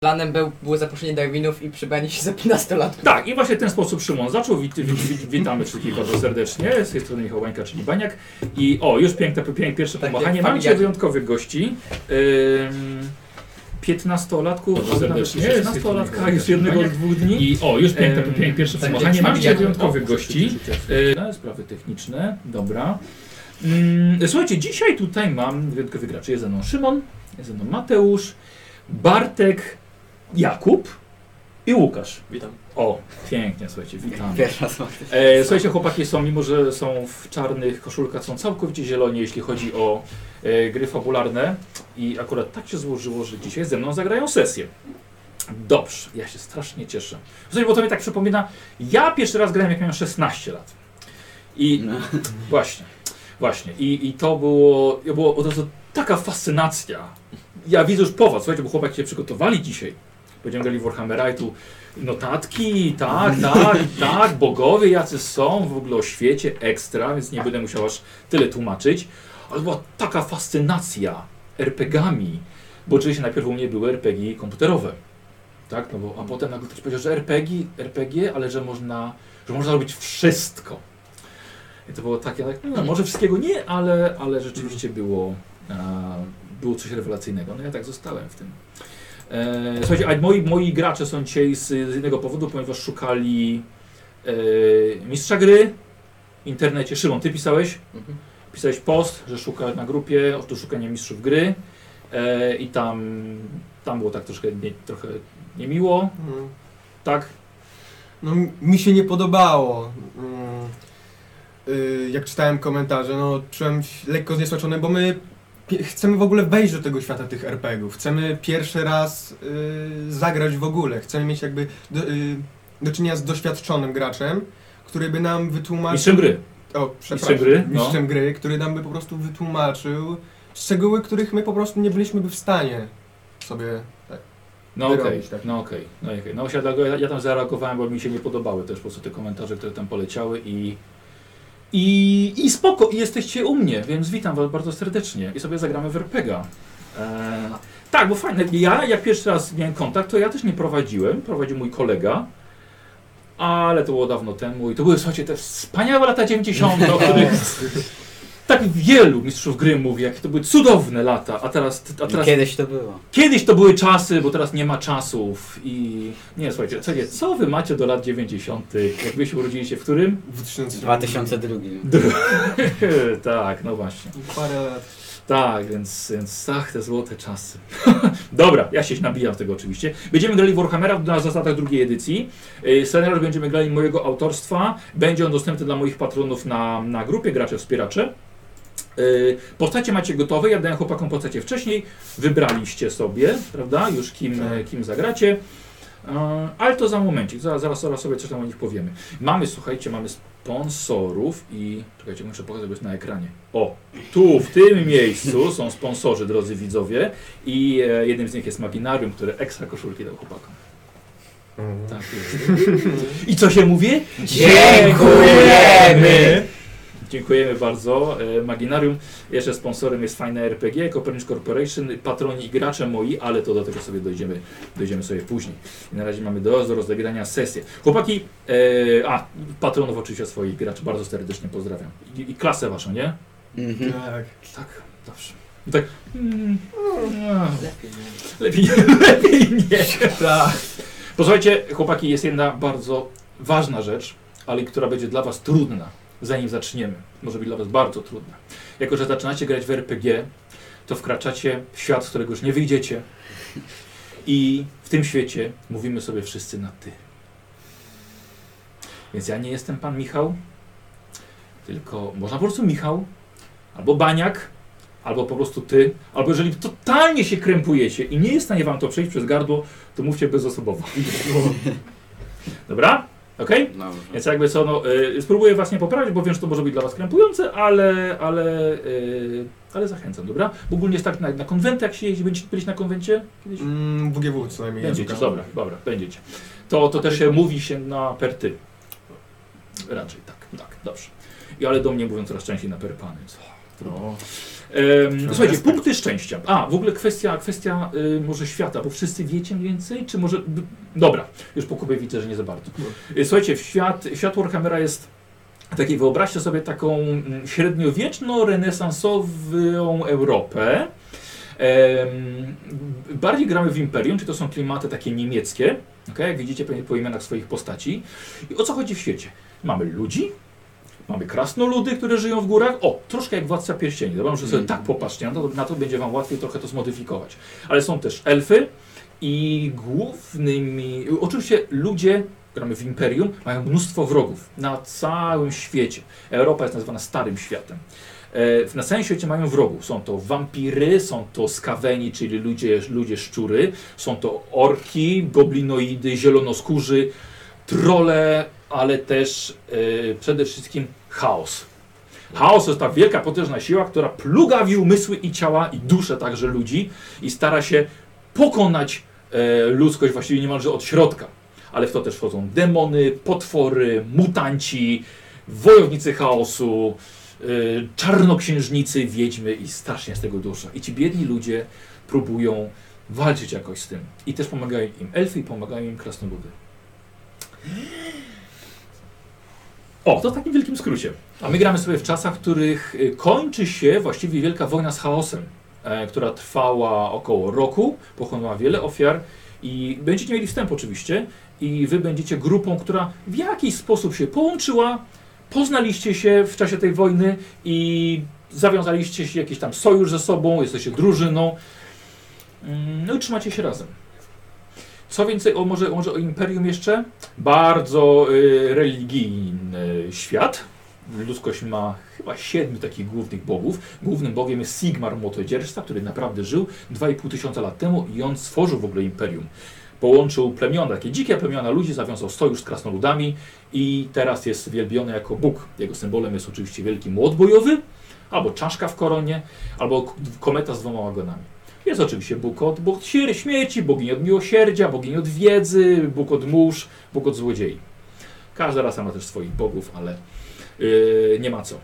Planem był, było zaproszenie Darwinów i przybranie się za 15 lat. Tak, i właśnie w ten sposób Szymon zaczął. Wit, wit, wit, witamy wszystkich bardzo serdecznie. Z tej strony Michał Bańka, czyli Baniak. I o, już piękne, piękne pierwsze Tak, pomachanie. jak Mamy dzisiaj familiarnie. wyjątkowych gości. Ym, 15-latków, Bardzo albo nawet serdecznie. 16-latka, już jednego od dwóch dni. I o, już piękne, Em, piękne pierwsze tak, pomachanie. mam Mam dzisiaj jak- wyjątkowych o, gości. Yy, Sprawy techniczne, dobra. Mm, Słuchajcie, dzisiaj tutaj mam wyjątkowych graczy. Jest ze mną Szymon, jest ze mną Mateusz, Bartek, Jakub i Łukasz. Witam. O, pięknie, słuchajcie, witamy. Pierwsza smak. E, słuchajcie, chłopaki są, mimo że są w czarnych koszulkach, są całkowicie zieloni, jeśli chodzi o e, gry fabularne. I akurat tak się złożyło, że dzisiaj ze mną zagrają sesję. Dobrze, ja się strasznie cieszę. Słuchajcie, bo to mi tak przypomina, ja pierwszy raz grałem jak miałem 16 lat. I Właśnie, właśnie. I, i to było, i było od razu taka fascynacja. Ja widzę już po was, słuchajcie, bo chłopaki się przygotowali dzisiaj. Będziemy grali w Warhammera i tu notatki, tak, tak, tak, bogowie jacy są, w ogóle o świecie, ekstra, więc nie będę musiał aż tyle tłumaczyć. Ale była taka fascynacja RPGami, bo oczywiście najpierw u mnie były RPG komputerowe. Tak, no bo, a potem nagle ktoś powiedział, że RPG, RPG, ale że można, że można robić wszystko. I to było takie, tak, no, może wszystkiego nie, ale, ale rzeczywiście było, e, było coś rewelacyjnego. No ja tak zostałem w tym. E, słuchajcie, a moi, moi gracze są dzisiaj z, z innego powodu, ponieważ szukali e, mistrza gry w internecie. Szymon, ty pisałeś? Mhm. Pisałeś post, że szuka na grupie, oto szukanie mistrzów gry. E, I tam, tam było tak troszkę, nie, trochę niemiło, Mm. tak? No mi- mi się nie podobało. Mm. Y, Jak czytałem komentarze, no czułem się lekko zniesmaczony, bo my pie- chcemy w ogóle wejść do tego świata tych RPG-ów. Chcemy pierwszy raz y, zagrać w ogóle. Chcemy mieć jakby do, y, do czynienia z doświadczonym graczem, który by nam wytłumaczył... Mistrzem gry. O, Mistrzem przepraszam. gry, no. Mistrzem gry, który nam by po prostu wytłumaczył szczegóły, których my po prostu nie byliśmy by w stanie sobie... tak, No okej, wyrobić, tak. no okej, no okej. No ja, ja, ja tam zareagowałem, bo mi się nie podobały też po prostu te komentarze, które tam poleciały i... I, i spoko, i jesteście u mnie, więc witam was bardzo serdecznie i sobie zagramy w RPGa. Eee, tak, bo fajne, ja jak pierwszy raz miałem kontakt, to ja też nie prowadziłem, prowadził mój kolega, ale to było dawno temu i to były, słuchajcie, te wspaniałe lata 90., o których tak wielu mistrzów gry mówi, jakie to były cudowne lata, a teraz, a teraz Kiedyś to było. Kiedyś to były czasy, bo teraz nie ma czasów i... Nie, słuchajcie, co, co wy macie do lat 90., jak wy się urodziliście w którym? W Mhm. 2000... 2002. tak, no właśnie. Parę lat. Tak, więc, więc ach, te złote czasy. Dobra, ja się nabijam z tego oczywiście. Będziemy grali w Warhammera na zasadach drugiej edycji. Yy, Scenariusz będziemy grali mojego autorstwa. Będzie on dostępny dla moich patronów na, na grupie gracze wspieracze. Yy, Postacie macie gotowe, ja dałem chłopakom postacie wcześniej, wybraliście sobie, prawda, już kim, Tak. kim zagracie. Yy, Ale to za momencik, zaraz, zaraz, zaraz sobie coś tam o nich powiemy. Mamy, słuchajcie, mamy sponsorów i... Czekajcie, muszę pokazać, bo jest na ekranie. O, tu, w tym miejscu są sponsorzy, drodzy widzowie. I e, jednym z nich jest Maginarium, które ekstra koszulki dał chłopakom. Tak jest. I co się mówię? Dziękujemy! Dziękujemy bardzo. E, Maginarium, jeszcze sponsorem jest fajne RPG, Copernicus Corporation, patroni i gracze moi, ale to do tego sobie dojdziemy, dojdziemy sobie później. I na razie mamy do, do rozegrania sesję. Chłopaki, e, a patronów oczywiście swoich graczy bardzo serdecznie pozdrawiam. I, i klasę waszą, nie? Mhm. Tak. Tak, dobrze. I tak. Mm, a, lepiej nie. Lepiej nie. Tak. Posłuchajcie, chłopaki, jest jedna bardzo ważna rzecz, ale która będzie dla Was trudna, zanim zaczniemy. Może być dla Was bardzo trudna. Jako, że zaczynacie grać w RPG, to wkraczacie w świat, z którego już nie wyjdziecie. I w tym świecie mówimy sobie wszyscy na ty. Więc ja nie jestem pan Michał, tylko można po prostu Michał, albo Baniak, albo po prostu ty, albo jeżeli totalnie się krępujecie i nie jest w stanie wam to przejść przez gardło, to mówcie bezosobowo. Dobra? Okej? Dobrze. Więc jakby co, no, y, spróbuję was nie poprawić, bo wiem, że to może być dla was krępujące, ale, ale, y, ale zachęcam, dobra? Bo ogólnie jest tak na, na konwenty, jak się jeździ, będziecie byli na konwencie kiedyś? Mm, WGW co najmniej. Będziecie, Jezuka. dobra, dobra, będziecie. To, to też się mówi się na perty. Raczej tak, tak, dobrze. I ale do mnie mówią coraz częściej na perpany. No. Em, słuchajcie, punkty szczęścia. A, w ogóle kwestia, kwestia y, może świata, bo wszyscy wiecie mniej więcej, czy może... b- Dobra, już po Kubie widzę, że nie za bardzo. Y, Słuchajcie, w świat, świat Warhammera jest taki, wyobraźcie sobie taką mm, średniowieczno-renesansową Europę. Em, bardziej gramy w Imperium, czyli to są klimaty takie niemieckie, okay? jak widzicie pewnie po imionach swoich postaci. I o co chodzi w świecie? Mamy ludzi, mamy krasnoludy, które żyją w górach. O, troszkę jak Władca Pierścieni. Dobra, że sobie Mm. tak popatrzcie, na to, na to będzie Wam łatwiej trochę to zmodyfikować. Ale są też elfy i głównymi... Oczywiście ludzie, gramy w Imperium, mają mnóstwo wrogów na całym świecie. Europa jest nazywana Starym Światem. E, Na całym świecie mają wrogów. Są to wampiry, są to skaweni, czyli ludzie, ludzie szczury, są to orki, goblinoidy, zielonoskórzy, trole, ale też e, przede wszystkim chaos. Chaos to jest ta wielka, potężna siła, która plugawi umysły i ciała i dusze także ludzi i stara się pokonać e, ludzkość właściwie niemalże od środka. Ale w to też wchodzą demony, potwory, mutanci, wojownicy chaosu, y, czarnoksiężnicy, wiedźmy i strasznie z tego dusza. I ci biedni ludzie próbują walczyć jakoś z tym. I też pomagają im elfy i pomagają im krasnoludy. O, to w takim wielkim skrócie. A my gramy sobie w czasach, w których y, kończy się właściwie wielka wojna z chaosem, e, która trwała około roku, pochłonęła wiele ofiar i będziecie mieli wstęp oczywiście i wy będziecie grupą, która w jakiś sposób się połączyła, poznaliście się w czasie tej wojny i zawiązaliście się jakiś tam sojusz ze sobą, jesteście drużyną. Mm, No i trzymacie się razem. Co więcej, o, może, może o Imperium jeszcze? Bardzo y, religijny świat. Ludzkość ma chyba siedmiu takich głównych bogów. Głównym bogiem jest Sigmar Motodzierżca, który naprawdę żył 2,5 tysiąca lat temu i on stworzył w ogóle Imperium. Połączył plemiona, takie dzikie plemiona ludzi, zawiązał sojusz z krasnoludami i teraz jest wielbiony jako Bóg. Jego symbolem jest oczywiście wielki młot bojowy, albo czaszka w koronie, albo k- kometa z dwoma ogonami. Jest oczywiście Bóg od Bóg śmier- śmierci, bogini od miłosierdzia, bogini od wiedzy, Bóg od mórz, Bóg od złodziei. Każda rasa ma też swoich bogów, ale yy, nie ma co.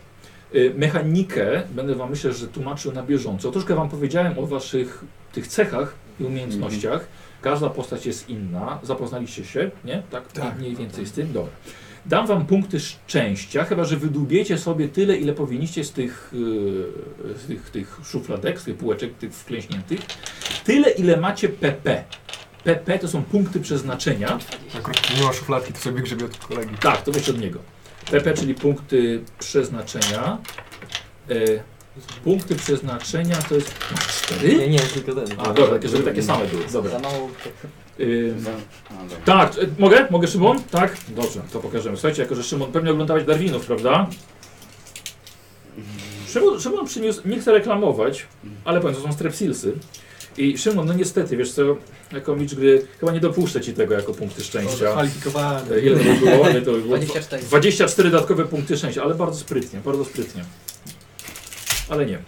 Yy, mechanikę będę Wam myślę, że tłumaczył na bieżąco. Troszkę Wam powiedziałem o Waszych tych cechach i umiejętnościach. Mhm. Każda postać jest inna. Zapoznaliście się, nie? Tak, Tak. mniej więcej z tym. Dobra. Dam Wam punkty szczęścia, chyba że wydubiecie sobie tyle, ile powinniście z tych, yy, z tych, tych szufladek, z tych półeczek, tych wklęśniętych. Tyle, ile macie PP. PP to są punkty przeznaczenia. Akurat nie ma szufladki, to sobie grzebie od kolegi. Tak, to wiesz od niego. PP, czyli punkty przeznaczenia. E, punkty przeznaczenia to jest. Masz cztery? Nie, nie, tylko ten. A, dobra, takie, żeby takie same były. Dobra. Za mało. Y, Za- a, dobra. tak, e, mogę? Mogę Szymon? Tak? Dobrze, to pokażemy. Słuchajcie, jako że Szymon pewnie oglądałeś Darwinów, prawda? Szymon, Szymon przyniósł, nie chcę reklamować, ale powiem, to są strepsilsy. I Szymon, no niestety, wiesz co, jako mistrz gry, chyba nie dopuszczę ci tego jako punkty szczęścia. Kwalifikowany. E, Ile to by było? Ile to by było? 24. 24 dodatkowe punkty szczęścia, ale bardzo sprytnie, bardzo sprytnie. Ale nie.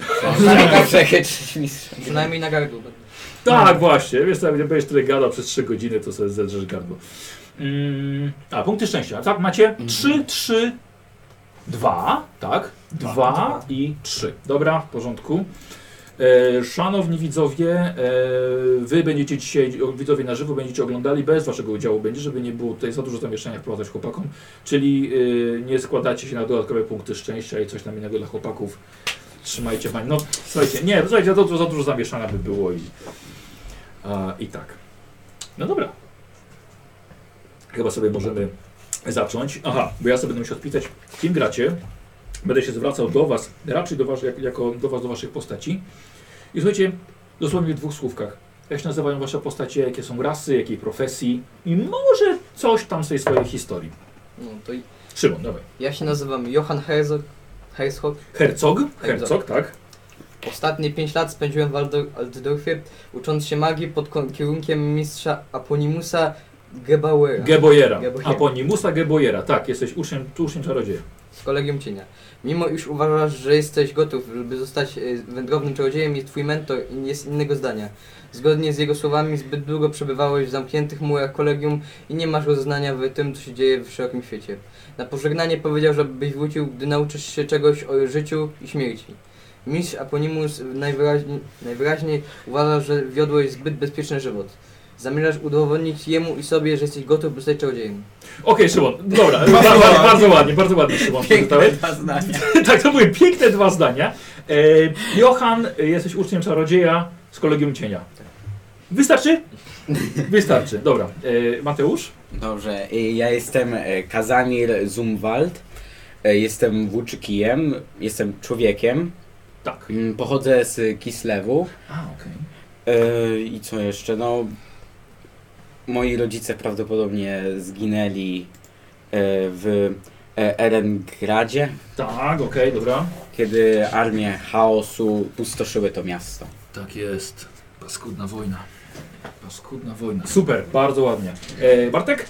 przechytrzyć mistrza. Przynajmniej na gardło będę. Tak, właśnie. Wiesz, jak będziesz tyle gadał przez 3 godziny, to sobie zedrzesz gardło. Mm, a, punkty szczęścia. Tak, macie 3, 3, 2, tak? 2 i 3. Dobra, w porządku. E, szanowni widzowie, e, wy będziecie dzisiaj, o, widzowie na żywo, będziecie oglądali bez waszego udziału, będzie, żeby nie było tutaj za dużo zamieszania wprowadzać chłopakom, czyli e, nie składacie się na dodatkowe punkty szczęścia i coś tam innego dla chłopaków. Trzymajcie pani. No, słuchajcie, nie, słuchajcie, za dużo, za dużo zamieszania by było i, a, i tak. No dobra. Chyba sobie możemy zacząć. Aha, bo ja sobie będę musiał odpisać, kim gracie. Będę się zwracał do Was, raczej do was, jak, jako do Was, do Waszych postaci. I słuchajcie, dosłownie w dwóch słówkach. Jak się nazywają Wasze postacie, jakie są rasy, jakiej profesji i może coś tam z tej swojej historii. No to i- Szymon, dawaj. ja się nazywam Johan Herzog. Herzog. Hercog, Hercog, tak. Ostatnie 5 lat spędziłem w Aldo- Altdorfie, ucząc się magii pod kon- kierunkiem mistrza Aponimusa Gebauera Gebojera. Gebojera. Aponimusa Gebojera, tak. Jesteś uczniem, uczniem czarodzieja. z Kolegium Cienia. Mimo iż uważasz, że jesteś gotów, by zostać e, wędrownym czarodziejem, jest twój mentor i jest innego zdania. Zgodnie z jego słowami, zbyt długo przebywałeś w zamkniętych murach kolegium i nie masz rozeznania w tym, co się dzieje w szerokim świecie. Na pożegnanie powiedział, żebyś wrócił, gdy nauczysz się czegoś o życiu i śmierci. Mistrz Aponimus najwyraźniej, najwyraźniej uważa, że wiodłeś zbyt bezpieczny żywot. Zamierzasz udowodnić jemu i sobie, że jesteś gotów zostać czarodziejem. Okej, Szymon, dobra, bardzo, bardzo, bardzo ładnie, bardzo ładnie Szymon przeczytałeś. Piękne dwa zdania. tak, to były piękne dwa zdania. E, Johan, e, jesteś uczniem czarodzieja z Kolegium Cienia. Wystarczy? Wystarczy, dobra. E, Mateusz? Dobrze, y, ja jestem e, Kazamir Zumwald. E, Jestem włóczykijem, jestem człowiekiem. Tak. Mm, Pochodzę z Kislewu. A, okej. E, I co jeszcze? No, moi rodzice prawdopodobnie zginęli e, w e, Erengradzie, Tak, okej, dobra. kiedy armie chaosu pustoszyły to miasto. Tak jest. Paskudna wojna. Paskudna wojna. Super, bardzo ładnie. E, Bartek?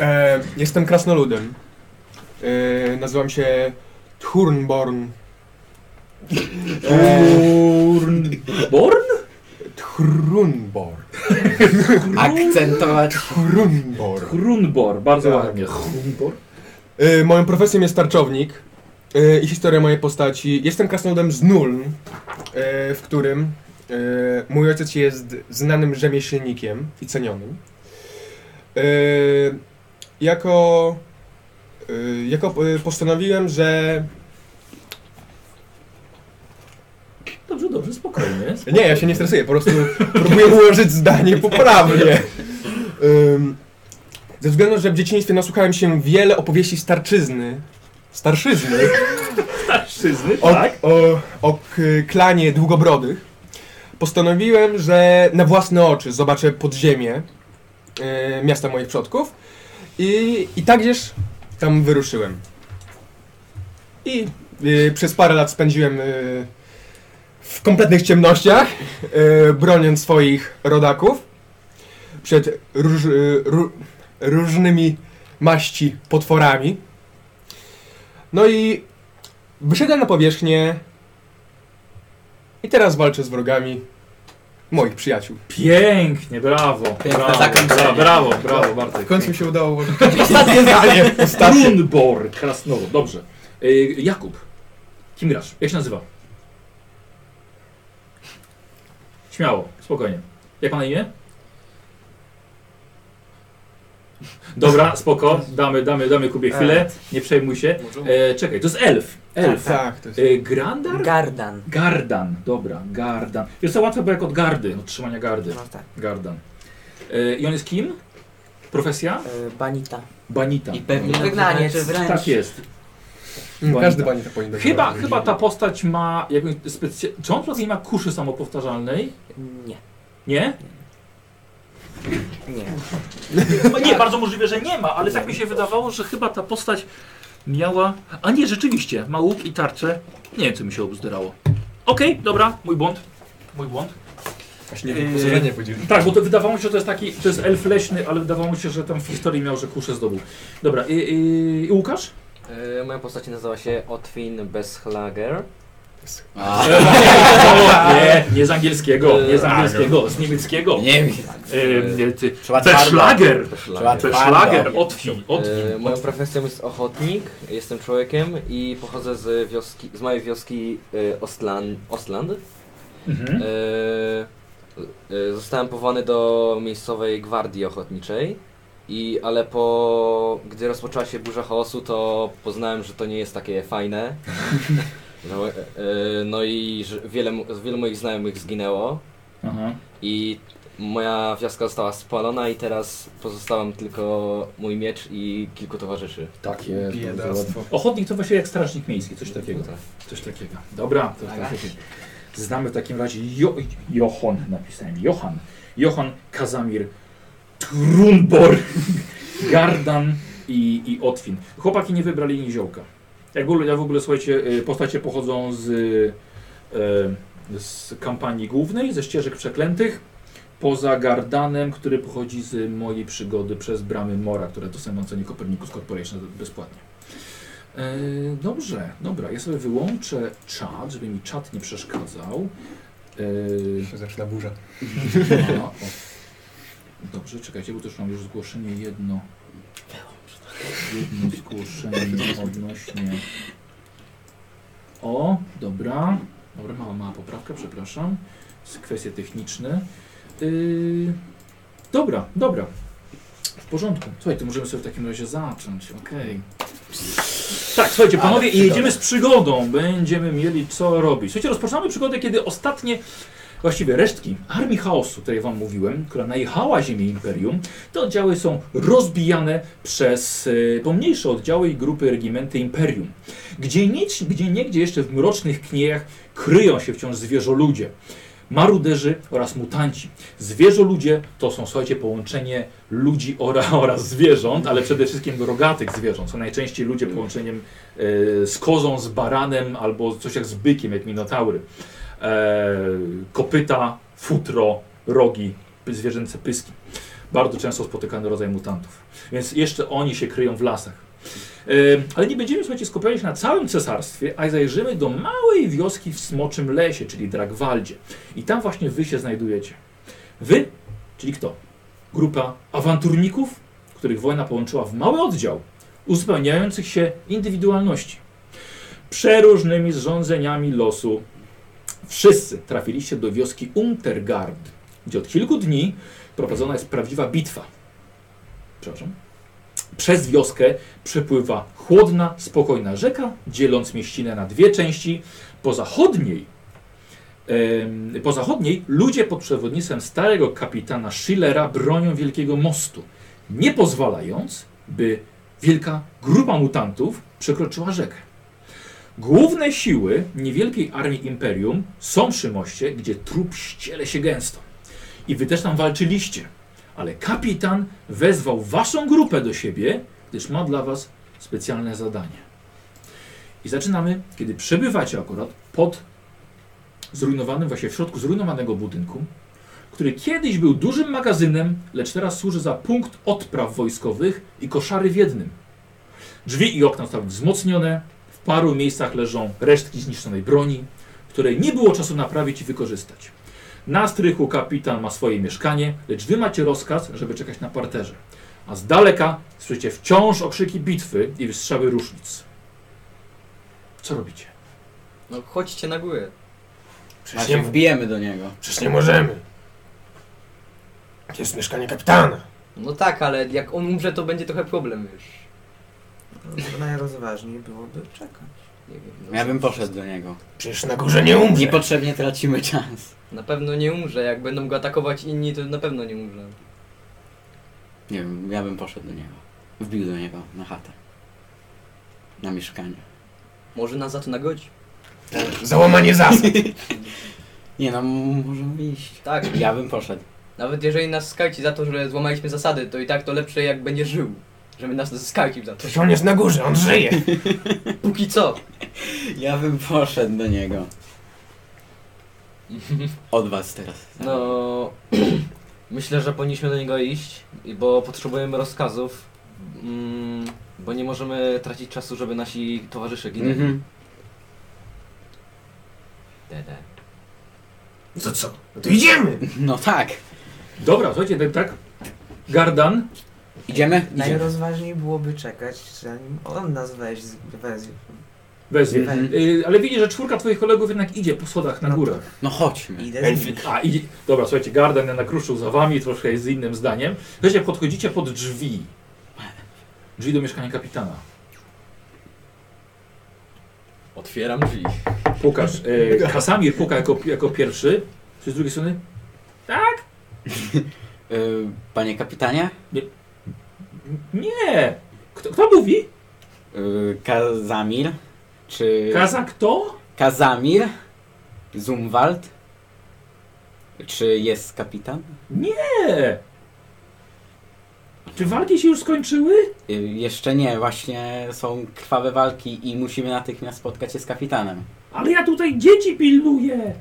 E, jestem krasnoludem. E, nazywam się Thurnborn. E, Born. Born? Thrunborn. Akcentować Thrunborn. Krunbor, bardzo Tak. ładnie. Krunbor? E, moją profesją jest tarczownik. E, I historia mojej postaci. Jestem krasnoludem z Nuln, e, w którym e, mój ojciec jest znanym rzemieślnikiem i cenionym. E, jako e, jako e, postanowiłem, że Dobrze, dobrze, spokojnie. spokojnie. Nie, ja się nie stresuję, po prostu próbuję ułożyć zdanie poprawnie. Ym, ze względu, że w dzieciństwie nasłuchałem się wiele opowieści starczyzny. Starszyzny? Starszyzny, O, tak? o, o k- klanie długobrodych. Postanowiłem, że na własne oczy zobaczę podziemie y, miasta moich przodków. I, i takżeż tam wyruszyłem. I y, przez parę lat spędziłem y, w kompletnych ciemnościach, y, broniąc swoich rodaków przed róż, y, ró, różnymi maści potworami. No i wyszedłem na powierzchnię i teraz walczę z wrogami moich przyjaciół. Pięknie, brawo. Piękne Brawo, zakończenie. brawo, brawo, brawo, Bartek. W końcu mi się udało ułożyć. Ostatnie zdanie. Ostatnie. Brunbor, krasnolud, dobrze. E, Jakub, kim grasz? Jak się nazywa? Śmiało, spokojnie. Jak ma na imię? Dobra, spoko, damy, damy, damy Kubie chwilę, nie przejmuj się. E, czekaj, to jest elf. Elf. Tak, to jest. Y, E, Grandar? Gardan. Gardan, dobra, Gardan. Jest to łatwe, bo jak od gardy, od trzymania gardy. No tak. Gardan. E, I on jest kim? Profesja? E, Banita. Banita. I pewnie znaczy Wygnanie, czy wręcz. Tak jest. tak Mm, Każdy tak. Banita. pani to powinien Chyba, dobrać. chyba ta postać ma jakąś specjalną. Czy on tutaj ma kuszy samopowtarzalnej? Nie. Nie? Nie. No nie, bardzo możliwe, że nie ma, ale tak mi się wydawało, że chyba ta postać miała. A nie, rzeczywiście, ma łuk i tarczę. Nie wiem, co mi się obzderało. Okej, dobra, mój błąd. Mój błąd. Właśnie Yy, podzielenie podzielić. Tak, bo to wydawało mi się, że to jest taki. To jest elf leśny, ale wydawało mi się, że tam w historii miał, że kuszę zdobył. Dobra, i, i, i Łukasz? E, Moja postać nazywa się Otwin Beschlager. A, nie, nie z angielskiego, nie z angielskiego, z niemieckiego. nie wiem. Yy, ty, Trzeba Beschlager! Trzeba Beschlager, Otwin, Otwin. E, Moją profesją jest ochotnik, jestem człowiekiem i pochodzę z wioski, z małej wioski e, Ostlan, Ostland. Mhm. E, e, Zostałem powołany do miejscowej gwardii ochotniczej. I, ale po, gdy rozpoczęła się burza chaosu, to poznałem, że to nie jest takie fajne. No, e, e, no i że wiele, mo- wielu moich znajomych zginęło. Aha. I moja wioska została spalona i teraz pozostałem tylko mój miecz i kilku towarzyszy. Tak jest. Biedactwo. Ochotnik to właśnie jak strażnik miejski, coś No takiego. tak. tak. Coś takiego. Dobra, to tak. Znamy w takim razie jo Johan, napisałem Johan. Johan, Kazimir, Trunbor, Gardan i, i Otwin. Chłopaki nie wybrali niziołka. Jak w ogóle, ja w ogóle słuchajcie, y, postacie pochodzą z, y, z kampanii głównej, ze ścieżek przeklętych. Poza Gardanem, który pochodzi z mojej przygody przez bramy Mora, które to są ocenie Copernicus Corporation bezpłatnie. E, Dobrze, dobra, ja sobie wyłączę czat, żeby mi czat nie przeszkadzał. E, Się zaczyna burza. a, o. Dobrze, czekajcie, bo też mam już zgłoszenie jedno. Jedno zgłoszenie odnośnie. O, dobra. Dobra, mała, mała poprawka, przepraszam. To są Kwestie techniczne. Yy, dobra, dobra. W porządku. Słuchaj, to możemy sobie w takim razie zacząć, okej. Tak, słuchajcie, panowie, i jedziemy z przygodą. Będziemy mieli co robić. Słuchajcie, rozpoczynamy przygodę, kiedy ostatnie, właściwie resztki armii chaosu, o której wam mówiłem, która najechała ziemię Imperium, te oddziały są rozbijane przez y, pomniejsze oddziały i grupy regimenty Imperium. Gdzie, nieć, gdzie niegdzie jeszcze w mrocznych kniejach kryją się wciąż zwierzoludzie, maruderzy oraz mutanci. Zwierzoludzie to są, słuchajcie, połączenie ludzi ora, oraz zwierząt, ale przede wszystkim rogatych zwierząt. Są najczęściej ludzie połączeniem e, z kozą, z baranem albo coś jak z bykiem, jak minotaury. E, kopyta, futro, rogi, py- zwierzęce pyski. Bardzo często spotykany rodzaj mutantów. Więc jeszcze oni się kryją w lasach. E, ale nie będziemy, słuchajcie, skupiali się na całym cesarstwie, a zajrzymy do małej wioski w Smoczym Lesie, czyli Dragwaldzie. I tam właśnie wy się znajdujecie. Wy, czyli kto? grupa awanturników, których wojna połączyła w mały oddział uzupełniających się indywidualności. Przeróżnymi zrządzeniami losu wszyscy trafiliście do wioski Untergard, gdzie od kilku dni prowadzona jest prawdziwa bitwa. Przepraszam. Przez wioskę przepływa chłodna, spokojna rzeka, dzieląc mieścinę na dwie części. Po zachodniej Em, Po zachodniej ludzie pod przewodnictwem starego kapitana Schillera bronią Wielkiego Mostu, nie pozwalając, by wielka grupa mutantów przekroczyła rzekę. Główne siły niewielkiej armii Imperium są przy moście, gdzie trup ściele się gęsto. I wy też tam walczyliście, ale kapitan wezwał waszą grupę do siebie, gdyż ma dla was specjalne zadanie. I zaczynamy, kiedy przebywacie akurat pod zrujnowanym, właśnie w środku zrujnowanego budynku, który kiedyś był dużym magazynem, lecz teraz służy za punkt odpraw wojskowych i koszary w jednym. Drzwi i okna zostały wzmocnione, w paru miejscach leżą resztki zniszczonej broni, której nie było czasu naprawić i wykorzystać. Na strychu kapitan ma swoje mieszkanie, lecz wy macie rozkaz, żeby czekać na parterze. A z daleka słyszycie wciąż okrzyki bitwy i wystrzały różnic. Co robicie? No chodźcie na górę. A Przecież się nie, wbijemy do niego. przecież nie możemy. Jest mieszkanie kapitana. No tak, ale jak on umrze, to będzie trochę problem już. No, Najrozważniej byłoby czekać. Nie wiem, no, Ja bym poszedł do niego. Przecież na górze nie umrze. Niepotrzebnie tracimy czas. Na pewno nie umrze, jak będą go atakować inni, to na pewno nie umrze. Nie wiem, ja bym poszedł do niego. Wbił do niego na chatę. Na mieszkanie. Może nas za to nagrodzi. Załamanie zasad. Nie no, m- możemy iść. Tak, Ja bym poszedł. nawet jeżeli nas skałci za to, że złamaliśmy zasady, to i tak to lepsze jak będzie żył. Żeby nas skałcił za to. Przecież on jest na górze, on żyje. Póki co! Ja bym poszedł do niego. Od was teraz. No, myślę, że powinniśmy do niego iść, i- bo potrzebujemy rozkazów, mm, bo nie możemy tracić czasu, żeby nasi towarzysze ginęli. Mhm. Dede. To co? No to idziemy. No tak. Dobra, słuchajcie, tak, tak. Gardan, Idziemy? Idziemy. Najrozważniej byłoby czekać, zanim on nas weź, weź. wezwie. Mhm. Y, ale widzisz, że czwórka twoich kolegów jednak idzie po schodach na No to- górę. No chodźmy. Idę z nim. Elfik. A, i, dobra, słuchajcie, Gardan nakruszył za wami, troszkę jest z innym zdaniem. Słuchajcie, podchodzicie pod drzwi. Drzwi do mieszkania kapitana. Otwieram drzwi. Pukasz, y, Kasamir puka jako, jako pierwszy. Czy z drugiej strony? Y, panie kapitanie? Nie! Kto, kto mówi? Y, Kazamir? Czy... Kaza kto? Kazamir? Zumwald? Czy jest kapitan? Nie! Czy walki się już skończyły? Y, Jeszcze nie, właśnie są krwawe walki i musimy natychmiast spotkać się z kapitanem. Ale ja tutaj dzieci pilnuję!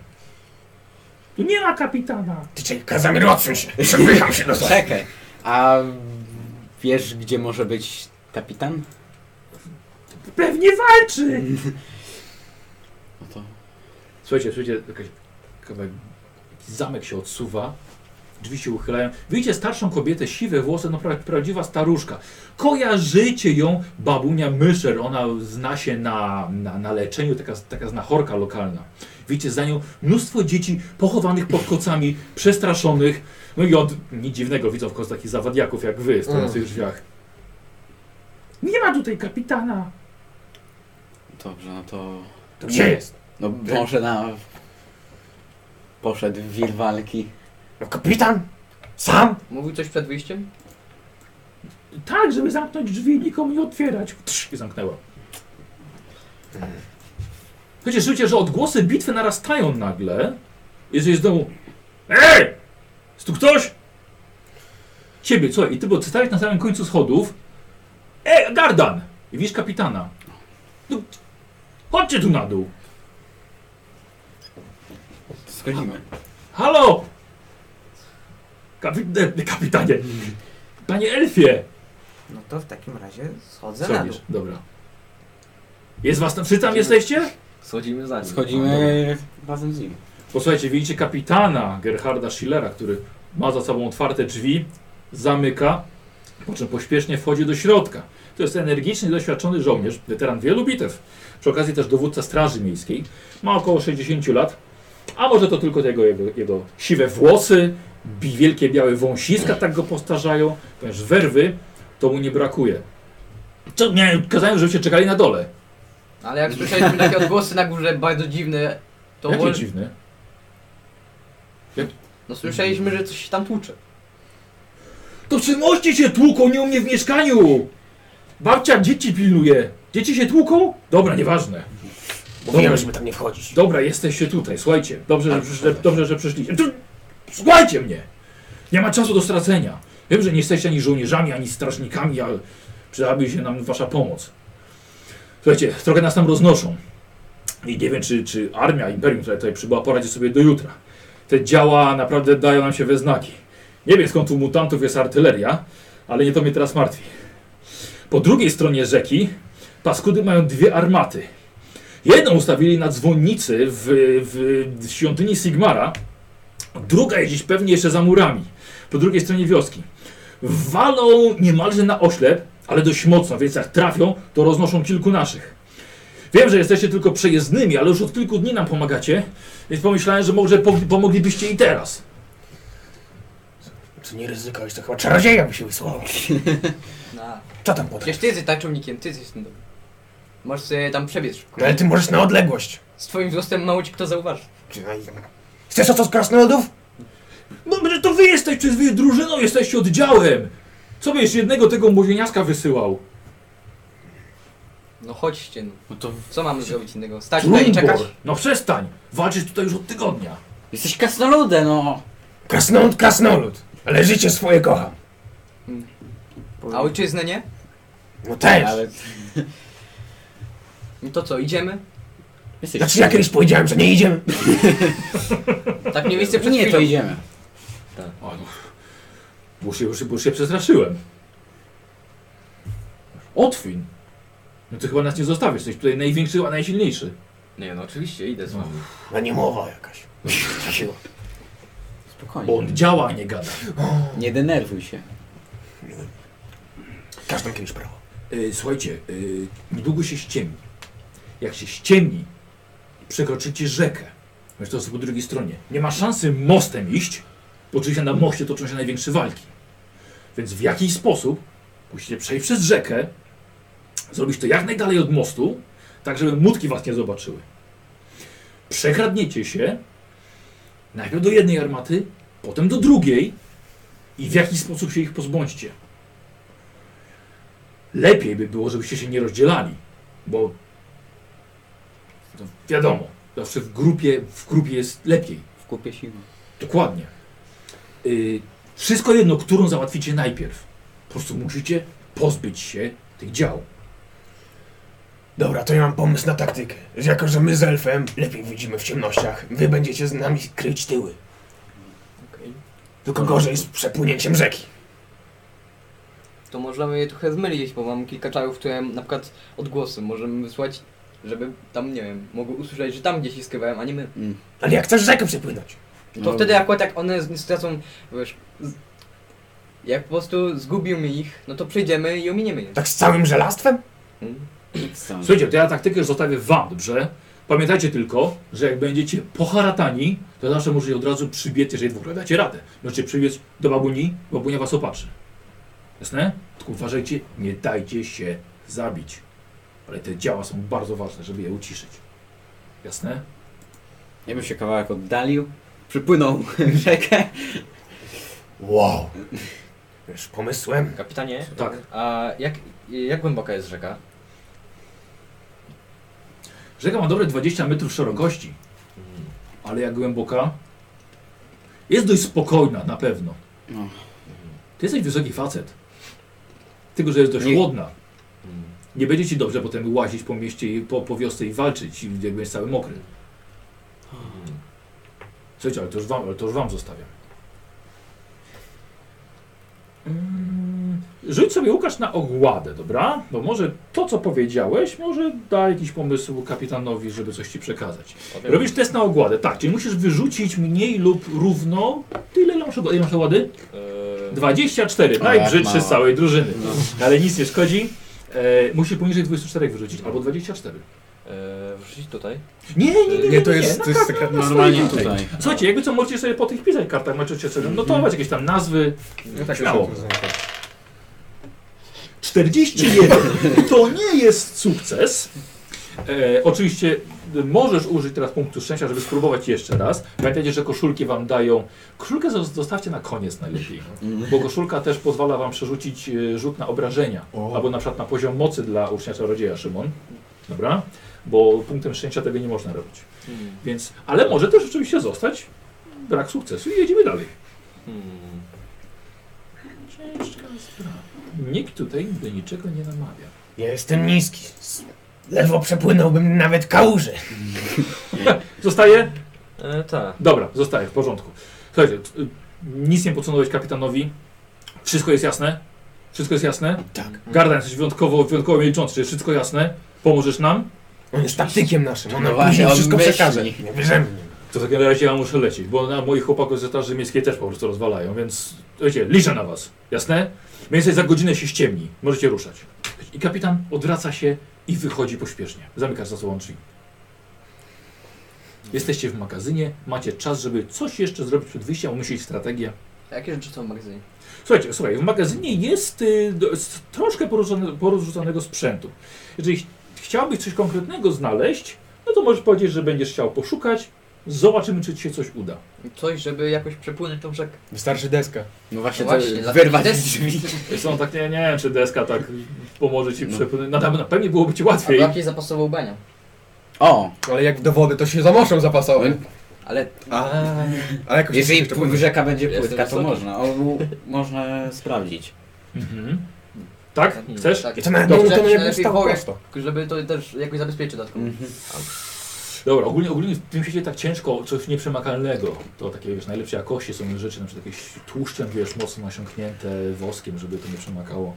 Tu nie ma kapitana! Ty czekaj, Kazamir, odsuń się. Przepycham się do sobie. Czekaj, a wiesz gdzie może być kapitan? Pewnie walczy! No to Słuchajcie, słuchajcie, jakaś, kawałek- jakiś zamek się odsuwa, drzwi się uchylają. Widzicie starszą kobietę, siwe włosy, no pra, prawdziwa staruszka. Kojarzycie ją babunia Myszer, ona zna się na, na, na leczeniu, taka, taka znachorka lokalna. Widzicie za nią mnóstwo dzieci pochowanych pod kocami, przestraszonych. No i od nic dziwnego widzą w końcu takich zawadiaków jak wy, Mm. stojących w tych drzwiach. Nie ma tutaj kapitana. Dobrze, no to... To gdzie jest? No może na... Poszedł w wir walki. No kapitan? Sam? Mówił coś przed wyjściem? Tak, żeby zamknąć drzwi i nikomu nie otwierać. Trz, I zamknęła. Chociaż czujcie, że odgłosy bitwy narastają nagle. Jeżeli z domu. Ej! Jest tu ktoś? Ciebie, co? I ty, bo ty stałeś na samym końcu schodów. Ej, Gardan! I widzisz kapitana. No, chodźcie tu na dół. Schodzimy. Halo! Kapi e, kapitanie! Panie Elfie! No to w takim razie schodzę na dół. Schodzisz, dobra. Jest was tam, wszyscy tam jesteście? Schodzimy za nim. No, Schodzimy razem z nim. Posłuchajcie, widzicie kapitana Gerharda Schillera, który ma za sobą otwarte drzwi, zamyka, po czym pośpiesznie wchodzi do środka. To jest energiczny, doświadczony żołnierz, weteran wielu bitew. Przy okazji też dowódca Straży Miejskiej. Ma około 60 lat, a może to tylko jego, jego, jego siwe włosy, bi- wielkie białe wąsiska tak go postarzają, ponieważ werwy to mu nie brakuje. Co, nie, kazałem, żebyście czekali na dole. Ale jak słyszeliśmy takie odgłosy na górze bardzo dziwne, to Jakie wol... dziwne. No słyszeliśmy, że coś się tam tłucze. To przy moście się tłuką, nie u mnie w mieszkaniu! Babcia dzieci pilnuje. Dzieci się tłuką? Dobra, nieważne. Mówiłem, żeby tam nie wchodzić. Dobra, jesteście tutaj, słuchajcie. Dobrze, że, przysz- że, dobrze, że przyszliście. Tu- Słuchajcie mnie! Nie ma czasu do stracenia. Wiem, że nie jesteście ani żołnierzami, ani strażnikami, ale przydałaby się nam wasza pomoc. Słuchajcie, trochę nas tam roznoszą. I nie wiem, czy, czy armia, imperium, która tutaj przybyła, poradzi sobie do jutra. Te działa naprawdę dają nam się we znaki. Nie wiem, skąd u mutantów jest artyleria, ale nie to mnie teraz martwi. Po drugiej stronie rzeki paskudy mają dwie armaty. Jedną ustawili na dzwonnicy w, w świątyni Sigmara, druga jest gdzieś pewnie jeszcze za murami, po drugiej stronie wioski. Walą niemalże na oślep, ale dość mocno, więc jak trafią, to roznoszą kilku naszych. Wiem, że jesteście tylko przejezdnymi, ale już od kilku dni nam pomagacie, więc pomyślałem, że może pom- pomoglibyście i teraz. Co nie ryzykowałeś, to chyba czarodzieja by się wysłał. No. Co tam potem? Przecież ty jesteś tańczownikiem, ty jesteś tym dobrym. Możesz sobie tam przebiec szybko. No ale ty możesz na odległość. Z twoim wzrostem mało ci kto zauważy. Czy na- Chcesz oto z krasnoludów? No, że to wy jesteście, wy drużyną jesteście oddziałem. Co byś jednego tego młodzieniaska wysyłał? No chodźcie, no. No to Co mamy zrobić innego? Stać tutaj i Trumbor! czekać? No przestań! Walczysz tutaj już od tygodnia. Jesteś kasnoludem, no! Krasnolud, krasnolud. Ale życie swoje kocham. A ojczyznę nie? No też. Ale... No to co, idziemy? Jesteś... Znaczy ja kiedyś powiedziałem, że nie idziemy. Tak mniej więcej przed Nie, to chwilą. idziemy. O, no. bo, się, bo, się, bo się przestraszyłem. Otwin! No ty chyba nas nie zostawisz, jesteś tutaj największy, a najsilniejszy. Nie no, oczywiście, idę z wami. No nie mowa jakaś. Siła. Bo Spokojnie. on działa, a nie gada. Nie denerwuj się. Każdą kiedyś prawo. Y, słuchajcie, y, niedługo się ściemni. Jak się ściemni, przekroczycie rzekę. Wiesz, to jest po drugiej stronie. Nie ma szansy mostem iść, bo oczywiście na moście toczą się największe walki. Więc w jakiś sposób musicie przejść przez rzekę, zrobić to jak najdalej od mostu, tak żeby mutki was nie zobaczyły. Przekradniecie się najpierw do jednej armaty, potem do drugiej i w jakiś sposób się ich pozbądźcie lepiej by było, żebyście się nie rozdzielali, bo no, wiadomo, zawsze w grupie, w grupie jest lepiej. W kupie siły. Dokładnie. Y, wszystko jedno, którą załatwicie najpierw. Po prostu musicie pozbyć się tych dział. Dobra, to ja mam pomysł na taktykę. Że jako, że my z elfem lepiej widzimy w ciemnościach, wy będziecie z nami kryć tyły. Okej. Tylko gorzej z przepłynięciem rzeki. To możemy je trochę zmylić, bo mam kilka czarów, które na przykład odgłosy możemy wysłać, żeby tam, nie wiem, mogły usłyszeć, że tam gdzieś się skrywają, a nie my. Ale jak chcesz rzekę przepłynąć? To No. wtedy akurat jak one z- stracą, wiesz, z... jak po prostu zgubimy ich, no to przyjdziemy i ominiemy je. Tak z całym żelastwem? Mm. Stąd. Słuchajcie, to ja taktykę już zostawię wam, dobrze? Pamiętajcie tylko, że jak będziecie poharatani, to zawsze możecie od razu przybiec, jeżeli w ogóle dacie radę. Możecie przybiec do babuni, babunia was opatrzy. Jasne? Tylko uważajcie, nie dajcie się zabić. Ale te działa są bardzo ważne, żeby je uciszyć. Jasne? Ja bym się kawałek oddalił, przypłynął w rzekę. Wow. Wiesz, pomysłem. Kapitanie, e, Tak. a jak, jak głęboka jest rzeka? Rzeka ma dobre 20 metrów szerokości, ale jak głęboka? Jest dość spokojna na pewno. No. Ty jesteś wysoki facet. Tylko, że jest dość Nie- chłodna. Hmm, Nie będzie ci dobrze potem łazić po mieście, i po, po wiosce i walczyć, i jak będziesz cały mokry. Słuchajcie, ale to już wam, ale to już wam zostawiam. Mm, Rzuć sobie Łukasz na ogładę, dobra? Bo może to, co powiedziałeś, może da jakiś pomysł kapitanowi, żeby coś ci przekazać. Robisz test na ogładę, tak, czyli musisz wyrzucić mniej lub równo tyle, ile masz, ogła- ile masz ogłady? e, 24, Tak, O, jak najbrzydszy mało. z całej drużyny. Ale nic nie szkodzi. E, musisz poniżej 24 wyrzucić, albo 24. e, Wrzucić tutaj? Nie, nie, nie, nie, Nie, to nie, No jest, na to jest kartach taka na normalnie swoich- tutaj. Słuchajcie, jakby co możecie sobie po tych pisać kartach, możecie sobie notować jakieś tam nazwy. Hmm, Tak śmiało. znaczy, 41 to nie jest sukces. E, oczywiście y, możesz użyć teraz punktu szczęścia, żeby spróbować jeszcze raz. Pamiętajcie, że koszulki wam dają. Koszulkę zo- zostawcie na koniec najlepiej, bo koszulka też pozwala wam przerzucić y, rzut na obrażenia. O. Albo na przykład na poziom mocy dla ucznia czarodzieja Szymon. Dobra? Bo punktem szczęścia tego nie można robić. hmm, Więc, ale może też oczywiście zostać brak sukcesu i jedziemy dalej. Hmm. Ciężka sprawa. Nikt tutaj do niczego nie namawia. Ja jestem niski. S- Ledwo przepłynąłbym nawet kałużę. Zostaje? E, tak. Dobra, zostaje, w porządku. Słuchajcie, t- y, nic nie podsunąłeś kapitanowi. Wszystko jest jasne? Wszystko jest jasne? Tak. Gardan, jesteś wyjątkowo, wyjątkowo milczący. Czy Wszystko jasne? Pomożesz nam? On jest taktykiem naszym. On No nam właśnie, później on wszystko myśli. przekaże. Nie bierzemy. nim. To w takim razie ja muszę lecieć, bo na moich chłopaków z etaży miejskiej też po prostu rozwalają, więc wiecie, liczę na was. Jasne? Mniej więcej za godzinę się ściemni. Możecie ruszać. I kapitan odwraca się i wychodzi pośpiesznie. Zamykasz za sobą drzwi. Jesteście w magazynie, macie czas, żeby coś jeszcze zrobić przed wyjściem, umyślić strategię. Jakie rzeczy są w magazynie? Słuchajcie, słuchaj, w magazynie jest y, do- s- troszkę porozrzucone- porozrzucanego sprzętu. Jeżeli ch chciałbyś coś konkretnego znaleźć, no to możesz powiedzieć, że będziesz chciał poszukać. Zobaczymy, czy ci się coś uda. Coś, żeby jakoś przepłynąć tą rzekę. Wystarczy deska. No właśnie, No właśnie, to dlatego wyrwać też- drzwi. Wiesz co, no tak nie, nie wiem, czy deska tak pomoże ci No. przepłynąć. No, na, na pewno byłoby ci Albo łatwiej. jakieś zapasowe ubania. O, Ale jak do wody, to się zamoszą zapasowym. Ale A, ale jakoś tak jeżeli jeszcze pł- rzeka będzie Jestem płytka, to wysoki. można. O, można sprawdzić. Mhm. Tak? Hmm, Chcesz? tak. I to nawet Dobrze, nie to najlepiej jakby stał wołaj. prosto. żeby to też jakoś zabezpieczyć dodatkowo. Mm, Dobra, ogólnie, ogólnie w tym świecie tak ciężko coś nieprzemakalnego. To takie wiesz, najlepsze jakości są rzeczy, na przykład jakieś tłuszczem, wiesz, mocno nasiąknięte woskiem, żeby to nie przemakało.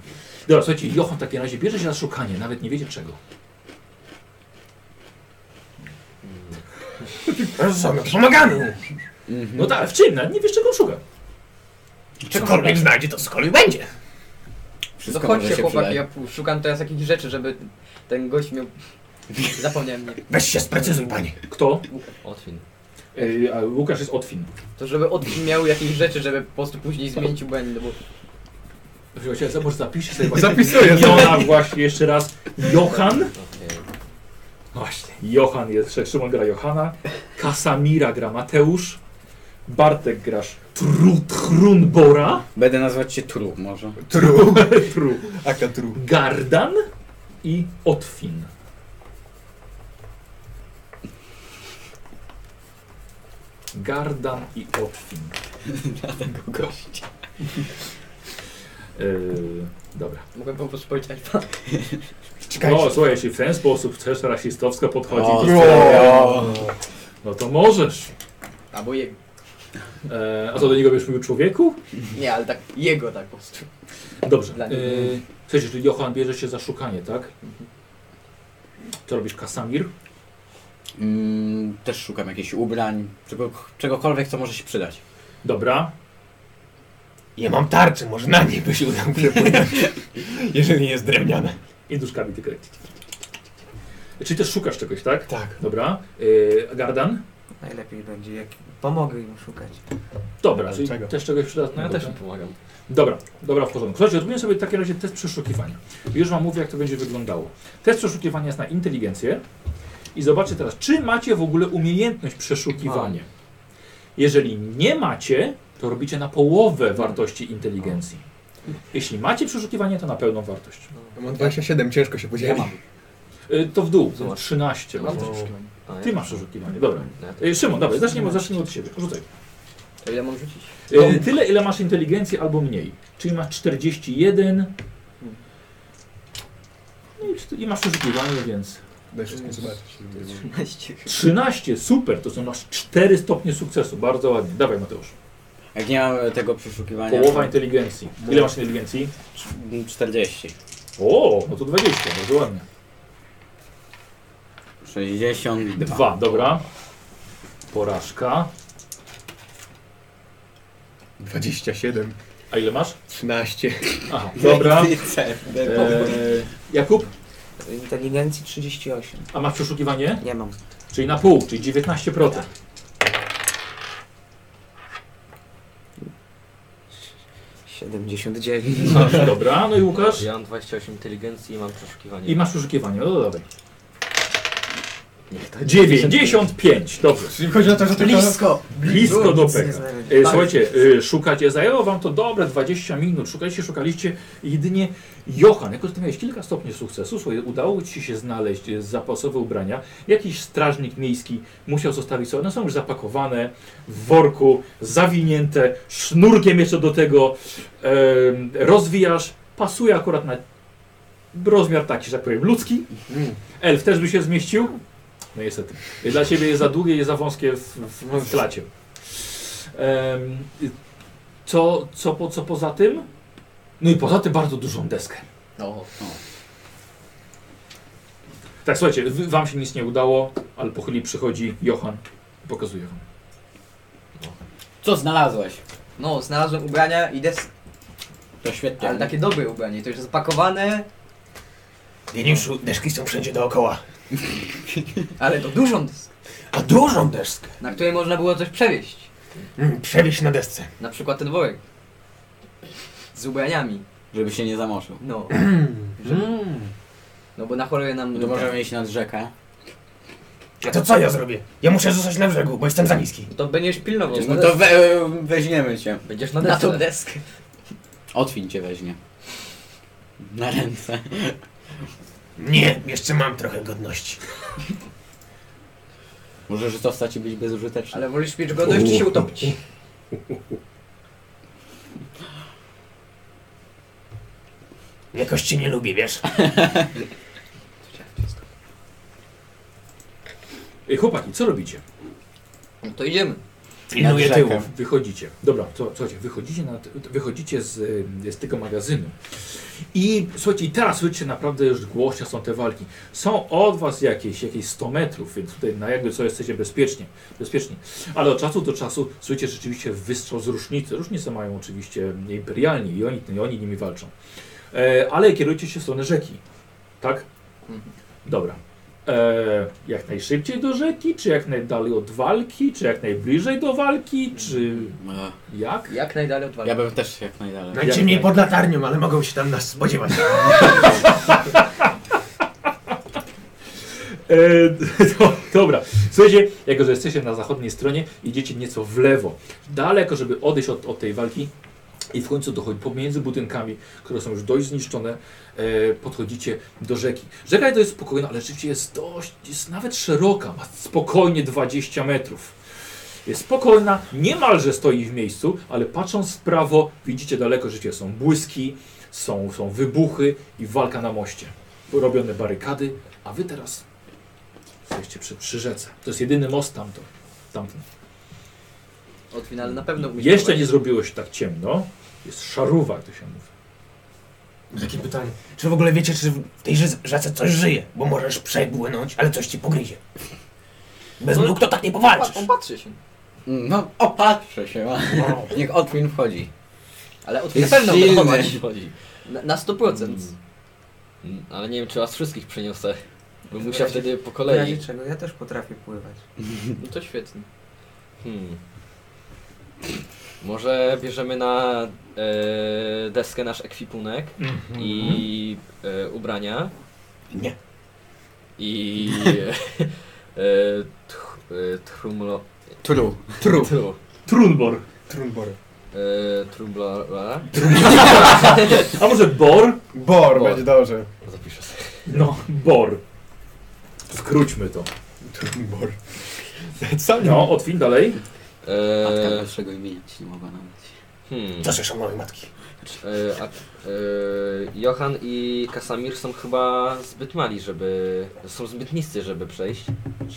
Dobra, słuchajcie, Jochon w takim razie bierze się za szukanie, nawet nie wiecie czego. Rozumiemy, pomagamy mu. Mhm. No tak, ale w czym? Nawet nie wiesz czego szuka. Cokolwiek znajdzie, to cokolwiek będzie. No Wszystko może chodźcie się chłopaki, przydać. ja pu- szukam teraz jakichś rzeczy, żeby ten gość miał... Zapomniałem mnie. Weź się sprecyzuj, panie. Kto? Otwin. Yy, a Łukasz jest Otwin. To żeby od miał jakieś rzeczy, żeby po prostu później zmienić ubanie, no bo... Słuchajcie, może zapisz sobie właśnie Zapisuję imiona właśnie jeszcze raz. Johan. Okej. Właśnie. Johan jest, Szymon gra Johana, Kasamira gra Mateusz, Bartek grasz Trunbora, Będę nazywać się Tru może. Tru. Tru, Aka tru. Gardan i Otwin. Gardan i Otwin. Gość. Yy, dobra. Mogłem po prostu powiedzieć alfa. Czekajcie. No słuchaj, jeśli w ten sposób chcesz rasistowsko podchodzić, O, O. no to możesz. Albo jego. E, a co do niego będziesz mówił człowieku? Nie, ale tak jego tak po prostu. Dobrze. Dla niego. Yy, Słuchajcie, czyli Johan bierze się za szukanie, tak? Mhm. Co robisz, Kasamir? Mm, też szukam jakichś ubrań, czego, czegokolwiek, co może się przydać. Dobra. Ja mam tarczę, może na niej by się udało przepłynąć. Jeżeli nie jest drewniana. I duszkami ty kręcić. Czyli też szukasz czegoś, tak? Tak. Dobra. Yy, Gardan? Najlepiej będzie, jak pomogę im szukać. Dobra, Ale czyli czego? też czegoś przydatnego. No ja też Dobra. im pomagam. Dobra, dobra, w porządku. Słuchajcie, odbędziemy sobie w takim razie test przeszukiwania. Już wam mówię, jak to będzie wyglądało. Test przeszukiwania jest na inteligencję i zobaczcie teraz, czy macie w ogóle umiejętność przeszukiwania. Jeżeli nie macie, to robicie na połowę wartości inteligencji. Jeśli macie przeszukiwanie, to na pełną wartość. Ja mam 27, ciężko się podzieli. Y, To w dół, Zobacz. 13. Mam będzie. też przeszukiwanie. A, ja Ty też masz mam. przeszukiwanie, dobra. No ja też. Y, Szymon, dawaj, zacznijmy, zacznijmy od siebie. Rzucaj. To ile mam rzucić? Y, Tyle, ile masz inteligencji albo mniej. Czyli masz 41. No i czty- I masz przeszukiwanie, więc. Daj wszystkim zobaczyć. 13. 13, super, to są masz 4 stopnie sukcesu. Bardzo ładnie. Dawaj Mateusz. Jak nie mam tego przeszukiwania. Połowa inteligencji. Ile masz inteligencji? cz- 40. O, no to 20, bardzo ładnie. 62. 2, dobra. Porażka. 27, A ile masz? 13. Aha, dobra. Ty cel, E, Jakub, Inteligencji 38. a masz przeszukiwanie? Nie mam. Czyli na pół, czyli 19%. Masz, 79. dobra. No i Łukasz? Ja mam 28 inteligencji i mam przeszukiwanie. I masz przeszukiwanie, no dawaj. Niech to 95, dobrze. Czyli chodzi o to, że tylko... Blisko! Blisko do peka. E, znaleźli. Tak. Słuchajcie, e, szukacie, zajęło wam to dobre 20 minut, szukaliście, szukaliście, jedynie Johan, jako że ty miałeś kilka stopni sukcesu, słuchaj, udało ci się znaleźć e, zapasowe ubrania, jakiś strażnik miejski musiał zostawić sobie, one są już zapakowane w worku, zawinięte, sznurkiem jeszcze do tego, em, rozwijasz, pasuje akurat na rozmiar taki, że tak powiem, ludzki, elf też by się zmieścił, no niestety, dla ciebie jest za długie i za wąskie w, w, w klacie. Em, y, co, co, po, co poza tym? No i poza tym bardzo dużą deskę. No. Tak, słuchajcie, wy- wam się nic nie udało, ale po chwili przychodzi Johan i pokazuje wam. Co znalazłeś? No, znalazłem ubrania i des... To świetnie. Ale tak- takie dobre ubranie, to już zapakowane, Deniuszu, deszki są wszędzie dookoła. ale to dużą deskę, A dużą deskę. na której można było coś przewieźć. Mm, Przewieź na desce. Na przykład ten worek. Z ubraniami. Żeby się nie zamoszył. No. Mm. No bo na chorobę nam... Mm, No to tak. możemy iść nad rzekę. No A to co ja zrobię? Ja muszę zostać na brzegu, bo jestem za niski. No To będziesz pilnował. No na to desce. we, weźmiemy cię. Będziesz na, na tą deskę. Otwin cię weźmie. Na ręce. Nie, jeszcze mam trochę godności. Możesz zostać i być bezużyteczny. Ale wolisz mieć godność czy się utopić? Jakoś cię nie lubię, wiesz? Ej, chłopaki, co robicie? No to idziemy. Pilnuję Nad tyłu. rzekę. Wychodzicie. Dobra, to, słuchajcie, wychodzicie, na, wychodzicie z, y, z tego magazynu. I słuchajcie, i teraz słyszycie naprawdę już głośno są te walki. Są od was jakieś, jakieś 100 metrów, więc tutaj na jakby co jesteście bezpiecznie, bezpieczni. Ale od czasu do czasu słyszycie rzeczywiście wystrzał z różnicy. Różnice mają oczywiście imperialni i oni, i oni nimi walczą. E, ale kierujcie się w stronę rzeki, tak? Mhm. Dobra. E, jak najszybciej do rzeki, czy jak najdalej od walki, czy jak najbliżej do walki, czy No, E, jak? Jak najdalej tak. od Ja walki. bym też jak najdalej. Najciemniej pod latarnią, ale mogą się tam nas spodziewać. E, do, dobra, słuchajcie, jako że jesteście na zachodniej stronie, idziecie nieco w lewo, daleko, żeby odejść od, od tej walki i w końcu dochodzi pomiędzy budynkami, które są już dość zniszczone, e, podchodzicie do rzeki. Rzeka to jest spokojna, ale rzeczywiście jest dość, jest nawet szeroka, ma spokojnie 20 metrów. Jest spokojna, niemalże stoi w miejscu, ale patrząc w prawo, widzicie daleko, rzeczywiście są błyski, są, są wybuchy i walka na moście. Robione barykady, a wy teraz Jesteście przy, przy rzece. To jest jedyny most tamto. Tamten. Od finale na pewno umiesz Jeszcze prowadzić. nie zrobiło się tak ciemno. Jest szaruwa, jak to się mówi. Takie pytanie. Czy w ogóle wiecie, czy w tej ży- rzece coś żyje? Bo możesz przepłynąć, ale coś ci pogryzie. Bez No. nóg to tak nie Pa- powalczysz. On patrzy się. Mm. No, opatrzę się. ma. No. Niech Otwin wchodzi. Ale od na Jest pewno silny. wychować. Na, na 100%. Mm. Mm, Ale nie wiem, czy was wszystkich przeniosę. Bym musiał W razie- wtedy po W razie kolei. czego ja też potrafię pływać. No to świetnie. Hmm. Może bierzemy na e, deskę nasz ekwipunek Mhm. i Mhm. e, ubrania. Nie. I e, tch, e, trumlo, Tru. tru. tru. Trunbor. Trunbor. E, trumbla, A może Bor? Bor, Bor. będzie dobrze. Zapiszę sobie. No, Bor. Skróćmy to. Trunbor. Co? No, otwin dalej. Matka E, naszego imienia ci nie mogła nawet. hmm. Co słyszą małej matki? E, a, e, Johan i Kasamir są chyba zbyt mali, żeby... Są zbyt niscy, żeby przejść.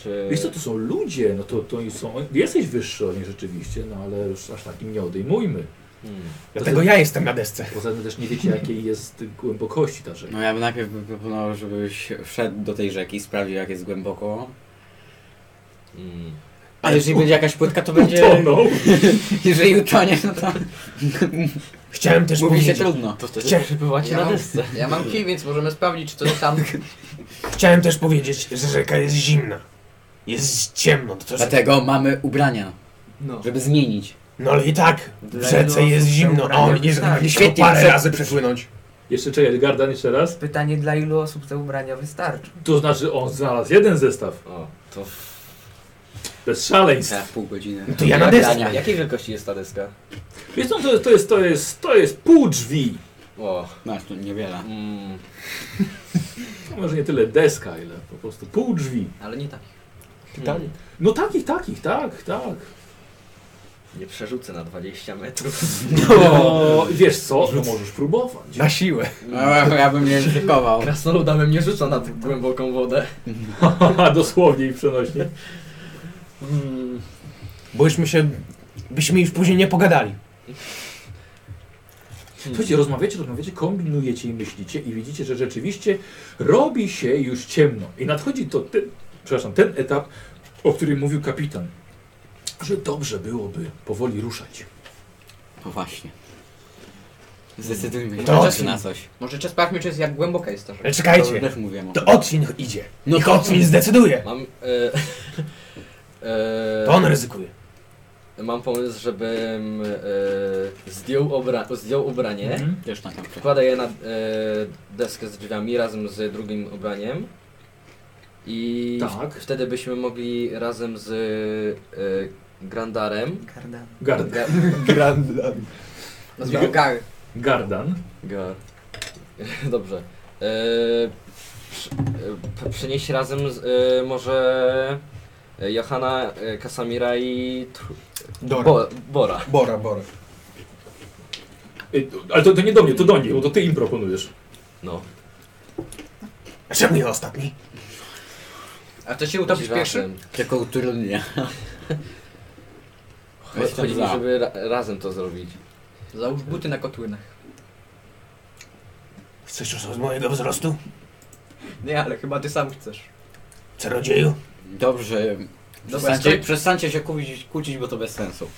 Czy... Wiesz co, to są ludzie, no to, to są... Jesteś wyższy od nich rzeczywiście, no ale już aż takim nie odejmujmy. Hmm. Dlatego ja jestem na desce. Poza tym też nie wiecie, jakiej jest głębokości ta rzeka. No ja bym najpierw bym proponował, żebyś wszedł do tej rzeki, sprawdził jak jest głęboko. Hmm. A jeżeli będzie jakaś płytka, to będzie... Utonął. Jeżeli utoniesz, no to Chciałem też mówi się powiedzieć, trudno. To wtedy Chcia- przebywacie Ja na mam, desce. ja mam kij, więc możemy sprawdzić, czy to jest tam. chciałem też powiedzieć, że rzeka jest zimna. Jest ciemno, to też... Dlatego mamy ubrania, No. żeby zmienić. No ale i tak, w Dla rzece wielu jest osób zimno, te a oni ubrania- nie zrobili Świetnie, parę przed- razy przepłynąć. Jeszcze czekaj, Gardan jeszcze raz. Pytanie dla ilu osób te ubrania wystarczą? To znaczy on znalazł jeden zestaw. O, to... Bez szaleństw. Tak. Za pół godziny. No to ja na desce. Ubrania. Jakiej wielkości jest ta deska? Wiesz co, to, to jest, to jest, to jest pół drzwi. O, No, to niewiele. mm, No może nie tyle deska, ile po prostu pół drzwi. Ale nie tak. taki. Pytanie. No takich, takich, tak, tak. nie przerzucę na 20 metrów. No, wiesz co, no możesz próbować. Na siłę. No, ja bym nie ryzykował. Mm. Krasnoluda bym nie rzucał na tak głęboką wodę. Dosłownie i przenośnie. Mm. Bo byśmy się... byśmy już później nie pogadali. Słuchajcie, rozmawiacie, rozmawiacie, kombinujecie i myślicie i widzicie, że rzeczywiście robi się już ciemno. I nadchodzi to ten, przepraszam, ten etap, o którym mówił kapitan, że dobrze byłoby powoli ruszać. No właśnie. Zdecydujmy się To chociaż o na czym? coś. Może czy sprawdźmy, czy jest jak głęboka jest ta rzeka. Ale To czekajcie, też mówię o to tym. Otwin idzie. No Niech to- Otwin zdecyduje. Mam... E, e, To on ryzykuje. Mam pomysł, żebym e, zdjął, obra zdjął ubranie, Mhm. Też na kamerę. wkładę je na e, deskę z drzwiami razem z drugim ubraniem i Tak. wtedy byśmy mogli razem z e, Grandarem Kardano. Gard Ga Grandan. Nazywam Gar. Gardan. Gar. Dobrze. E, przy- e, p- przenieść razem z, e, może e, Johana, e, Kasamira i Tru- Bora. Bo Bora. Bora, Bora. Y, Ale to, to nie do mnie, to do niej, bo to ty im proponujesz. No. A czemu nie ostatni? A to się utopisz pierwszy? Razem. Tylko utrudnia. Chodzi chodzi mi, żeby ra razem to zrobić. Załóż buty na kotłynach. Chcesz już z mojego wzrostu? Nie, ale chyba ty sam chcesz. Czarodzieju? Dobrze. Przestańcie, przestańcie się kłócić, kłócić, bo to bez sensu.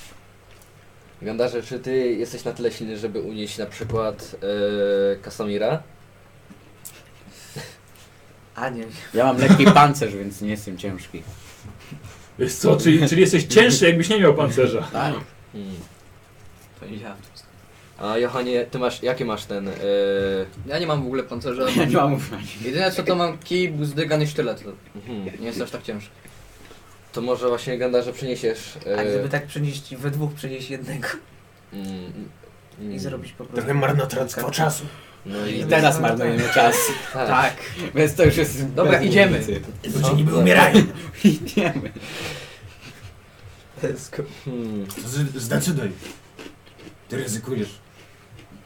Gandarze, czy ty jesteś na tyle silny, żeby unieść na przykład e, Kasamira? A nie, Ja mam lekki pancerz, więc nie jestem ciężki. Wiesz co, czyli, czyli jesteś cięższy, jakbyś nie miał pancerza. Tak? Hmm. To nie ja. A Johanie, ty masz, jakie masz ten... E, Ja nie mam w ogóle pancerza. Ja nie mam ubrania. Jedyne co to mam kij, buzdygan i sztylet. mhm. Nie jest aż tak ciężko. To może właśnie Gandarze przyniesiesz... a gdyby E, tak przynieść, we dwóch przynieść jednego mm, i mm, zrobić Tak, po prostu... Trochę marnotrawstwo czasu. No i I tak. tak. teraz marnujemy czas. Więc to już jest. Dobra, bez idziemy. różnicy. Ludzie niby umierają. Idziemy. Hmm. To z- Zdecyduj. Ty ryzykujesz.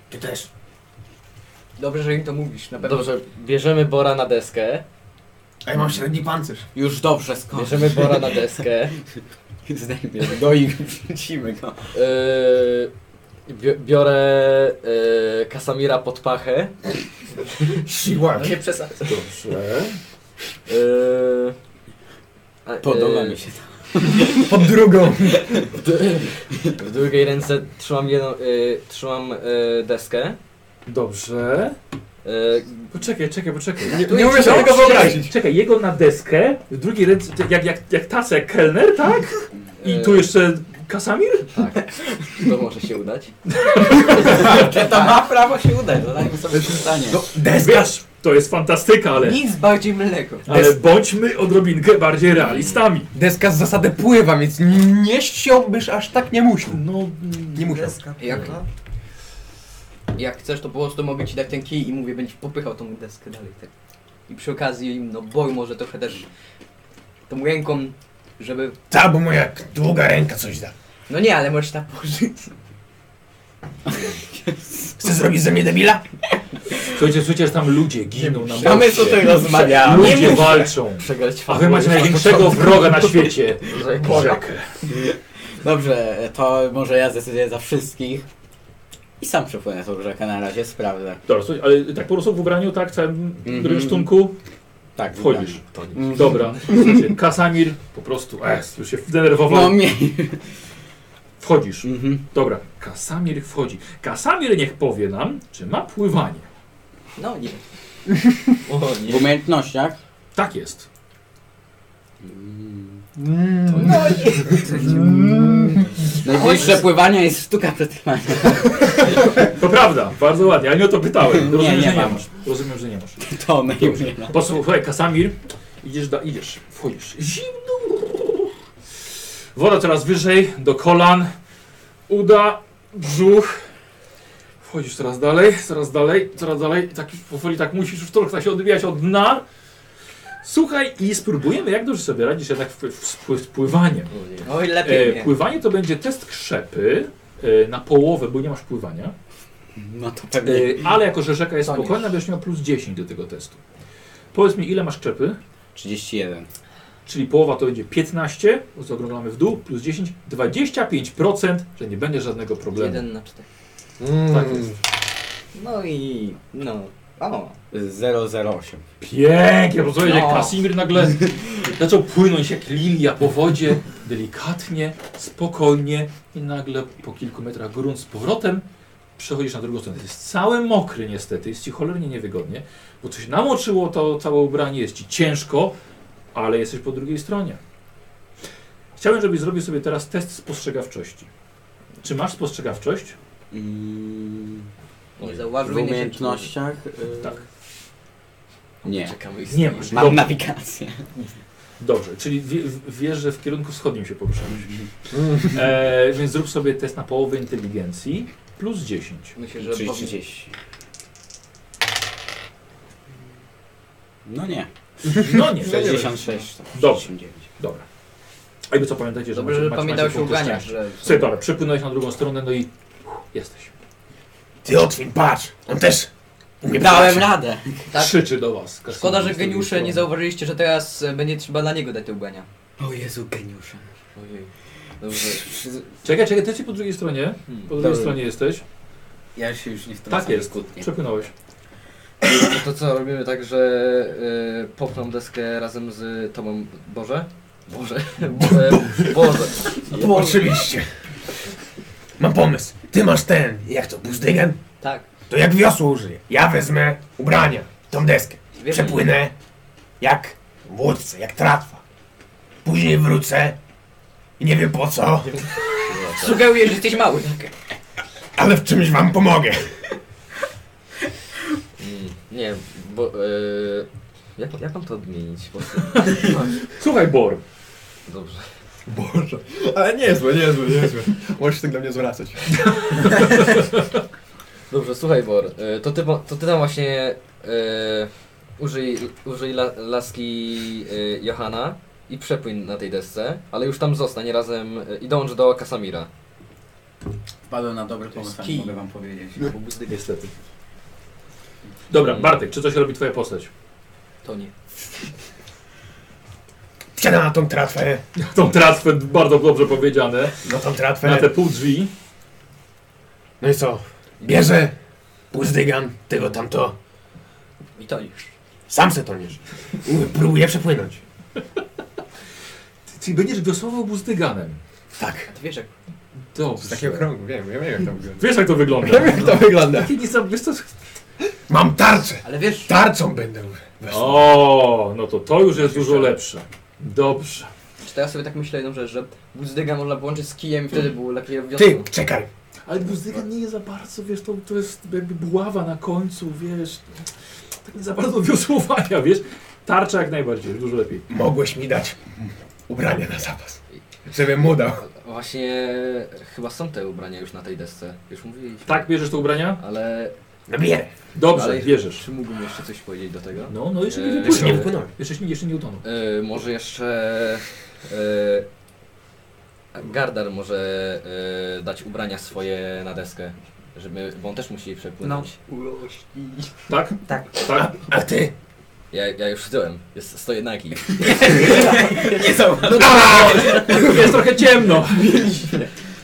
Ty też. Dobrze, że im to mówisz, na pewno. Dobrze, bierzemy Bora na deskę. A ja mam średni pancerz. Już dobrze skończy. Bierzemy Bora na deskę. Zdejmiemy go i wrzucimy go. Yy, bi- biorę yy, Kasamira pod pachę. Siła. No nie przesadzę. Dobrze. Yy, a, Podoba yy, mi się to. Pod drugą. W, dru- w drugiej ręce trzymam jedną, yy, trzymam yy, deskę. Dobrze. Yy, E, Poczekaj, czekaj, poczekaj. Nie, nie umiesz sobie tego wyobrazić. Czekaj, jego na deskę, w drugiej ręce, jak, jak, jak taca, jak kelner, tak? I e, tu jeszcze Kasamir? Tak, to może się udać. To ma prawo się udać, zadajmy sobie pytanie. Wiesz, to jest fantastyka, ale, Nic bardziej mylnego. ale bądźmy odrobinkę bardziej realistami. Deska z zasady pływa, więc nie ściągniesz aż tak nie musiał. No, Nie musiał. Deska Jak- pływa. Jak chcesz, to po prostu mogę ci dać ten kij i mówię, będziesz popychał tą deskę dalej. Tak. I przy okazji, no boj może trochę też tą ręką, żeby... Ta, bo moja długa ręka coś da. No nie, ale możesz tam położyć. Chcesz zrobić ze mnie debila? słuchajcie, przecież tam ludzie giną na Mamy moście. co tutaj rozmawiać. Ludzie walczą. Przegrać A wy macie fabułę. największego wroga na świecie. Że- Bożek. Dobrze, to może ja zdecyduję za wszystkich. I sam przepłynę tą rzekę na razie, sprawdzę. Dobra, słuchaj, ale tak po prostu w ubraniu, tak, całym Mhm. rynsztunku, Tak, wchodzisz. To nie. Mhm. Dobra, słuchajcie, Kasamir po prostu, e, już się No zdenerwował. mnie. Wchodzisz. Mhm. Dobra, Kasamir wchodzi. Kasamir niech powie nam, czy ma pływanie. No nie. O W nie. umiejętnościach. Tak jest. Mm. No Najbliższe pływanie jest sztuka przetrwania. To prawda, bardzo ładnie, ale nie o to pytałem. Nie, Rozumiem, nie że nie mam. masz. Rozumiem, że nie masz. To my nie ma. Posłuchaj, słuchaj, Kasamir, idziesz, da, idziesz, wchodzisz. Zimno. Woda coraz wyżej, do kolan, uda, brzuch. Wchodzisz coraz dalej, coraz dalej, coraz dalej. I tak już powoli tak musisz już trochę się odbijać od dna. Słuchaj i spróbujemy, jak dobrze sobie radzisz jednak w, w, w, z pływaniem. O nie. Oj, lepiej E, nie. pływanie to będzie test krzepy e, na połowę, bo nie masz pływania. No to E, pewnie. ale jako, że rzeka jest To nie. spokojna, będziesz miał plus 10 do tego testu. Powiedz mi, ile masz krzepy? 31. Czyli połowa to będzie 15, zaokrąglamy w dół, plus 10, 25%, że nie będzie żadnego problemu. Jeden na cztery. Mm. Tak jest. No i... no. O. 008. Pięknie, bo słuchajcie, No. Kasimir nagle zaczął płynąć jak lilia po wodzie, delikatnie, spokojnie i nagle po kilku metrach grunt z powrotem przechodzisz na drugą stronę. Jest cały mokry niestety, jest ci cholernie niewygodnie, bo coś namoczyło to całe ubranie, jest ci ciężko, ale jesteś po drugiej stronie. Chciałem, żebyś zrobił sobie teraz test spostrzegawczości. Czy masz spostrzegawczość? Mm. Nie W zauważyłem. umiejętnościach. y, Tak. Nie. Czekamy. Nie masz. Mam Dobrze, nawigację. dobrze. czyli wie- wiesz, że w kierunku wschodnim się poruszamy. E, więc zrób sobie test na połowę inteligencji plus 10. Myślę, że... Czyli powiem- 30. No nie. No nie. 66. tak, Dobrze. 69. Dobra. A jakby co pamiętajcie, że Dobrze, że macie- macie pamiętałeś o punkty uganiach, szczęścia. że... Słuchaj, dobra, przepłynąłeś na drugą stronę, no i uff, jesteś. Ty otwin, patrz! On też! umie Dałem pływać. radę. Tak. Krzyczy do was. Szkoda, Kasimir że z drugiej geniusze strony. nie zauważyliście, że teraz e, będzie trzeba dla niego dać te ubrania. O Jezu, geniusze. Ojej. Dobrze. Czekaj, czekaj, ty jesteś po drugiej stronie. Hmm. Po drugiej Tak. Dobra. stronie jesteś. Ja się już nie wtrącam. Tak jest. Przepłynąłeś. To co, robimy tak, że y, popną deskę razem z tobą, Boże? Boże? Bo, e, Boże. Oczywiście. Mam pomysł. Ty masz ten, jak to, buzdygen? Tak. To jak wiosło użyję. Ja wezmę ubrania, tą deskę. Wiemy. Przepłynę jak w łódce, jak tratwa. Później wrócę i nie wiem po co, Sugeruję, że jesteś mały. ale w czymś wam pomogę. Mm, Nie, bo... E, jak, jak mam to odmienić? Bo, Słuchaj, Bor. dobrze. Boże. Ale niezłe, niezłe, niezłe. Możesz tak do mnie zwracać. Dobrze, słuchaj Bor, e, to ty, po- to ty tam właśnie e, użyj, użyj la, laski e, Johana i przepłyń na tej desce, ale już tam zostań razem e, i dąż do Kasamira. Wpadłem na dobry pomysł, kij. mogę wam powiedzieć. No. Niestety. Dobra, Bartek, czy coś robi twoja postać? To nie. Wsiadam na tą tratwę, Tą tratwę bardzo dobrze powiedziane. na tą Na tratwę. te pół drzwi. No i co? Bierze buzdygan, tego tamto. I to już. Sam se to nie Próbuję przepłynąć. Ty, ty będziesz wiosłował buzdyganem. Tak. A ty wiesz jak... Dobrze. Z takiego krągu, wiem, ja wiem jak to wygląda. Wiesz jak to wygląda? No. Wiem jak to wygląda. Taki niesamowity. Mam tarczę! Ale wiesz, Tarczą będę wesł. O, no to to już jest dużo lepsze. Dobrze. Czy teraz sobie tak myślę jedną rzecz, że Guzdyga można połączyć z kijem i wtedy było lepiej wiosną. Ty, czekaj. Ale muzyka nie jest za bardzo, wiesz, to, to jest jakby buława na końcu, wiesz. Tak nie za bardzo wiosłowania, wiesz. Tarcza jak najbardziej, dużo lepiej. Mogłeś mi dać ubrania na zapas. Żebym mu dał. Właśnie chyba są te ubrania już na tej desce. Już mówiliśmy. Tak, bierzesz te ubrania? Ale Nabierę. Dobrze, Ale- bierzesz. czy mógłbym jeszcze coś powiedzieć do tego? No, no jeszcze nie Eee, Jeszcze nie wypłynął. wpłynąłem. Jeszcze, nie- jeszcze nie utonął. E, może jeszcze e, Gardar może e, dać ubrania swoje na deskę, żeby, bo on też musi przepłynąć. Tak? Tak. Tak? A ty? Ja, ja już wziąłem, jest 101 kij. Nie są. Jest trochę ciemno.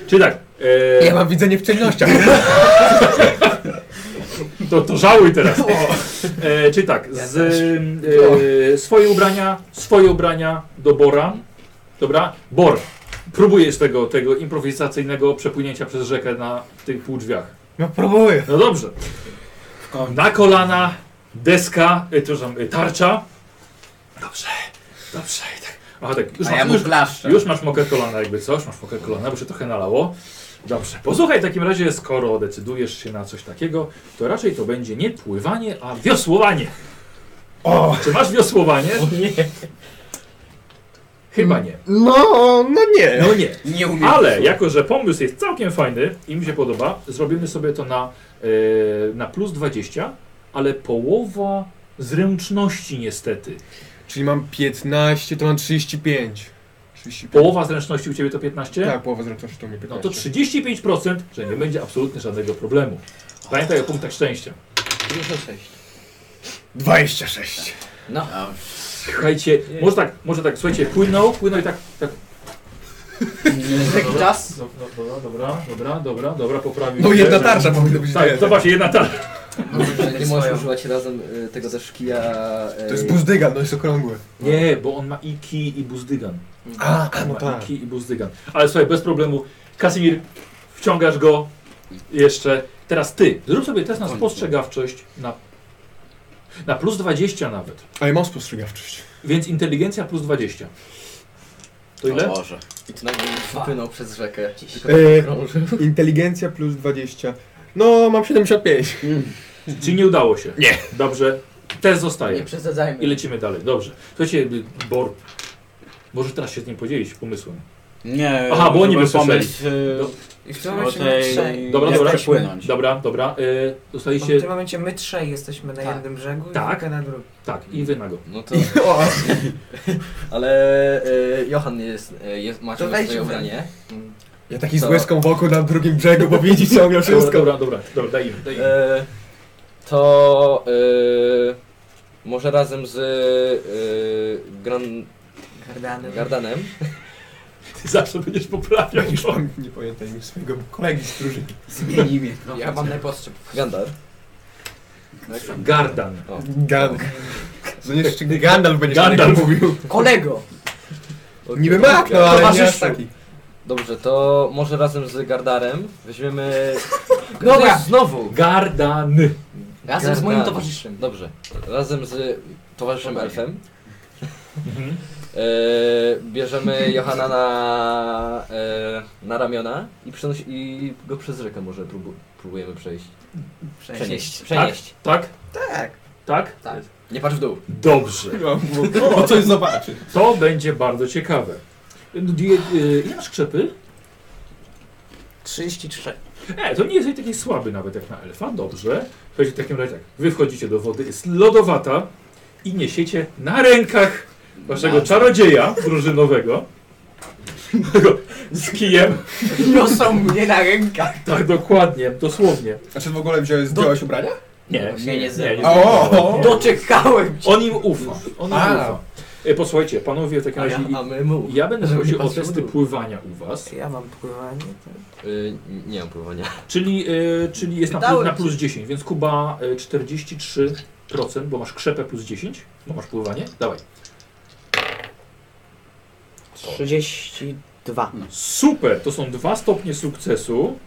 Czyli tak, eee, Ja mam widzenie w ciemnościach. to, to żałuj teraz. Eee, czyli tak, z, eee, swoje ubrania, swoje ubrania do Bora. Dobra? Bor, próbujesz tego, tego improwizacyjnego przepłynięcia przez rzekę na tych półdrzwiach. No próbuję. No dobrze. Na kolana, deska, y, przepraszam, y, tarcza. Dobrze, dobrze. I tak. Aha, tak. Już, A ja masz, mu już, klaszczę. już masz mokre kolana, jakby coś, masz mokre kolana, bo się trochę nalało. Dobrze, posłuchaj, w takim razie, skoro decydujesz się na coś takiego, to raczej to będzie nie pływanie, a wiosłowanie. O! Czy masz wiosłowanie? nie. Chyba nie. No, no nie. No nie. Nie umiem. Ale jako, że pomysł jest całkiem fajny i mi się podoba, zrobimy sobie to na, e, na plus 20, ale połowa zręczności niestety. Czyli mam 15, to mam 35. 35. Połowa zręczności u Ciebie to 15? Tak, połowa zręczności to mi 15. No to 35%, że nie będzie absolutnie żadnego problemu. Pamiętaj o punktach szczęścia. 96. 26. No, Słuchajcie, może tak, może tak, słuchajcie, płynął, płynął i tak, tak. Jaki czas? No, no, dobra, dobra, dobra, dobra, dobra, poprawił. No się, jedna że- tarcza powinna być Tak, to, zobaczcie, jedna tarcza. Że nie możesz Swoją. używać razem y, tego też kija. to y, jest buzdygal, no jest okrągły. Nie, bo on ma i kij i buzdygan. A, On a no ma tak. i kij i buzdygan. Ale słuchaj, bez problemu, Kasimir, wciągasz go jeszcze. Teraz ty, zrób sobie test na spostrzegawczość na, na plus 20 nawet. A ja mam spostrzegawczość. Więc inteligencja plus 20. To ile? Boże. I to nagle wypłynął przez rzekę. Tylko tak E, krąży. inteligencja plus 20. No, mam 75. Mm, Czy nie udało się? Nie. Dobrze, test zostaje. Nie przesadzajmy. I lecimy dalej, dobrze. Słuchajcie, Bor, może teraz się z nim podzielić pomysłem. Nie. Aha, bo oni był by słyszeli. pomysł. y, Do- I w tym o momencie my trzej. tej... Dobra, jak dobra. przepłynąć. Dobra, dobra, y, W dostaliście... tym momencie my trzej jesteśmy na jednym brzegu Tak. i Luka na drugim. Tak, i wy na go. No to, ale e, Johan jest, e, jest ma To czegoś wejdź swoje w- ubranie. Ja taki z Co? łezką wokół na drugim brzegu, bo widzi ciągle Dobra, wszystko. dobra, dobra, dobra daj im, daj im. E, to e, może razem z e, Gran, Gardanem. Gardanem. Ty zawsze będziesz poprawiał. Już mam nie pamiętaj mi swojego kolegi z drużyny. Zmieni mnie. Ja mam najpostrzeb. Gandar. Gardan. Gandalf. No nie, jeszcze Gandalf będzie Gandalf. mówił. Kolego! Niby mak, no ale nie aż taki. Dobrze, to może razem z Gardarem weźmiemy... Dobra. Znowu! Gardan. Razem z moim Gardan. towarzyszem. Dobrze, razem z towarzyszem Elfem Mhm. e, bierzemy Johana na, e, na ramiona i, przenosi, i go przez rzekę może próbu, próbujemy przejść. Przenieść. Przenieść. Tak? Tak. Tak? Tak. Nie patrz w dół. Dobrze. O, coś zobaczy. To będzie bardzo ciekawe. No, die- y, Ile masz krzepy? 33. E, to nie jest taki słaby nawet jak na elfa, dobrze. Słuchajcie, w takim razie tak, wy wchodzicie do wody, jest lodowata i niesiecie na rękach waszego czarodzieja drużynowego. Tego Z kijem. Niosą mnie na rękach. Tak, dokładnie, dosłownie. A czy w ogóle wziąłeś, zdjąłeś ubrania? Nie, nie, nie zero. O! Doczekałem cię. On im ufa. On im A. ufa. E, posłuchajcie, panowie, w takim A, ja, razie a my mu. ja będę Żeby nie prosił o patrzył w testy dół. pływania u was, Ja mam pływanie. tak? Y, nie mam pływania. czyli, e, czyli jest na plus, Pytałem na cię. plus 10, więc Kuba e, 43%, bo masz krzepę plus 10, bo masz pływanie. Dawaj. 32. Super, to są dwa stopnie sukcesu.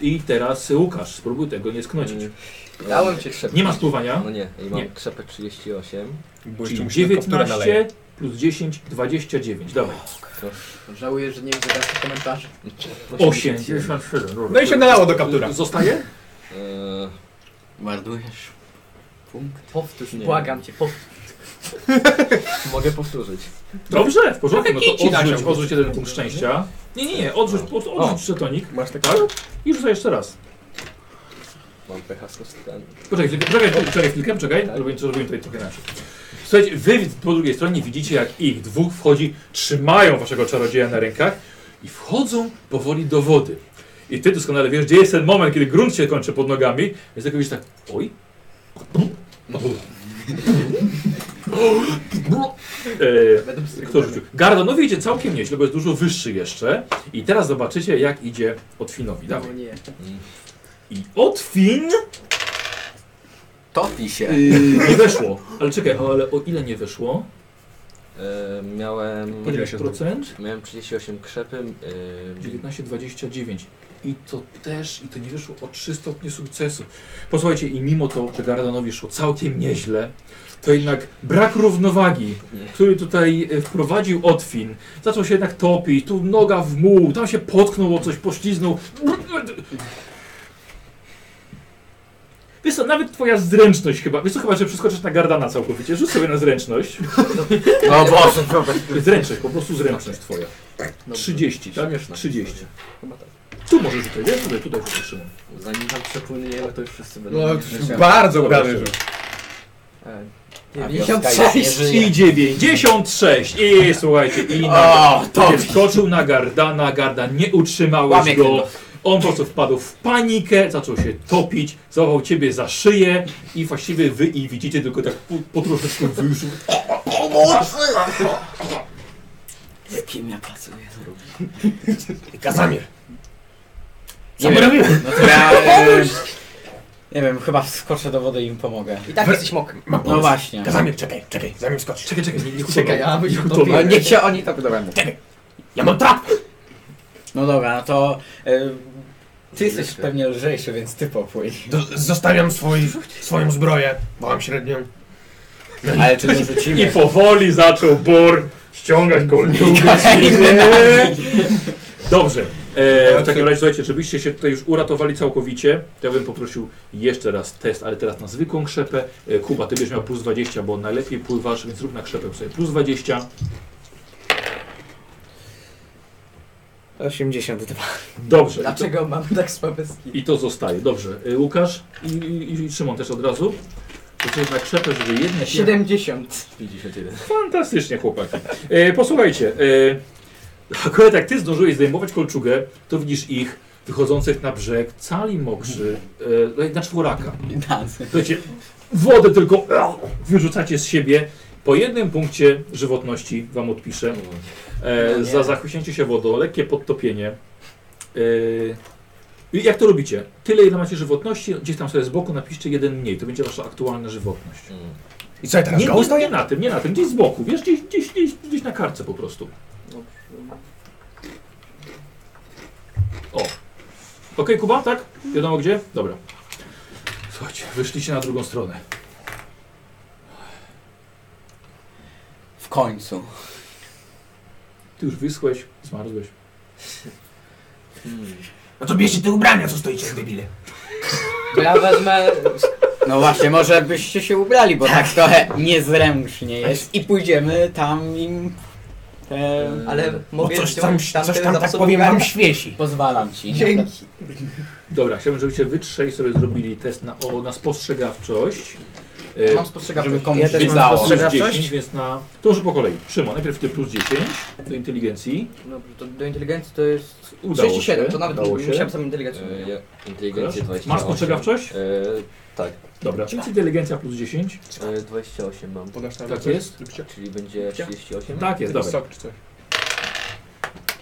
I teraz Łukasz, spróbuj tego nie sknocić. Dałem cię trzeba. Nie ma spływania. E, No nie, i mam Nie. krzepek 38. Bo jeszcze Czyli mu się tylko w turę naleje. 19 plus 10, 29. Dawaj. No, Żałuję, że nie widzę waszych komentarzy. 8. 97. No i się nalało do kaptura. Zostaje? Eee, Mardujesz. Punkt. Powtórz nie. Błagam cię, powtórz. mogę powtórzyć. Dobrze, w porządku. No Kici to odrzuć, nasiągł. odrzuć jeden punkt szczęścia. Nie, nie, nie, odrzuć, po prostu odrzuć przetonik. No. Masz taki? Tak? I rzucaj jeszcze raz. Mam pecha z kostkami. Poczekaj chwilkę, poczekaj, poczekaj chwilkę, czekaj. Tak. Robimy, robimy tutaj trochę inaczej. Słuchajcie, wy po drugiej stronie widzicie, jak ich dwóch wchodzi, trzymają waszego czarodzieja na rękach i wchodzą powoli do wody. I ty doskonale wiesz, gdzie jest ten moment, kiedy grunt się kończy pod nogami, więc tylko widzisz tak, oj. Eee, Będę z tego Kto rzucił? Gardon, no wiecie, całkiem nieźle, bo jest dużo wyższy jeszcze. I teraz zobaczycie, jak idzie Otwinowi. Dawaj. No nie. I Otwin Topi się. yy, nie weszło. Ale czekaj, o, ale o ile nie weszło? Eee, miałem... Podzielę się z Procent? Miałem 38 krzepy. e, Eee, 19,29. I to też, i to nie wyszło o 3 stopnie sukcesu. Posłuchajcie, i mimo to, że Gardonowi szło całkiem nieźle, to jednak brak równowagi, Nie. który tutaj e, wprowadził Otwin, zaczął się jednak topić, tu noga w muł, tam się potknął o coś, pośliznął. Wiesz co, nawet twoja zręczność chyba, wiesz co, chyba, że przeskoczysz na Gardana całkowicie, rzuć sobie na zręczność. No Boże, dobra. Zręczność, po prostu zręczność twoja. 30, tak? 30. Tu może tutaj, wiesz? Tutaj, tutaj wytrzymam. Zanim tam przepłyniemy, to już wszyscy będą. No, bardzo Dobra, udany rzut. E, A wioska już 96! nie żyje. I 96. I słuchajcie, i na, skoczył na Gardana, Gardan nie utrzymałeś Łamie go. On po prostu wpadł w panikę, zaczął się topić, złapał ciebie za szyję i właściwie wy i widzicie tylko tak po, po troszeczkę wyszło. Z kim ja pracuję? Kazamir. Nie wiem, no to ja, e, nie wiem, chyba wskoczę do wody i im pomogę. I tak jesteś mokrym. Mam No pomysł. właśnie. Kazamir, czekaj, czekaj, zanim skoczysz. Czekaj, czekaj, nie, nie Czekaj, a my się tak to- utopimy. No niech się oni to podobają. Ja mam trap! No dobra, no to e, ty jesteś Lżejszy. pewnie lżejszy, więc ty popłyń. Do, zostawiam swój, swoją zbroję, bo mam średnią. Ale czy I dorzucimy? powoli zaczął Bor ściągać kolnika. Dobrze. E, w takim razie słuchajcie, żebyście się tutaj już uratowali całkowicie, to ja bym poprosił jeszcze raz test, ale teraz na zwykłą krzepę. E, Kuba, ty będziesz miał plus 20, bo najlepiej pływasz, więc rób na krzepę sobie plus 20. 82. Dobrze. I to, Dlaczego mam tak słabe skill? I to zostaje. Dobrze. E, Łukasz i, i, i Szymon też od razu. To jest na krzepę, żeby jednak... 70. 51. Fantastycznie, chłopaki. E, posłuchajcie, e, akurat jak ty zdążyłeś zdejmować kolczugę, to widzisz ich wychodzących na brzeg, cali mokrzy, e, na czworaka. Słuchajcie, wodę tylko au, wyrzucacie z siebie. Po jednym punkcie żywotności wam odpiszę. E, No nie. za zachwycięcie się wodą, lekkie podtopienie. E, i jak to robicie? Tyle, ile macie żywotności, gdzieś tam sobie z boku napiszcie jeden mniej. To będzie wasza aktualna żywotność. I co, ja teraz Nie, go nie, stoję? nie na tym, nie na tym, gdzieś z boku, wiesz, gdzieś, gdzieś, gdzieś, gdzieś na karce po prostu. O. Okej, Kuba, tak? Wiadomo gdzie? Dobra. Słuchajcie, wyszliście na drugą stronę. W końcu. Ty już wyschłeś, zmarzłeś. Hmm. No to bierzcie te ubrania, co stoicie, debile. To ja wezmę... No właśnie, może byście się ubrali, bo tak trochę niezręcznie jest. I pójdziemy tam im... E, Ale Bo mogę coś wziąć tam, coś tamte tam tak zapasową powiem wam gardę? świeci. pozwalam ci. Dzięki. Dobra, chciałbym, żebyście wy trzej sobie zrobili test na, o, na spostrzegawczość. Ja E, mam spostrzegawczość. Żeby komuś Ja też więc mam na wydało. plus spostrzegawczość. 10, więc na... To może po kolei. Szymon, najpierw ty plus 10 do inteligencji. Dobrze, to do inteligencji to jest... Udało 37, się. to nawet udało się. musiałem sam E, inteligencję. Eee, ja, inteligencję 28. Masz spostrzegawczość? Eee, tak, Dobra, więc inteligencja plus 10. eee, 28 mam. Podasz tam Tak jest? Czyli będzie 38? Tak jest, dobra. czy coś.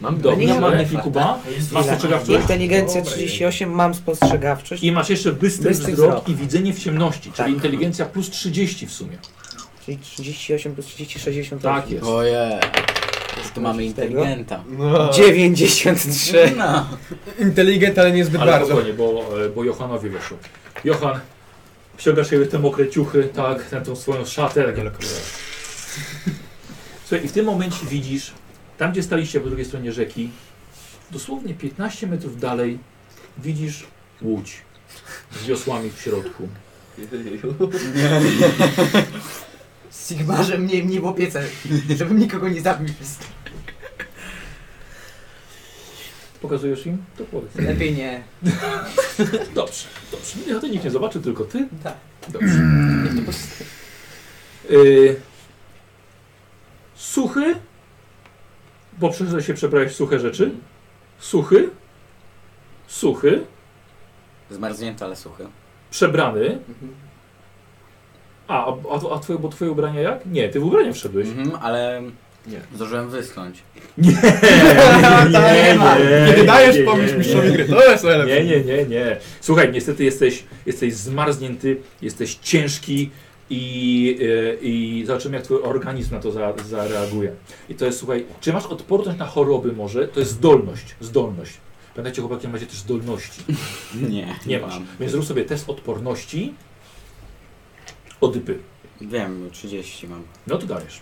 Mam dobrze, nie mam mam Nefi Kuba. Masz spostrzegawczość? Inteligencja 38, mam spostrzegawczość. I masz jeszcze bystry Bystry wzrok wzrok. i widzenie w ciemności, czyli Tak. inteligencja plus 30 w sumie. Czyli 38 plus 30, 60. Tak jest. Oje. To mamy inteligenta. No. 93. No. Inteligent, ale niezbyt Ale bardzo. spokojnie, bo, e, bo Johanowi wyszło. Johan, ściągasz sobie te mokre ciuchy, tak, tę tą swoją szatę. Tak. Słuchaj, i w tym momencie widzisz, tam gdzie staliście po drugiej stronie rzeki, dosłownie 15 metrów dalej widzisz łódź z wiosłami w środku. Sigmarze mnie, mnie w opiece, żebym nikogo nie zabił. Pokazujesz im? To powiedz. Lepiej nie. Dobrze, dobrze. Nie, to nikt nie zobaczy, tylko ty. Tak. Dobrze. Y, suchy, bo przyszedł się przebrać w suche rzeczy. Suchy, suchy, Zmarznięty, ale suchy. przebrany. A, a, a twoje, bo twoje ubrania jak? Nie, ty w ubranie wszedłeś. Mhm, ale Nie. zdążyłem wyschnąć. Nie, nie, nie, Kiedy dajesz nie, pomysł nie, mistrzowi nie. gry, to jest najlepsze. Nie, nie, nie, nie. Słuchaj, niestety jesteś, jesteś zmarznięty, jesteś ciężki i, yy, i zobaczymy, jak twój organizm na to za, zareaguje. I to jest, słuchaj, czy masz odporność na choroby może? To jest zdolność, zdolność. Pamiętajcie, chłopaki, macie też zdolności. Nie. Nie masz. mam. Więc zrób sobie test odporności odypy. Wiem, 30 mam. No to dajesz.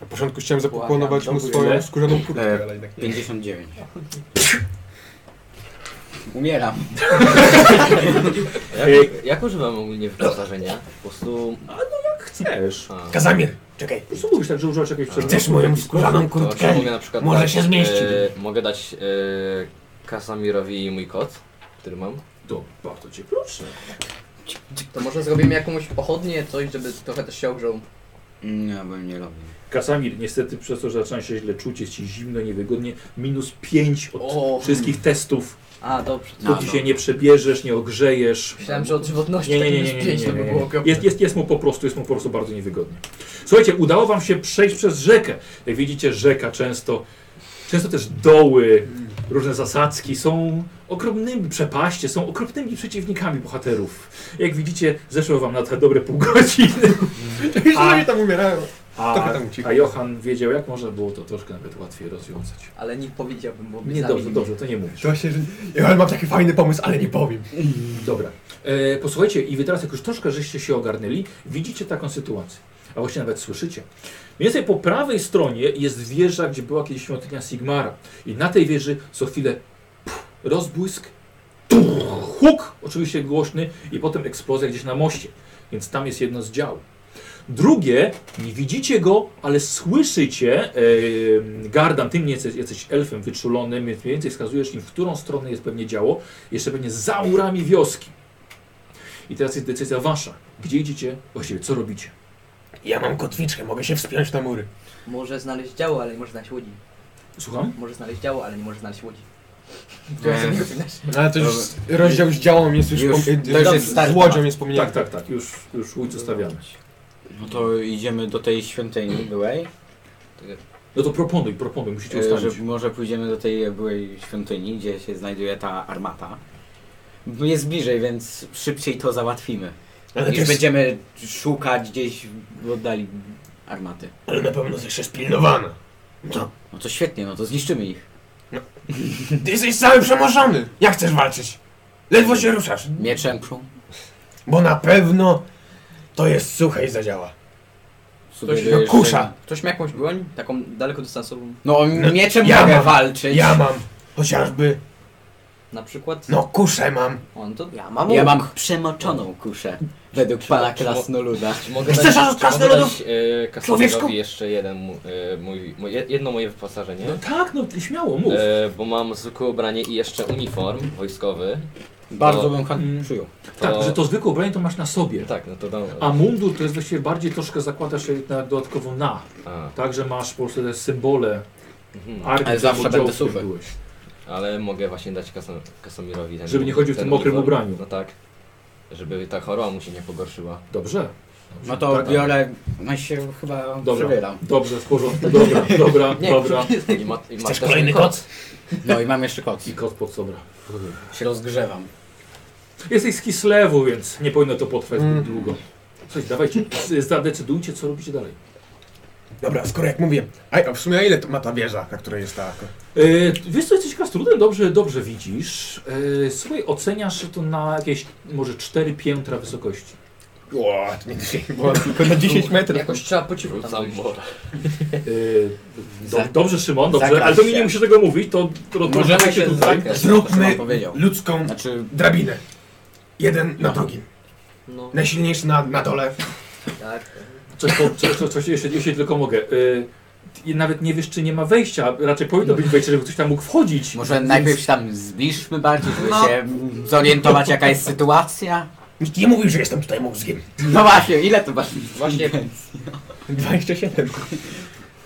Na początku chciałem zapokłonować mu Błagam, swoją dziękuję. skórzaną kurtkę, E, ale jednak nie. 59. Umieram. Jak, jak używam ogólnie wyposażenia? Po prostu... Jak chcesz. A, Kazamir, czekaj. Po prostu mówisz tak, że używasz jakiegoś Chcesz moją skórzaną to czy kurtkę? mogę na przykład Może dać, się zmieści. E, mogę dać e, Kasamirowi mój kot, który mam. To bardzo cię proszę. To może zrobimy jakąś pochodnię, coś, żeby trochę też się ogrzał. Nie, Mm, bym nie robił. Kasamir, niestety przez to, że zaczyna się źle czuć, jest ci zimno, niewygodnie, minus 5 od O, wszystkich testów, A, dobrze. No, póki no. się nie przebierzesz, nie ogrzejesz. Myślałem, że od żywotności Nie, nie, tak nie, minus nie, nie, 5 nie, to nie, by nie, było nie. okropne. Jest, jest, jest mu po prostu, jest mu po prostu bardzo niewygodnie. Słuchajcie, udało wam się przejść przez rzekę. Jak widzicie, rzeka często, często też doły, różne zasadzki są ogromnymi przepaście, są okropnymi przeciwnikami bohaterów. Jak widzicie, zeszło wam na te dobre pół godziny. Już A- oni tam umierają. A, Trochę tam uciekło. a Johan wiedział, jak można było to troszkę nawet łatwiej rozwiązać. Ale nie powiedziałbym, bo by Nie, dobrze, zabili dobrze, to nie mówisz. To się... Ja mam taki fajny pomysł, ale nie powiem. Dobra. E, posłuchajcie, i wy teraz, jak już troszkę żeście się ogarnęli, widzicie taką sytuację. A właśnie nawet słyszycie. Mniej więcej po prawej stronie jest wieża, gdzie była kiedyś świątynia Sigmara. I na tej wieży co chwilę puf, rozbłysk, tuch, huk, oczywiście głośny, i potem eksplozja gdzieś na moście. Więc tam jest jedno z dział. Drugie, nie widzicie go, ale słyszycie, e, Gardan, ty nie jesteś, jesteś elfem wyczulonym, więc mniej więcej wskazujesz im, w którą stronę jest pewnie działo, jeszcze pewnie za murami wioski. I teraz jest decyzja wasza. Gdzie idziecie? Właściwie co robicie? Ja mam kotwiczkę, mogę się wspiąć na mury. Może znaleźć działo, ale nie może znaleźć łodzi. Słucham? No Może znaleźć działo, ale nie może znaleźć łodzi. To ja sobie go znasz. Ale to już rozdział z działą jest już... Już- pom- to już jest stary z łodzią temat. jest pominięty. Tak, tak, tak. Już, już łódź zostawiamy. No to idziemy do tej świątyni byłej. No to proponuj, proponuj, musicie E, ustalić. Że może pójdziemy do tej byłej świątyni, gdzie się znajduje ta armata. Bo Jest bliżej, więc szybciej to załatwimy. Ale, Niż też, będziemy szukać gdzieś w oddali armaty. ale na pewno też jest pilnowana. No, No to świetnie, no to zniszczymy ich. ty jesteś cały przemożony. Jak chcesz walczyć? Ledwo się ruszasz. Mieczem pszą. Bo na pewno to jest suche i zadziała. sugerujesz, że- kusza. Ktoś ma jakąś broń? Taką dalekodystansową? No mieczem ja mogę mam. walczyć. Ja mam chociażby, Na przykład? no kuszę mam. O, no to ja mam, ja mam przemoczoną kuszę. Według pana krasnoluda. Czy mogę Chcesz aż od czy mogę krasnoludów? dać, e, Człowieczku? Kasamirowi jeszcze jeden, mu- e, mój, mój, jedno moje wyposażenie. No tak, no ty śmiało, mów. E, bo mam zwykłe ubranie i jeszcze uniform wojskowy. Bardzo bym Mm. chętnie przyjął. Tak, to- że to zwykłe ubranie to masz na sobie. Tak, no to dobra. A mundur to jest właściwie bardziej troszkę zakładasz się na, dodatkowo na. A, Także masz po prostu te symbole mhm. armii. Ale zawsze albo będę działów, suchy. byłeś. Ale mogę właśnie dać Kasam, Kasamirowi ten Żeby nie chodził w ten tym mokrym uniform. ubraniu. No tak. Żeby ta choroba mu się nie pogorszyła. Dobrze. Dobrze. No to Tak. biorę, no i się chyba Dobra. przebieram. Dobrze, w porządku. Dobra, dobra, dobra. I ma, i ma Chcesz też kolejny koc? No i mam jeszcze koc. I kot pod sobra. Się rozgrzewam. Jesteś z Kislewu, więc Mhm. nie powinno to potrwać zbyt Mm. y, długo. Słuchajcie, dawajcie, z- zadecydujcie, co robicie dalej. Dobra, skoro jak mówię. Aj, a w sumie a ile to ma ta wieża, na której jest ta. Yy, wiesz co, jesteś kastrudem, dobrze, dobrze widzisz. Yy, słuchaj, oceniasz to na jakieś może 4 piętra wysokości. O, to nie dzisiaj była tylko na 10 metrów. Jakoś trzeba po cichu tam Rzucam dojść. morę. Yy, do, Za- dobrze, Szymon, dobrze, zagraź ale to mi nie się. musisz tego mówić, to, to, to Możemy to- się tutaj. Zróbmy powiedział. ludzką Znaczy, drabinę. Jeden na Aha. drugim. No. Najsilniejszy na, na dole. Tak. Coś, po- coś, coś, coś jeśli, jeśli tylko mogę. Yy, i nawet nie wiesz, czy nie ma wejścia. Raczej powinno być wejście, żeby ktoś tam mógł wchodzić. No. może najpierw się tam zbliżmy bardziej, żeby No. się zorientować jaka jest sytuacja. Nikt nie mówił, że jestem tutaj mózgiem. No właśnie, ile to masz? Właśnie. 27.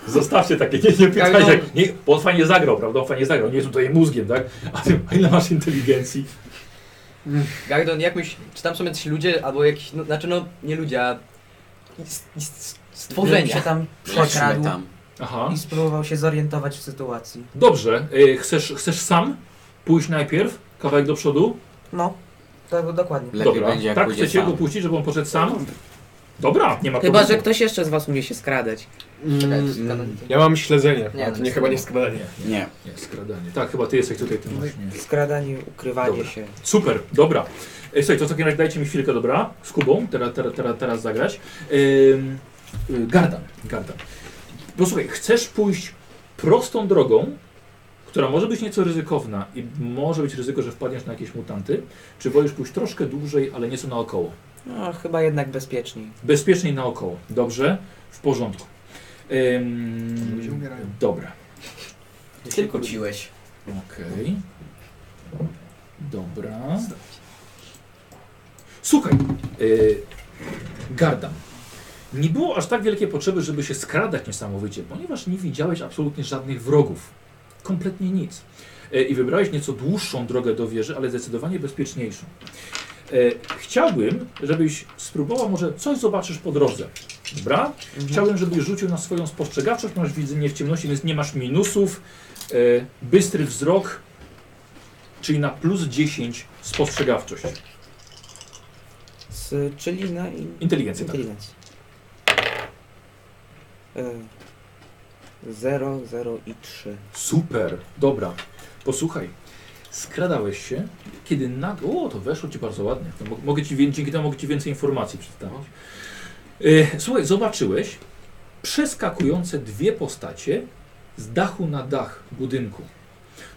Zostawcie takie, nie, nie pytajcie. no. jak- Nie, bo on fajnie zagrał, prawda? On fajnie zagrał, nie jest tutaj mózgiem, tak? A ty, a ile masz inteligencji? Gardon, jak myślisz, czy tam są jacyś ludzie, albo jakieś, no, znaczy no, nie ludzie, a ist, ist, Bym stworzenia. tak. się tam Chodźmy przekradł tak. tam. Aha. i spróbował się zorientować w sytuacji. Dobrze, y, chcesz, chcesz sam pójść najpierw, kawałek do przodu? No, to dokładnie. Lepiej Dobra, będzie jak tak pójdzie chcecie sam. go puścić, żeby on poszedł sam? Dobra, nie ma Chyba, że problemu. ktoś jeszcze z was umie się skradać. tak. Mm, ja mam śledzenie. Nie, A to to nie jest chyba nie składanie. Nie. Nie, skradanie. Tak, chyba ty jesteś tutaj tym właśnie. Skradanie, ukrywanie Dobra. się. Super, dobra. E, Słuchaj, to w takim razie dajcie mi chwilkę, dobra? Z Kubą, teraz, teraz, teraz, teraz zagrać. Ym, y, Gardan, Gardan. No słuchaj, chcesz pójść prostą drogą, która może być nieco ryzykowna i może być ryzyko, że wpadniesz na jakieś mutanty, czy wolisz pójść troszkę dłużej, ale nieco naokoło? No, chyba jednak bezpieczniej. Bezpieczniej naokoło, dobrze? W porządku. Ym, Ludzie umierają. dobra, Tylko ciłeś. okej. Dobra. Słuchaj, yy, Gardam. Nie było aż tak wielkiej potrzeby, żeby się skradać niesamowicie, ponieważ nie widziałeś absolutnie żadnych wrogów. Kompletnie nic. E, I wybrałeś nieco dłuższą drogę do wieży, ale zdecydowanie bezpieczniejszą. E, chciałbym, żebyś spróbował, może coś zobaczysz po drodze. Dobra? Mhm. Chciałbym, żebyś rzucił na swoją spostrzegawczość. Masz widzenie w ciemności, więc nie masz minusów. E, bystry wzrok, czyli na plus 10 spostrzegawczość. Z, czyli na in- Inteligencja, tak. inteligencji. Y, E, Zero, zero i trzy. Super, dobra. Posłuchaj, skradałeś się, kiedy nagle... O, to weszło ci bardzo ładnie. To mo- mogę ci, wie- dzięki temu mogę ci więcej informacji przedstawić. Y, słuchaj, zobaczyłeś przeskakujące dwie postacie z dachu na dach budynku.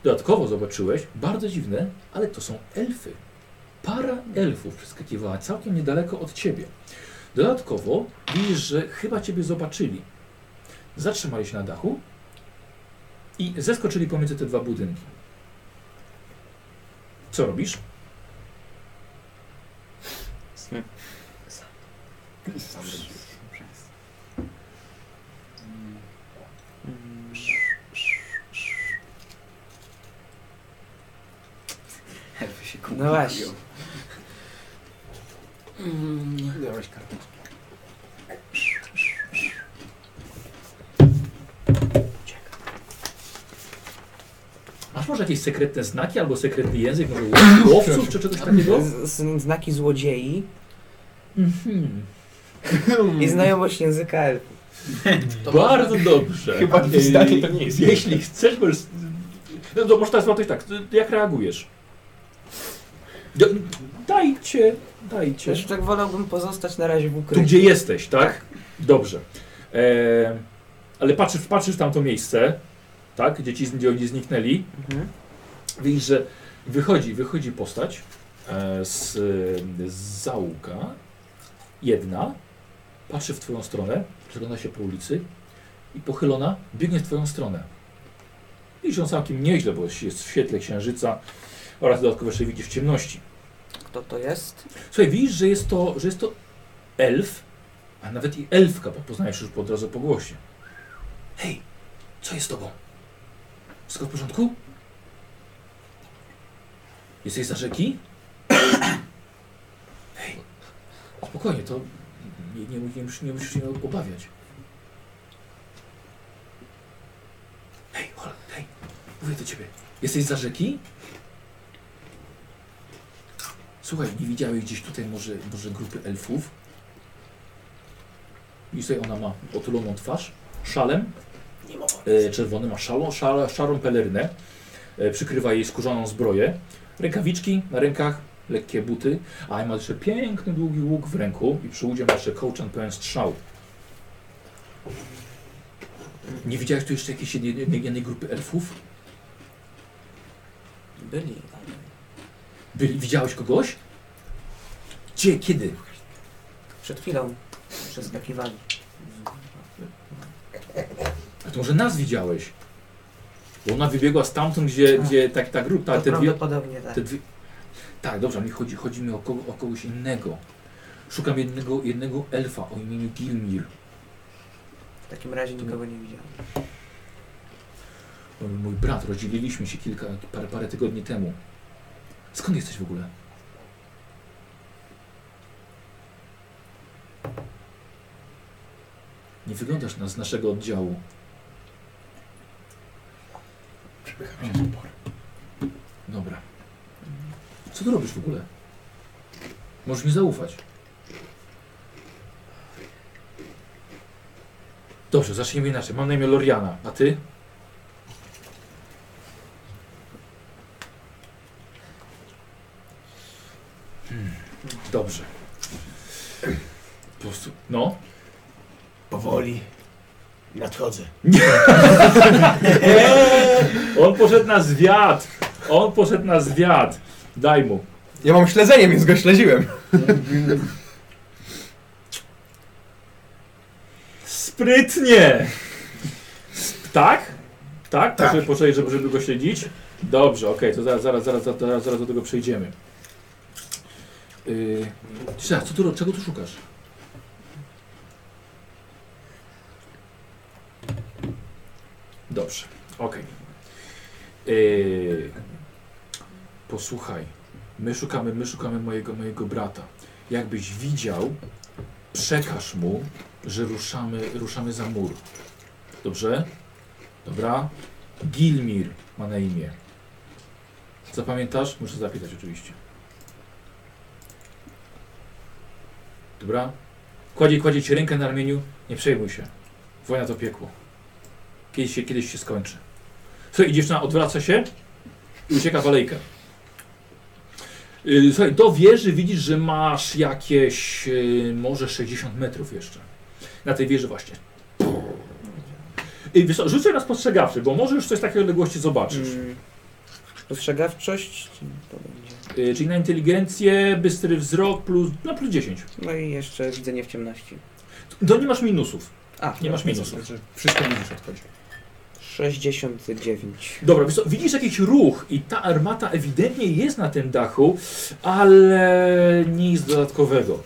Dodatkowo zobaczyłeś, bardzo dziwne, ale to są elfy. Para elfów przeskakiwała całkiem niedaleko od ciebie. Dodatkowo widzisz, że chyba ciebie zobaczyli. Zatrzymali się na dachu i zeskoczyli pomiędzy te dwa budynki. Co robisz? No właśnie. Masz może jakieś sekretne znaki albo sekretny język, może łowców czy czegoś takiego? Z, z, znaki złodziei Mhm. i znajomość języka elfów. Bardzo dobrze. Chyba Yy, zdanie to nie jest Jeśli chcesz, możesz... No to może teraz złapać tak, jak reagujesz? D- Dajcie, dajcie. Też tak wolałbym pozostać na razie w Tu ukryciu. gdzie jesteś, tak? Dobrze. E, ale patrzysz, patrzysz w tamto miejsce, tak? Gdzie ci gdzie oni zniknęli. Mhm. Widzisz, że wychodzi, wychodzi postać e, z, e, z załuka. Jedna patrzy w twoją stronę, przegląda się po ulicy i pochylona biegnie w twoją stronę. Widzisz ją całkiem nieźle, bo jest w świetle księżyca oraz dodatkowo jeszcze widzisz w ciemności. Kto to jest? Słuchaj, widzisz, że jest to, że jest to elf, a nawet i elfka, bo poznajesz już po od razu po głosie. Hej, co jest z tobą? Wszystko w porządku? Jesteś za rzeki? Hej, spokojnie, to nie, nie, nie, musisz, nie musisz się obawiać. Hej, hola, hej, mówię do ciebie. Jesteś za rzeki? Słuchaj, nie widziałeś gdzieś tutaj może, może grupy elfów? I tutaj ona ma otuloną twarz, E, Byli. Byli, widziałeś kogoś? Gdzie, kiedy? Przed chwilą przeskakiwali. A to może nas widziałeś? Bo ona wybiegła stamtąd, gdzie, Tak. gdzie tak, ta grupa, To te dwie, prawdopodobnie tak. Te dwie... Tak, dobrze, a mi chodzi, chodzi mi o, kogo, o kogoś innego. Szukam jednego, jednego elfa o imieniu Gilmir. W takim razie nikogo nie widziałem. On, Mój brat, rozdzieliliśmy się kilka, parę, parę tygodni temu. Skąd jesteś w ogóle? Nie wyglądasz na, z naszego oddziału. Przepycham się z oporem. Dobra. Co ty robisz w ogóle? Możesz mi zaufać. Dobrze, zacznijmy inaczej. Mam na imię Loriana, a ty? Hmm, Dobrze. Po prostu. No? Powoli. Nadchodzę. Eee! On poszedł na zwiat! On poszedł na zwiat! Daj mu. Ja mam śledzenie, więc go śledziłem. Sprytnie! Sp- tak? Tak? Tak. Proszę poczekaj, żeby, żeby go śledzić. Dobrze, okej, to zaraz, zaraz, zaraz, zaraz, zaraz do tego przejdziemy. Yy, Cześć, co tu, ro- czego tu szukasz? Dobrze, okej. Yy, posłuchaj, my szukamy, my szukamy mojego, mojego brata. Jakbyś widział, przekaż mu, że ruszamy, ruszamy za mur. Dobrze? Dobra? Gilmir ma na imię. Zapamiętasz? Muszę zapisać oczywiście. Dobra? Kładzie, kładzie ci rękę na ramieniu, nie przejmuj się. Wojna to piekło. Kiedyś się, kiedyś się skończy. Słuchaj, i dziewczyna odwraca się i ucieka w alejkę. Yy, Słuchaj, do wieży widzisz, że masz jakieś yy, może 60 metrów jeszcze na tej wieży właśnie. I wiesz, co, rzucę na spostrzegawczy, bo może już coś takiej odległości zobaczysz. Mm. Dostrzegawczość? To będzie. Y, Czyli na inteligencję, bystry wzrok plus, no plus 10. No i jeszcze widzenie w ciemności. To nie masz minusów. A, Nie masz minusów. Wszystko widzisz, odchodzi. 69. Dobra, wiesz, co, widzisz jakiś ruch i ta armata ewidentnie jest na tym dachu, ale nic dodatkowego.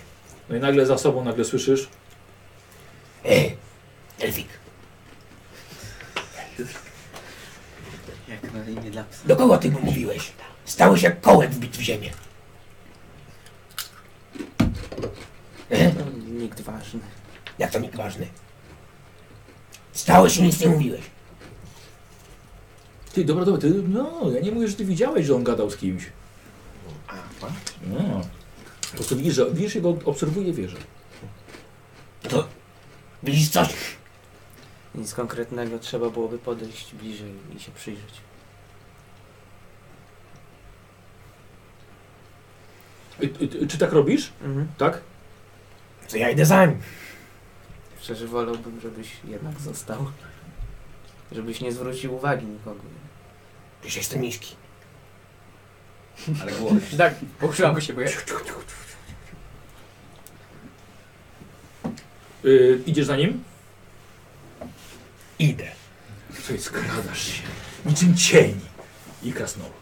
No i nagle za sobą nagle słyszysz. Ej, Elfik, Jak na imię dla psa. do kogo ty mu mówiłeś? Stałeś jak kołem wbit w ziemię. No, nikt ważny. Jak to nikt ważny? Stałeś i nic nie mówiłeś. Ty, dobra, dobra, ty, no, ja nie mówię, że ty widziałeś, że on gadał z kimś. No. Po prostu widzisz, że widzisz jego, obserwuje wieżę. Widzisz coś? Nic konkretnego, trzeba byłoby podejść bliżej i się przyjrzeć. Y, y, y, Czy tak robisz? Mhm. Tak? Co ja idę za nim. Szczerze wolałbym, żebyś jednak został. Żebyś nie zwrócił uwagi nikogo. Przecież jestem niski. Ale głośno. tak, pochrzywamy się, bo ja... Y, idziesz za nim? Idę. Słuchaj, skradasz się. Niczym cień. I krasnolud.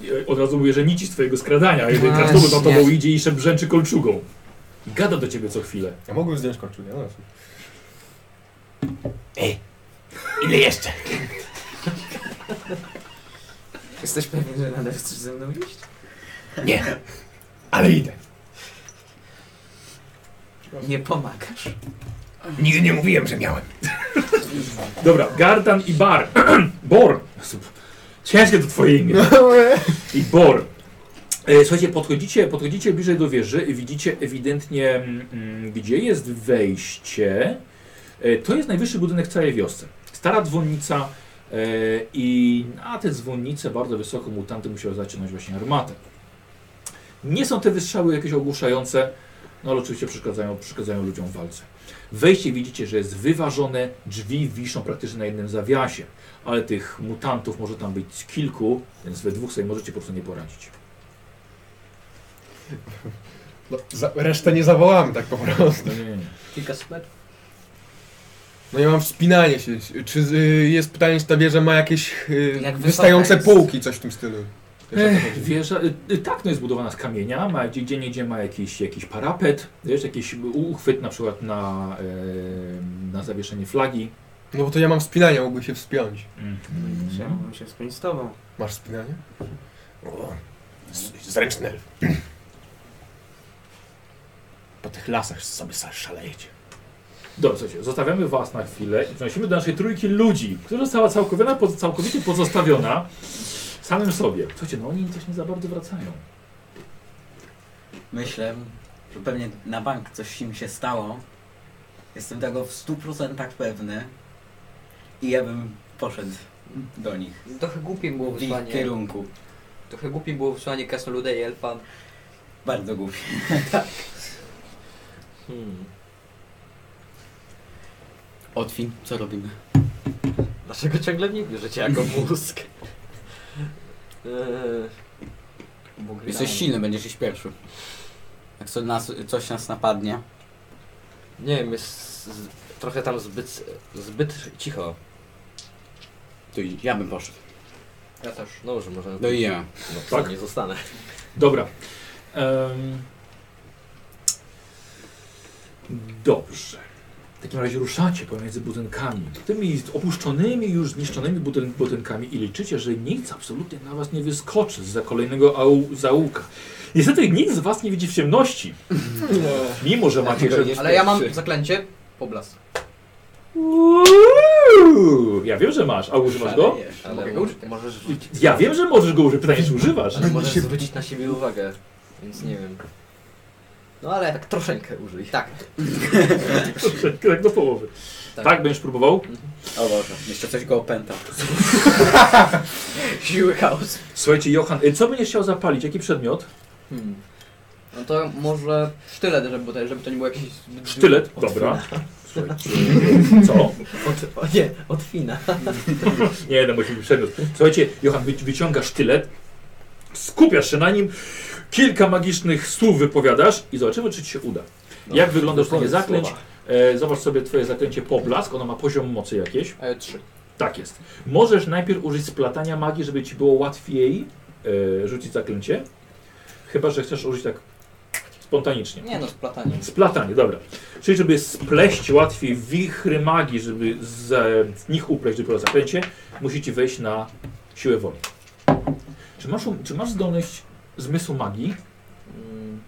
I Od razu mówię, że nici z twojego skradania, jeżeli Właśnie. krasnolud za tobą idzie i szebrzęczy kolczugą. I gada do ciebie co chwilę. Ja mogłem zdjąć kolczugę, no właśnie. Ile jeszcze? Jesteś pewien, że nadal chcesz ze mną iść? Nie. Ale idę. Nie pomagasz. Nigdy nie mówiłem, że miałem. Dobra, Gardan i Bar. Bor. Ciężkie to twoje imię. I Bor. E, Słuchajcie, podchodzicie, podchodzicie bliżej do wieży i widzicie ewidentnie, mm, gdzie jest wejście. E, To jest najwyższy budynek w całej wiosce. Stara dzwonnica e, i na tę dzwonnicę bardzo wysoko mutanty musiały zaciągnąć właśnie armatę. Nie są te wystrzały jakieś ogłuszające, no ale oczywiście przeszkadzają, przeszkadzają ludziom w walce. Wejście widzicie, że jest wyważone, drzwi wiszą praktycznie na jednym zawiasie, ale tych mutantów może tam być kilku, więc we dwóch sobie możecie po prostu nie poradzić. No, za, resztę nie zawołamy tak po prostu. No nie, nie, nie. Kilkaset metrów. No ja mam wspinanie się. Czy y, jest pytanie, czy ta wieża ma jakieś y, Jak wysoka wystające jest? półki, coś w tym stylu? Wiesz, o co chodzi? Wieża, y, y, tak, no jest zbudowana z kamienia, ma gdzie, gdzie niegdzie ma jakiś, jakiś parapet, wiesz, jakiś u- uchwyt na przykład na, e, na zawieszenie flagi. No bo to ja mam wspinanie, mógłbym się wspiąć. No Mhm. No. Chciałbym się spiąć z tobą. Masz wspinanie? O, z- zręczny elf. Po tych lasach sobie szalejecie. Dobrze, słuchajcie, zostawiamy was na chwilę i przenosimy do naszej trójki ludzi, która została całkowiona, poz- całkowicie pozostawiona samym sobie. Słuchajcie, no oni coś nie za bardzo wracają. Myślę, że pewnie na bank coś im się stało. Jestem tego w 100% pewny. I ja bym poszedł do nich. Trochę głupie było W ich wysłanie. kierunku. Trochę głupie było wysłanie krasnoluda i elfa. Bardzo głupio. Hmm. Otwin, co robimy? Dlaczego ciągle mnie bierzecie jako mózg? Eee, Bo gry Jesteś na- silny, będziesz iść pierwszy. Jak co nas, coś nas napadnie. nie wiem, jest z, trochę tam zbyt, zbyt cicho. To i- ja bym poszedł. Ja też. No może możemy... No i ja. No, to Tak? nie zostanę. Dobra. Em, Dobrze. W takim razie ruszacie pomiędzy budynkami, tymi opuszczonymi, już zniszczonymi budyn budynkami i liczycie, że nic absolutnie na was nie wyskoczy z kolejnego au- zaułka. Niestety nikt z was nie widzi w ciemności, mimo że macie... Że... Ale ja mam zaklęcie. Poblas. Uuu, Ja wiem, że masz. A używasz go? Ale Mogę mo- go użyć? możesz rzucić. Ja wiem, że możesz go użyć. Pytanie, czy używasz? Ale możesz zwrócić na siebie uwagę, więc nie wiem. No ale tak troszeczkę użyj. Tak. Tak do połowy. Tak, Tak. będziesz próbował? Mhm. O Boże, jeszcze coś go opęta. Siły chaos. Słuchajcie, Johan, y, co będziesz chciał zapalić? Jaki przedmiot? Hmm. No to może sztylet, żeby, bo to- żeby to nie było jakiś... zbyt Sztylet. Dobra. Słuchajcie, co? Od, o nie, od Fina. Nie, no musi być przedmiot. Słuchajcie, Johan wy, wyciąga sztylet, skupiasz się na nim, kilka magicznych słów wypowiadasz i zobaczymy, czy ci się uda. No, Jak wygląda to twoje jest zaklęć? słowa. E, zobacz sobie twoje zaklęcie poblask, ono ma poziom mocy jakieś. E, trzy. Tak jest. Możesz najpierw użyć splatania magii, żeby ci było łatwiej e, rzucić zaklęcie. Chyba, że chcesz użyć tak spontanicznie. Nie no, splatanie. Splatanie, dobra. Czyli żeby spleść łatwiej wichry magii, żeby z, z nich upleść dopiero zaklęcie, musicie wejść na siłę woli. Czy masz, um- czy masz zdolność zmysłu magii? Mm,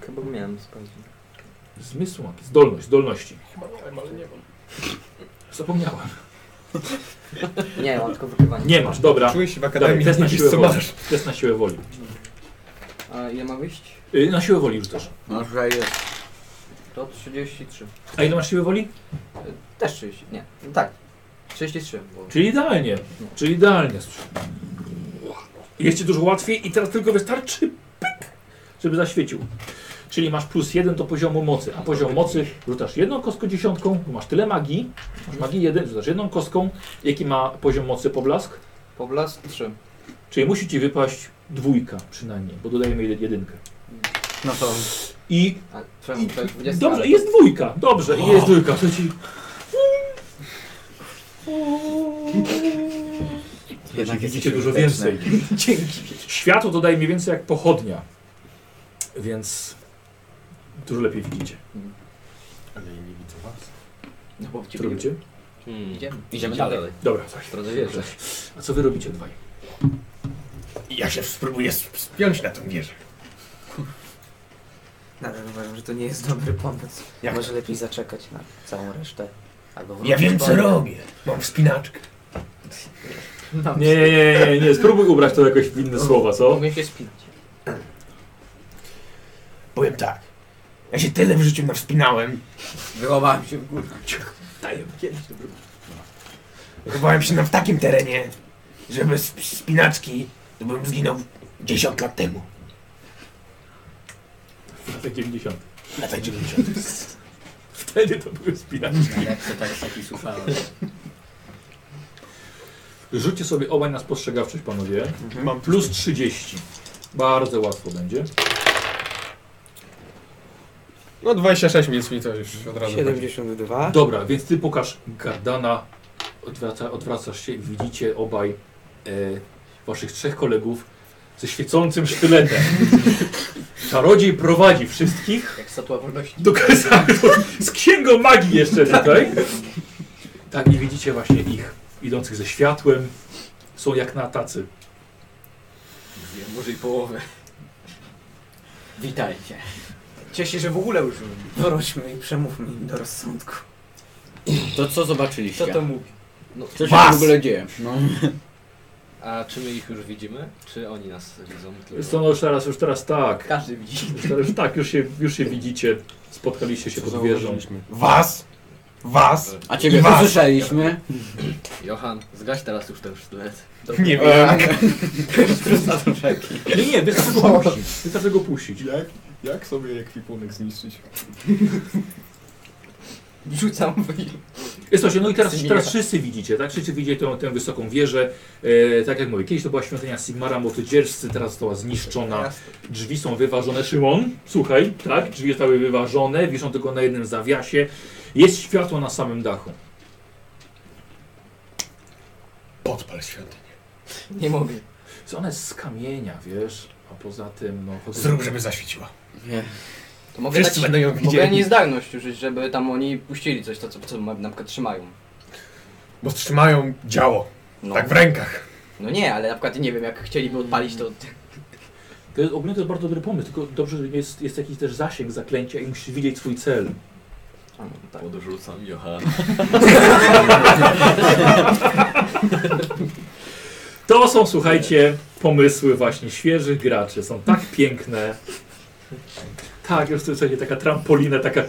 chyba miałem sprawdzić. Zmysłu magii, zdolność, zdolności. Chyba miałem, ale nie mam. Zapomniałem. Nie, mam tylko wykrywanie. Nie masz, dobra. Czuję się w Dobra, akademii, test na wiesz, siłę co woli. masz. Test na siłę woli. A ile ma wyjść? Yy, na siłę woli rzucasz. Może jest. To 33. A ile masz siły woli? Też 30, nie. No tak. 33, bo... Czyli idealnie. Czyli idealnie. Jest ci dużo łatwiej i teraz tylko wystarczy pyk, żeby zaświecił. Czyli masz plus jeden do poziomu mocy, a poziom mocy rzucasz jedną kostką dziesiątką, bo masz tyle magii, masz magii jeden, rzucasz jedną kostką, jaki ma poziom mocy poblask, Poblas 3. czyli musi ci wypaść dwójka przynajmniej, bo dodajemy jedy- jedynkę. No to I A, przepraszam, to jest 20. tak. Dobrze, jest dwójka. Dobrze, i jest dwójka. Słuchajcie. Jednak widzicie jesteśmy dużo wdzięczne. więcej. Dzięki. Światło to daje mniej więcej jak pochodnia. Więc dużo lepiej widzicie. Ale ja nie widzę was. No bo Co robicie? Hmm. Idziemy. idziemy dalej. Dobra, słuchajcie. Drodzy wieże. A co wy robicie dwaj? Ja się spróbuję sp- spiąć na tą wieżę. Nadal uważam, że to nie jest dobry pomysł. Jak Może lepiej zaczekać na całą resztę. Albo Ja wrócić wiem co potem. robię. Mam wspinaczkę. Nie, nie, nie, nie, nie. Spróbuj ubrać to jakoś w inne słowa, co? Mogę się spinać. Powiem tak. Ja się tyle w życiu nawspinałem, Wyłamałem się w górę. chowałem się na w takim terenie, że bez spinaczki to bym zginął 10 lat temu. W latach 90. Lata 90. Wtedy to były spinacze. Jak to tak taki słyszałem. Rzućcie sobie obaj na spostrzegawczość, panowie. Mam plus. Plus 30. Bardzo łatwo będzie. No 26 więc mi to już od razu. chodzi. Tak? 72. Dobra, więc ty pokaż Gardana, odwraca, odwracasz się i widzicie obaj e, waszych trzech kolegów ze świecącym sztyletem. Czarodziej prowadzi wszystkich Jak statua wolności. do kasartu z księgą magii jeszcze tutaj. Tak, i widzicie właśnie ich idących ze światłem. Są jak na tacy. Wiem, może i połowę. Witajcie. Cieszę się, że w ogóle już Wróćmy i przemówmy im do rozsądku. To co zobaczyliście? Co to mówi? No, Co się w ogóle dzieje? No. A czy my ich już widzimy? Czy oni nas widzą? Są no, już teraz, już teraz tak. Każdy widzi. Już, teraz, tak, już się, już się widzicie. Spotkaliście się pod wieżą. Was? Was? A ciebie Was. posłyszeliśmy? Johan, zgaś teraz już ten sztylet. Nie wiem. Nie, nie, wystarczy go, wystarczy go puścić. Jak, jak sobie ekwipunek zniszczyć? Rzucam w Jest to się, no i teraz, Sigmara. teraz wszyscy widzicie, tak? Wszyscy widzicie tę, tę wysoką wieżę. E, tak jak mówię, kiedyś to była świątynia Sigmara Motydzierscy, teraz została zniszczona. Drzwi są wyważone. Szymon, słuchaj, tak? Drzwi zostały wyważone, wiszą tylko na jednym zawiasie. Jest światło na samym dachu. Podpal świątynię. Nie mogę. Co ona jest z kamienia, wiesz? A poza tym, no... chodzą- Zrób, żeby zaświeciła. Nie. To mogę Wszyscy dać... będą ją Mogę widzieli. niezdarność użyć, żeby tam oni puścili coś, to co, co na przykład trzymają. Bo trzymają działo. No. Tak w rękach. no nie, ale na przykład nie wiem, jak chcieliby odpalić to... To jest, ogólnie to jest bardzo dobry pomysł, tylko dobrze, że jest, jest jakiś też zasięg zaklęcia i musisz widzieć swój cel. A, no, tak. Podrzucam Johan. To są, słuchajcie, pomysły właśnie świeżych graczy. Są tak piękne. Tak, już tu słuchajcie, taka trampolina, taka...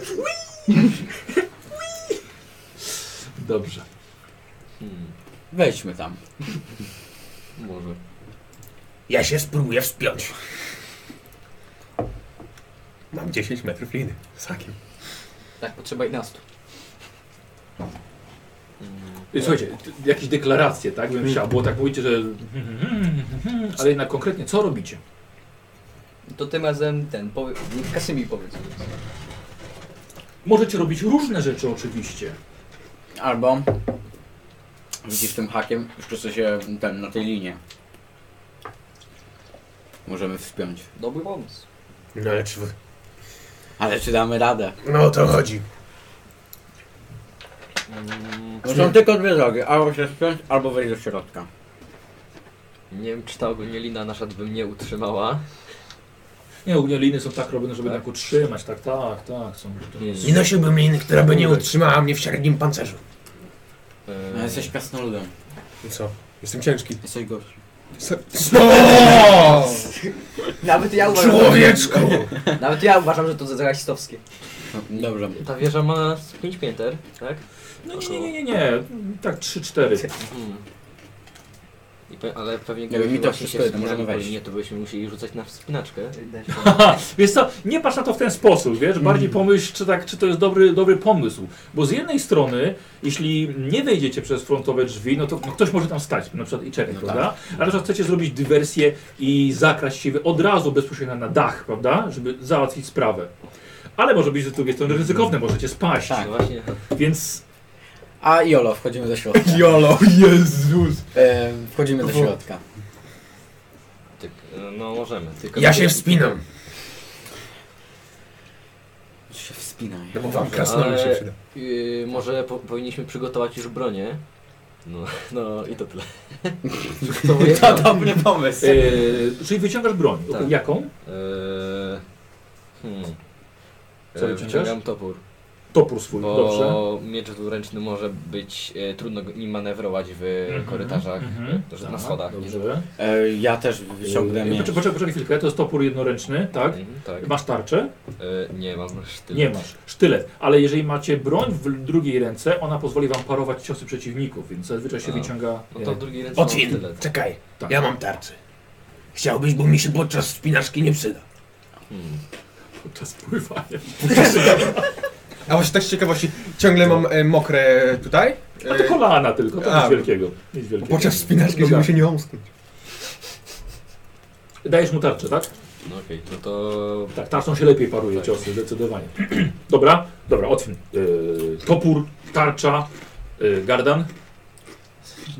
Dobrze. Hmm, Wejdźmy tam. może. Ja się spróbuję wspiąć. Mam 10 metrów liny. Sakiem. Tak, potrzeba 11. Hmm. Słuchajcie, t- jakieś deklaracje, tak? Bym chciał, bo tak mówicie, że... Ale jednak konkretnie, co robicie? To tym razem ten, powie... Kasymir powiedz. Możecie robić różne rzeczy oczywiście. Albo widzisz tym hakiem, jeszcze co się ten, na tej linie. Możemy wspiąć. Dobry pomysł. No ale czy... wy- Ale czy damy radę? No o to chodzi. Mm, No są tylko dwie drogi, albo się wspiąć, albo wejść do środka. Nie wiem, czy ta ogólnielina nasza by mnie utrzymała. Nie, ogólnie liny są tak robione, żeby tak utrzymać, tak, tak, tak. Są, to Nie, Nie nosiłbym liny, która by nie utrzymała mnie w średnim pancerzu. Hmm, No jesteś krasnoludem, I co? Jestem ciężki. jesteś gorszy. Sto! Nawet ja uważam, Człowieczku! e, nawet ja uważam że to za rasistowskie. No, Dobrze. Ta wieża ma 5 pięter, tak? No nie, nie, nie, nie, nie. Tak 3-4. Mhm. I pe- ale pewnie wiem, gdybyśmy mi to właśnie wszystko jedno, wspinali możemy po wejść. linie, to byśmy musieli rzucać na wspinaczkę. Wiesz co, nie patrz na to w ten sposób, wiesz, bardziej Mhm. pomyśl, czy, tak, czy to jest dobry, dobry pomysł. Bo z jednej strony, jeśli nie wejdziecie przez frontowe drzwi, no to no ktoś może tam stać, na przykład i czekać, No prawda? tak. Ale na przykład chcecie zrobić dywersję i zakraść się od razu bezpośrednio na dach, prawda? Żeby załatwić sprawę. Ale może być z drugiej strony ryzykowne, możecie spaść. Tak. No właśnie. Więc A Jolo, wchodzimy do środka. Jolo, Jezus! E, wchodzimy do środka. Tyk, no możemy. Tylko Ja się wspinam. Ty się wspinaj. No bo wam krasnolud się Ale- przyda. Yy, może po, powinniśmy przygotować już bronię. No, no i to tyle. To dobry pomysł. e, czyli wyciągasz broń. Tak. Jaką? Eee, hmm. Co wyciągasz? wyciągam topór. Topór swój, Bo dobrze. miecz dwuręczny może być, e, trudno go- nim manewrować w korytarzach, mhm. że Tak, na schodach. Nie? Dobrze. E, ja też wyciągnę Poczekaj, miecz. poczekaj, poczekaj chwilkę, to jest topór jednoręczny, tak? Mhm, tak. Masz tarczę? E, nie mam sztyletu. Nie masz. Sztylet. Ale jeżeli macie broń w drugiej ręce, ona pozwoli wam parować ciosy przeciwników, więc zazwyczaj się A. wyciąga... No to w drugiej ręce mam Otwin, sztylet. czekaj, Tak. ja mam tarczę. Chciałbyś, bo mi się podczas spinaczki nie przyda. Hmm. Podczas pływania. A właśnie tak z ciekawości, ciągle mam e, mokre tutaj. A to kolana tylko, to E, A. nic wielkiego. Nic wielkiego. Podczas spinaczki, Dobra. żeby się nie omsknąć. Dajesz mu tarczę, tak? No okej, no to... Tak, tarczą się lepiej paruje Tak. ciosy, zdecydowanie. dobra, dobra, otwin. Yy, topór, tarcza, yy, gardan.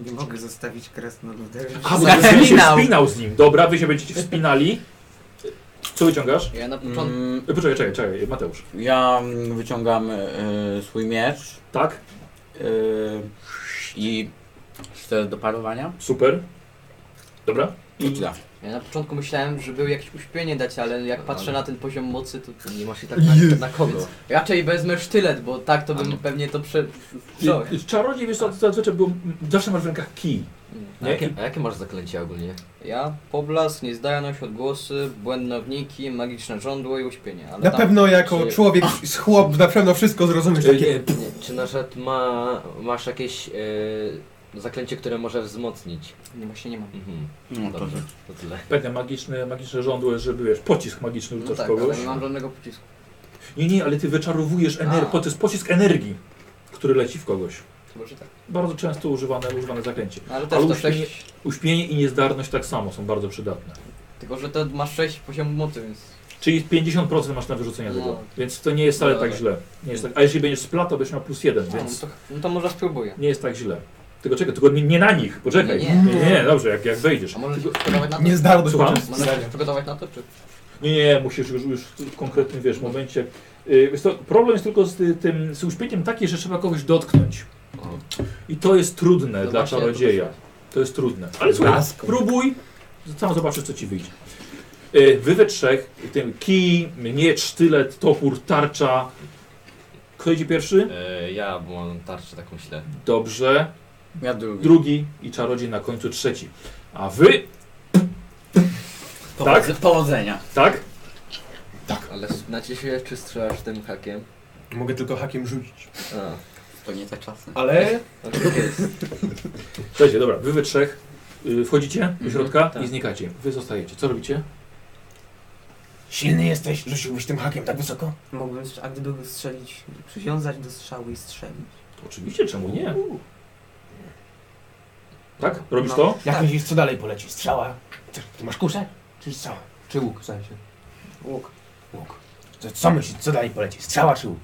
Nie mogę zostawić krasnoluda. A, bo Zapinał. będziesz się wspinał z nim. Dobra, wy się będziecie wspinali. Co wyciągasz? Ja na początku... Mm, Yy, Poczekaj, czekaj, czekaj, Mateusz. ja mm, wyciągam e, swój miecz Tak, e, i sztylet do parowania. super. Dobra. I tyle. Ja na początku myślałem, że był jakieś uśpienie dać, ale jak patrzę na ten poziom mocy, to Nie masz i tak na, na kogo. no. raczej wezmę sztylet, bo tak to bym pewnie to prze... Co? Yy, Czarodziej, wiesz, co, zazwyczaj był, zawsze masz w rękach kij. A jakie, a jakie masz zaklęcie ogólnie? Ja, poblask, niezdajność, odgłosy, błędnowniki, magiczne żądło i uśpienie, ale Na tam... pewno jako Czy- człowiek z chłop na pewno wszystko zrozumiesz. Czy, Takie, nie, czy na przykład ma, masz jakieś e, zaklęcie, które może wzmocnić? Nie, właśnie nie mam. Mhm. No to Dobrze, to tyle. Pewne magiczne, magiczne żądło, żeby wiesz, pocisk magiczny No rzucasz tak, kogoś. ale nie mam żadnego pocisku. Nie, nie, ale ty wyczarowujesz energię, A. to jest pocisk energii, który leci w kogoś. Chyba, że tak. Bardzo często używane, używane zaklęcie. No, ale też Ale to uśpienie- sześć... Uśpienie i niezdarność tak samo są bardzo przydatne. Tylko, że to masz 6 poziomów mocy, więc... Czyli 50% masz na wyrzucenie No. tego, więc to nie jest wcale tak Dobra. źle. Nie jest tak, a jeśli będziesz splatał, będziesz miał plus jeden, A, no, więc to, no to może spróbuję. nie jest tak źle. Tylko czekaj, tylko nie, nie na nich, poczekaj. Nie, Nie, nie, dobrze, jak, jak wejdziesz. A może się przygotować na to? nie zdarłby Słucham? Można się przygotować na to, czy... Nie, nie, musisz już, już w konkretnym, wiesz, momencie. Yy, wiesz co, problem jest tylko z y, tym, z uśpieniem taki, że trzeba kogoś dotknąć. O. I to jest trudne No dla właśnie, czarodzieja. to To jest trudne. Ale słuchaj, Laską. spróbuj, sam zobaczysz, co ci wyjdzie. Yy, wy we trzech, tym kij, miecz, sztylet, topór, tarcza. Kto idzie pierwszy? E, ja bo mam tarczę taką ślę. Dobrze. ja drugi. drugi i czarodziej na końcu trzeci. A wy, Powodz- tak? Powodzenia. tak? Ale naciśniesz czy strzelasz tym hakiem? Mogę tylko hakiem rzucić. A. To nie te czasy. Ale Słuchajcie, dobra, wy we trzech y, wchodzicie do Mhm, środka tak. i znikacie. Wy zostajecie. Co robicie? Silny jesteś, rzuciłbyś tym hakiem tak wysoko? Mógłbym, strz- a gdybym strzelić, przywiązać do strzału i strzelić. To oczywiście, czemu nie? Tak? Robisz to? Jak myślisz, co dalej poleci? Strzała? Ty, ty masz kuszę? Czy strzała? Czy łuk, w sensie? Łuk. Łuk. Co, co myślisz, co dalej poleci? Strzała czy łuk?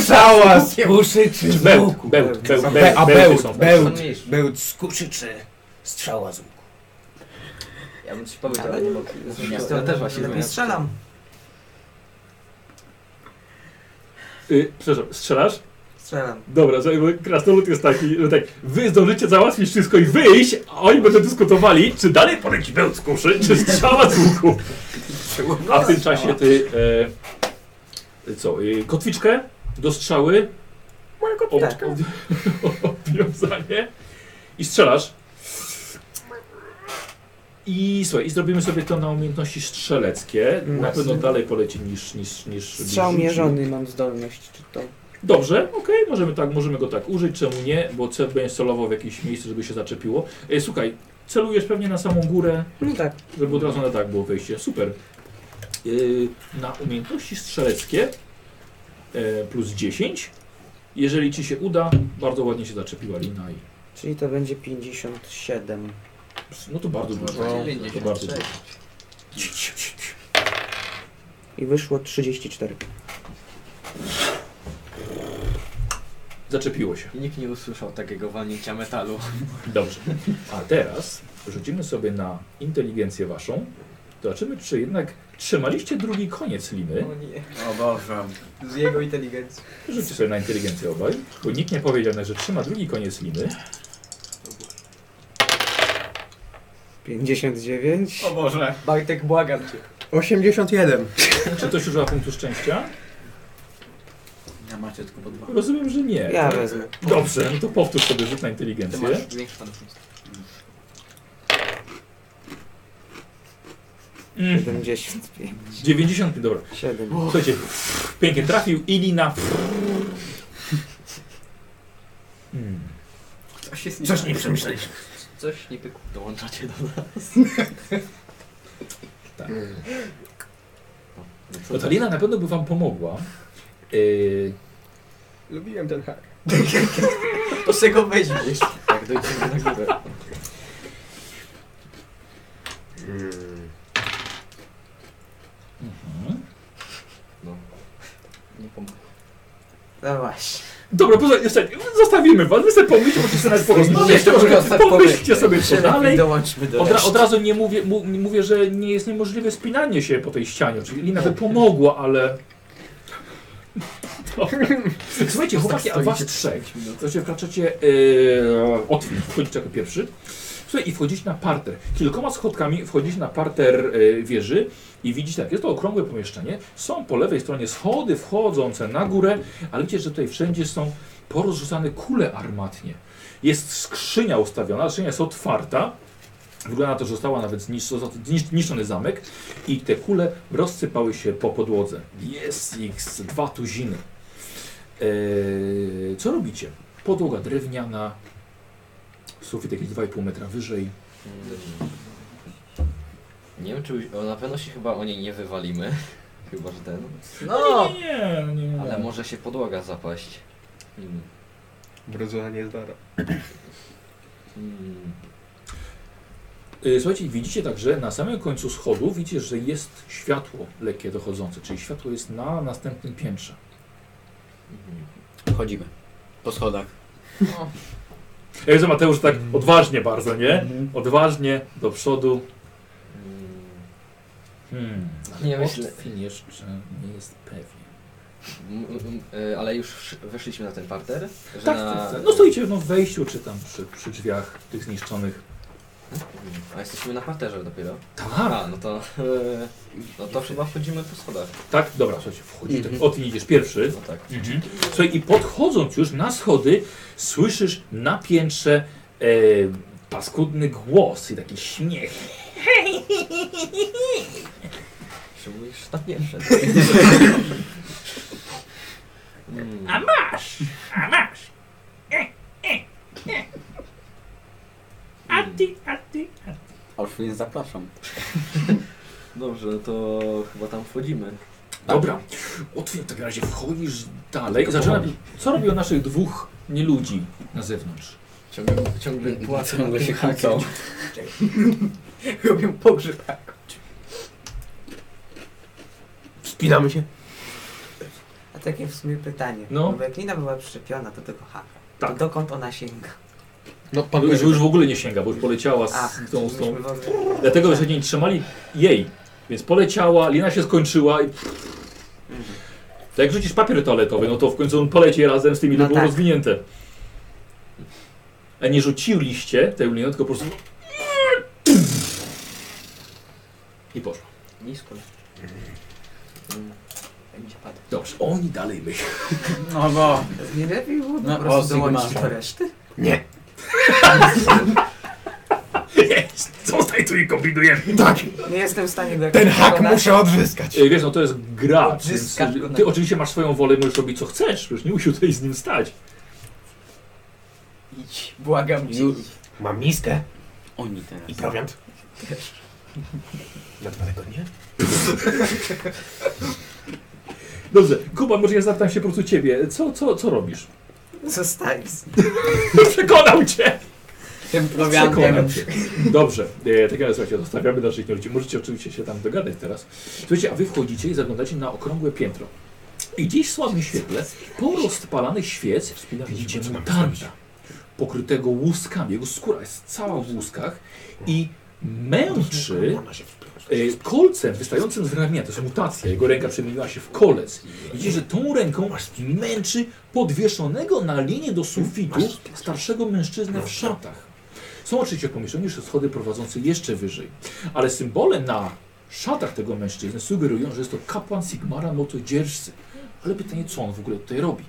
strzała z kuszy czy Czy bełt, bełt, bełt, Be- bełt, a bełty bełt, są. bełt. Są mniejsze. Bełt Z kuszy czy strzała z łuku? Ja bym ci powiedział, Ale ale nie mogę. Nie, Ja też właśnie Lepiej strzelam. Y, przepraszam, strzelasz? Strzelam. Dobra, że- bo krasnolud jest taki, że tak, wy zdążycie załatwić wszystko i wyjść, a oni będą dyskutowali, czy dalej poleci bełt z kuszy, czy strzała z łuku. A w tym czasie ty, e, co, e, kotwiczkę do strzały, Moja ob, kotwiczka. ob, obwiązanie i strzelasz. I słuchaj, i zrobimy sobie to na umiejętności strzeleckie. Na Jasne. pewno dalej poleci niż... niż, niż Strzał niż- mierzony mam zdolność, czy to... Dobrze, okej, możemy, tak, możemy go tak użyć, czemu nie, bo cel będzie celował w jakieś miejsce, żeby się zaczepiło. E, słuchaj, celujesz pewnie na samą górę, No tak. żeby od razu na tak było wejście. Super. E, na umiejętności strzeleckie e, plus 10. Jeżeli ci się uda, bardzo ładnie się zaczepiła lina i... Czyli to będzie 57. No to bardzo dużo. To bardzo dużo. I wyszło 34. Zaczepiło się. Nikt nie usłyszał takiego walnięcia metalu. Dobrze. A teraz rzucimy sobie na inteligencję waszą. Zobaczymy, czy jednak trzymaliście drugi koniec liny. O nie. O Boże. Z jego inteligencji. Rzućcie sobie na inteligencję obaj, bo nikt nie powiedział, że trzyma drugi koniec liny. 59. Boże. Bartek, błagam cię. 81. Czy ktoś używa punktu szczęścia? Ja macie tylko po dwa. Rozumiem, że nie. Ja wezmę. Dobrze, no to powtórz sobie rzut na Ty inteligencję. masz większy fanfust. Mm. 75. 90, dobra. 7. Słuchajcie, pięknie trafił i lina. Mm. Coś jest Coś tak. nie przemyśleliśmy. Coś nie pyku. Dołączacie do nas. Tak. No ta lina na pewno by wam pomogła. Yy, Lubiłem ten hak. To se go weźmiesz. Jak dojdziemy na górę. Mm. mhm. Nie pomogę. No właśnie. Dobra, poza, jeszcze, tak, zostawimy was, wy sobie pomyślcie, możecie sobie nawet porozmawiać, troszkę, pomyślcie sobie co dalej. Dołączmy do Od, ra, reszty. od razu nie mówię, mu, nie mówię, że nie jest niemożliwe spinanie się po tej ścianie, czyli lina by pomogła, ale... Dobra. Tak Słuchajcie, chłopaki, a was trzech, Słuchajcie, wkraczacie yy, otwór, wchodzicie jako pierwszy. Słuchaj, i wchodzicie na parter. Kilkoma schodkami wchodzicie na parter yy, wieży i widzicie tak, jest to okrągłe pomieszczenie. Są po lewej stronie schody wchodzące na górę, ale widzicie, że tutaj wszędzie są porozrzucane kule armatnie. Jest skrzynia ustawiona, skrzynia jest otwarta. Wygląda na to, że została nawet zniszczo- znisz- zniszczony zamek i te kule rozsypały się po podłodze. Jest ich z dwa tuziny. Eee, co robicie? Podłoga drewniana, sufit jakieś 2,5 metra wyżej. Nie wiem, czy o, na pewno się chyba o niej nie wywalimy. Chyba, że ten. No! Nie, nie, nie, nie. Ale może się podłoga zapaść. Mm. Brodzona nie zdara. Mm. Y, Słuchajcie, widzicie także na samym końcu schodu, widzicie, że jest światło lekkie dochodzące, czyli światło jest na następnym piętrze. Mhm. Chodzimy. Po schodach. Ja widzę Mateusz tak odważnie bardzo, nie? Odważnie do przodu. Mm. Hmm. Nie myślę. Otwin jeszcze nie jest pewien. M- m- y, Ale już weszliśmy na ten parter? Że Tak, na... tak, tak. No stoicie no, w wejściu, czy tam przy, przy drzwiach tych zniszczonych. Mhm. A jesteśmy na parterze dopiero. Tak, A, no to. No to chyba wchodzimy po schodach. tak, dobra, słuchajcie, wchodzisz, Mhm. tak, o ty idziesz pierwszy. No tak. Mhm. Słuchaj, i podchodząc już na schody, słyszysz na piętrze e, paskudny głos i taki śmiech. Czy mówisz tak na pierwsze? Mm. A masz! E, A Mm. ty, a ty, a ty. A już nie zapraszam. Dobrze, no to chyba tam wchodzimy. Dobra, otwórz w takim razie, wchodzisz dalej. Zaczyna, co robią naszych dwóch nieludzi na zewnątrz? Ciągle, ciągle Mm. płacę. Ciągle się kłócą. Robię pogrzeb. Wspinamy się. A takie w sumie pytanie. No. No. bo jak lina była przyczepiona do tego haka, Tak. to dokąd ona sięga? No, pan Już, już w ogóle nie sięga, bo już poleciała Ach, z tą, z tą myśmy w ogóle- Dlatego, że nie trzymali jej. Więc poleciała, lina się skończyła i... To jak rzucisz papier toaletowy, no to w końcu on poleci razem z tymi, No które było tak. rozwinięte. A nie rzuciliście tę linę, tylko po prostu... I poszło. Nisko. Mm. Będzie padł. Dobrze, oni dalej myślą. No bo. Nie lepiej było No, po o, prostu Sigma. dołączyć do reszty? Nie. Zostaj tu i kombinujemy. Nie jestem w stanie go jakoś Ten hak przekonać. muszę odzyskać. Tak. Wiesz, no to jest gra. Więc, Odzyskać go na- ty oczywiście masz swoją wolę, możesz robić co chcesz, już nie musisz tutaj z nim stać. Idź. Błagam cię. Już. idź. Mam miskę Oni teraz. i prowiant. Na dwa tygodnie? Dobrze, Kuba, może ja zapytam się po prostu ciebie. Co, co, co robisz? Zostań z Przekonał cię! Tym prowiantem. Przekonam cię. Dobrze, e, tak jak słuchajcie, zostawiamy naszych ludzi. Możecie oczywiście się tam dogadać teraz. Słuchajcie, a wy wchodzicie i zaglądacie na okrągłe piętro. I gdzieś w słabym świetle, po rozpalanych świec, widzicie bo co mamy mutanta pokrytego łuskami. Jego skóra jest cała w łuskach i męczy Ona się wpycha. e, kolcem wystającym z ramienia. To jest mutacja. Jego ręka przemieniła się w kolec. Widzicie, że tą ręką męczy podwieszonego na linię do sufitu starszego mężczyznę w szatach. Są oczywiście w pomieszczeniu jeszcze schody prowadzące jeszcze wyżej, ale symbole na W szatach tego mężczyzny sugerują, że jest to kapłan Sigmara Motodzierżcy. Ale pytanie, co on w ogóle tutaj robi?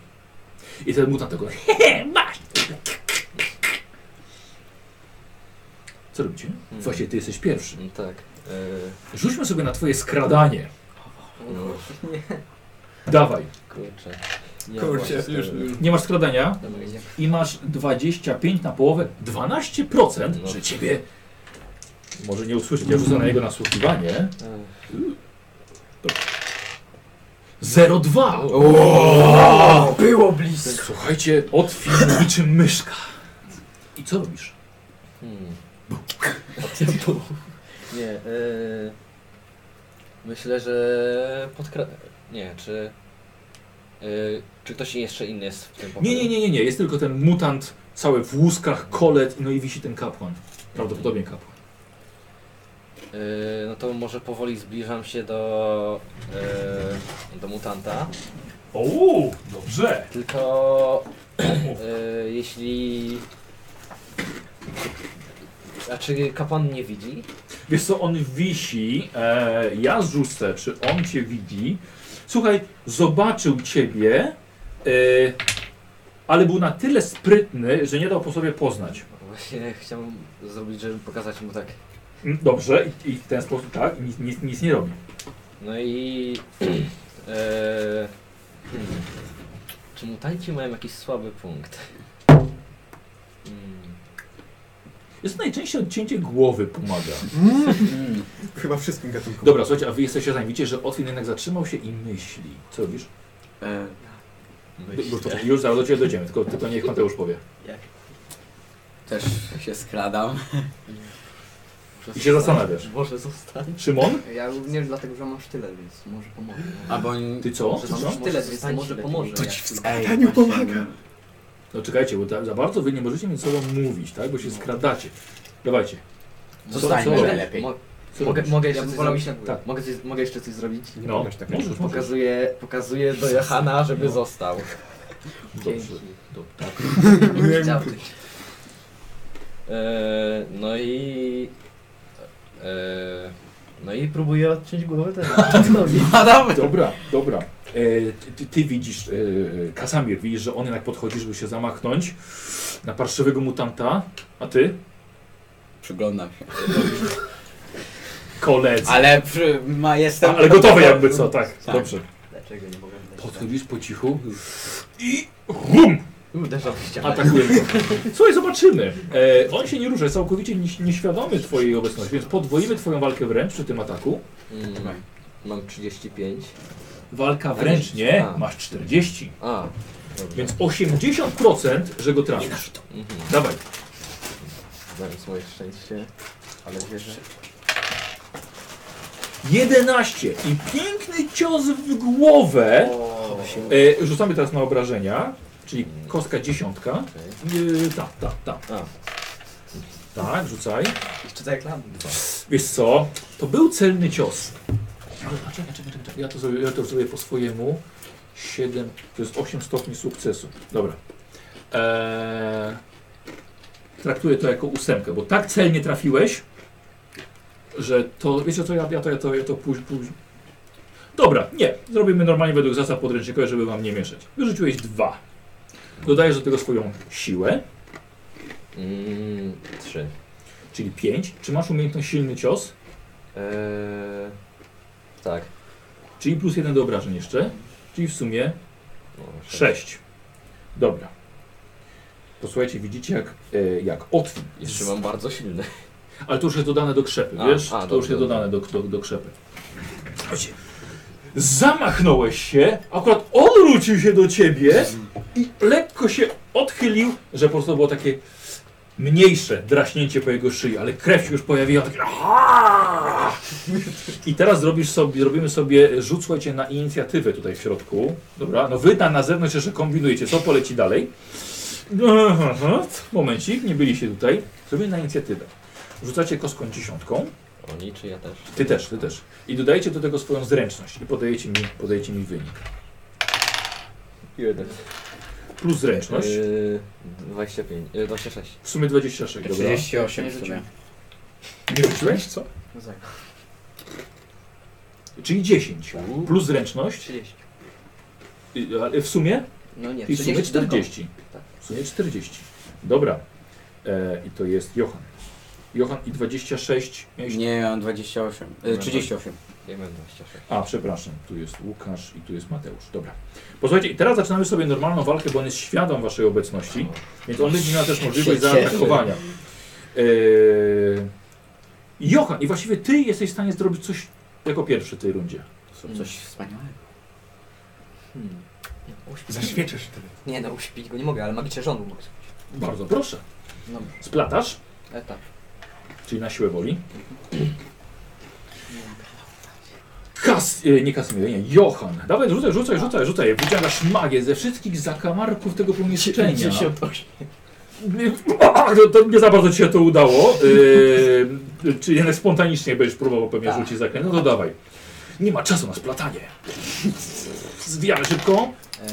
I ten mutant tego, hehe, masz! Co robicie? Hmm. Właśnie ty jesteś pierwszy. Mm, Tak. Yy, Rzućmy sobie na twoje skradanie. no, Dawaj. kurczę. Kurczę, już, już. Nie masz skradania Dobra, idziemy. i masz 25 na połowę, 12%, No. że ciebie może nie usłyszeć, ja rzucę na jego nasłuchiwanie. e, 0,2! O, Było blisko. Słuchajcie, otwierz niczym myszka. I co robisz? Hmm. Nie, yy, myślę, że e, Podkra... Nie, czy... Yy, czy ktoś jeszcze inny jest w tym pokoju? Nie, nie, nie, nie, nie, jest tylko ten mutant cały w łuskach, kolet, no i wisi ten kapłan. Prawdopodobnie kapłan. Yy, no to może powoli zbliżam się do... Yy, do mutanta. Ouu, dobrze. Tylko e, jeśli. A czy znaczy, kapłan nie widzi? Wiesz co, on wisi, e, ja rzucę, czy on cię widzi. Słuchaj, zobaczył ciebie, e, ale był na tyle sprytny, że nie dał po sobie poznać. Właśnie chciałbym zrobić, żeby pokazać mu tak. Mm, Dobrze, i, i w ten sposób, tak, i nic, nic, nic nie robi. No i. E, hmm, czy mutanci mają jakiś słaby punkt? Hmm, Jest najczęściej odcięcie głowy pomaga. Mm. Mm. Chyba wszystkim gatunkom. Dobra, słuchajcie, a wy jesteście zajęci, że Otwin jednak zatrzymał się i myśli. Co robisz? E, Już, to- już zaraz do ciebie dojdziemy, tylko, tylko niech Mateusz powie. Też się skradam. I się zastanawiasz. Może zostań. Szymon? Ja również dlatego, że masz tyle, więc może pomoże. Albo oni... Ty co? Że masz tyle, więc to może pomoże. To jak ci w tu- skradaniu pomaga. No czekajcie, bo ta, za bardzo wy nie możecie między sobą mówić, tak? Bo się skradacie. Dawajcie. Zostańmy Co? lepiej. Mo- Co mogę, robisz? mogę Ja jeszcze bym coś wolał zrobić? iść na Tak. Mogę, coś- mogę jeszcze coś zrobić? No, powinnaś tak możesz, No. możesz. Pokazuję, pokazuję do Johana, żeby został. Dobrze. Dobrze. Tak. Chciałbym. e, no i. E, no i próbuję odciąć głowę teraz. Dobra, dobra. E, ty, ty widzisz, e, Kasamir, widzisz, że on jednak podchodzi, żeby się zamachnąć na parszywego mutanta, a ty? Przyglądam się. Koledzy. Ale przy... ma, jestem... Ale gotowy jakby co, tak. Tak. Dobrze. Dlaczego nie mogę wydać? Podchodzisz po cichu i hum! Uderzam w ścianę. Atakuje. go. Słuchaj, zobaczymy. E, on się nie rusza, jest całkowicie nie, nieświadomy twojej obecności, więc podwoimy twoją walkę wręcz przy tym ataku. Mm, mam 35. Walka wręcz nie, A. masz 40, A, dobrze. więc 80%, że go trafisz. Mhm. Dawaj. Zamiast moje szczęście. Ale wierzę. 11 i piękny cios w głowę. E, rzucamy teraz na obrażenia, czyli kostka dziesiątka. E, ta, ta, ta. A. Tak, rzucaj. Jeszcze tak jak lamp. Wiesz co, to był celny cios. Ale czekaj, czekaj, czekaj, czekaj. Ja to zrobię, ja to zrobię po swojemu. 7, to jest 8 stopni sukcesu. Dobra. Eee, traktuję to jako ósemkę, bo tak celnie trafiłeś, że to, wiecie co, ja, ja to, ja to, ja to póź, póź. Dobra, nie, zrobimy normalnie według zasad podręcznikowych, żeby wam nie mieszać. Wyrzuciłeś dwa. Dodajesz do tego swoją siłę, Mm, trzy. czyli 5. Czy masz umiejętność silny cios? Eee, tak. Czyli plus jeden do obrażeń jeszcze. Czyli w sumie No, sześć. 6. Dobra. Posłuchajcie, widzicie jak, e, jak otwór jest. Jeszcze mam bardzo silny. Ale to już jest dodane do krzepy, A, a, wiesz? to już dobrze, jest dodane do, do, do krzepy. Słuchajcie, zamachnąłeś się, akurat odwrócił się do ciebie i lekko się odchylił, że po prostu było takie mniejsze draśnięcie po jego szyi, ale krew się już pojawiła. Takie... I teraz zrobisz sobie, zrobimy sobie rzut, słuchajcie, na inicjatywę tutaj w środku. Dobra, no wy tam na zewnątrz jeszcze kombinujecie, co poleci dalej. Aha, Momencik, nie byliście tutaj. Zrobimy na inicjatywę. Rzucacie kostką dziesiątką. Oni czy ja też? Ty też, ty też. I dodajecie do tego swoją zręczność i podajecie mi, podajecie mi wynik. Jeden. Plus zręczność. Yy. Eee, 25, eee, 26. W sumie 26, dobra. 38 w sumie. Nie rzuciłeś? Co? Czyli 10. Plus zręczność. 30. Y, ale W sumie? No nie, I w sumie 30 tylko. 40. Tak. W sumie 40. Dobra. E, I to jest Johan. Johan i 26. Miałeś... Nie, ja mam 28. Y, 38. Nie będę chciał. A, przepraszam. Tu jest Łukasz i tu jest Mateusz. Dobra. Posłuchajcie, i teraz zaczynamy sobie normalną walkę, bo on jest świadom waszej obecności, więc on będzie miał też możliwość Się cieszy. zaatakowania. E, Johan, i właściwie ty jesteś w stanie zrobić coś jako pierwszy w tej rundzie. Coś wspaniałego. Hmm. Nie, uśpić- Zaświeczysz ty. Nie no, uśpić go nie mogę, ale magiczne rządu mogę. zrobić. Bardzo proszę. Dobra. Splatasz, E, tak. czyli na siłę woli. Kas, e, nie Kasimir, nie, Johan. Dawaj, rzucaj, rzucaj, rzucaj, rzucaj. Wyciągasz magię ze wszystkich zakamarków tego pomieszczenia. A, To, to nie za bardzo ci się to udało. Yy, czy jednak spontanicznie będziesz próbował pewnie rzucić zakręt? No to dawaj. Nie ma czasu na splatanie. Zwijamy szybko. E,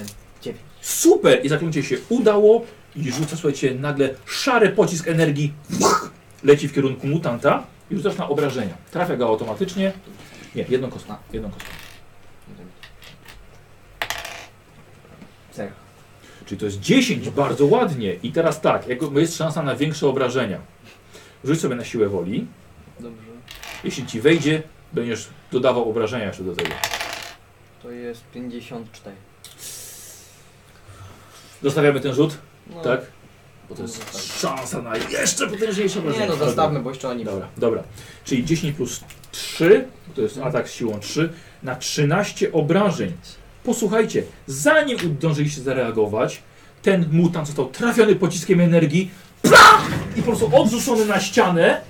dziewięć. Super! I zaklęcie się udało. I rzuca, słuchajcie, nagle szary pocisk energii Puch! leci w kierunku mutanta i rzucasz na obrażenia. Trafia go automatycznie. Nie, jedną kostką. Jedną kostką. Zero. Czyli to jest 10, bardzo ładnie. I teraz tak, jako- jest szansa na większe obrażenia. Rzuć sobie na siłę woli. Dobrze. Jeśli ci wejdzie, będziesz dodawał obrażenia jeszcze do tego. To jest 54. Zostawiamy ten rzut, No, tak? Bo to jest szansa na jeszcze potężniejsze obrażenia. Nie no, zostawmy, bo jeszcze oni. Dobra, dobra. Czyli 10 plus 3, to jest atak z siłą 3, na 13 obrażeń. Posłuchajcie, zanim zdążyliście zareagować, ten mutant został trafiony pociskiem energii pla! i po prostu odrzucony na ścianę,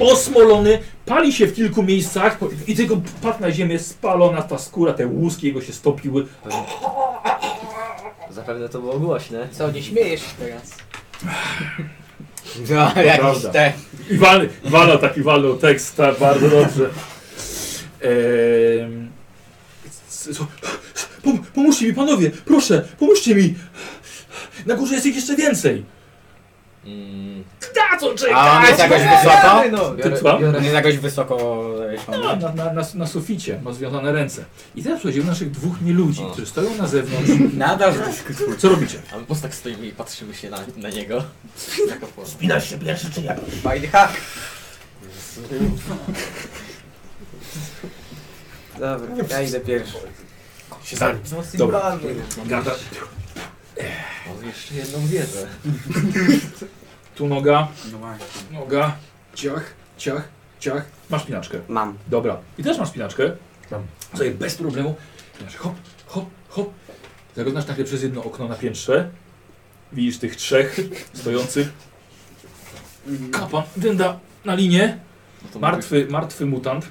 osmolony, pali się w kilku miejscach i tylko padł na ziemię, spalona ta skóra, te łuski jego się stopiły. Zapewne to było głośne. Co, nie śmiejesz się teraz? No, jakiś prawda. te. I wal, walą taki walą tekst, tak, bardzo dobrze. Ehm, s- s- pom, pomóżcie mi panowie, proszę, pomóżcie mi. Na górze jest ich jeszcze więcej. Mm, Na co A on jest czekać? jakoś wysoko? No, Ty co? On jest jakoś wysoko zawieszony. A, No, Na, na, na, na suficie ma związane ręce. I teraz przechodzimy do naszych dwóch nieludzi, O. którzy stoją na zewnątrz. Nadal dyskutuję. Co robicie? a my po prostu tak stoimy i patrzymy się na, na niego. Spinasz się pierwszy czy ja? By the hack. Dobra, ja idę pierwszy. No, Się za nim. Dobra. Gada. Mam jeszcze jedną wieżę. Tu noga, No właśnie. noga, ciach, ciach, ciach. Masz pinaczkę. Mam. Dobra. I też masz pinaczkę. Mam. Sobie bez problemu. Pinaczkę. Hop, hop, hop. Zaglądasz nagle przez jedno okno na piętrze. Widzisz tych trzech stojących. Kapan, dynda na linie. Martwy, martwy mutant.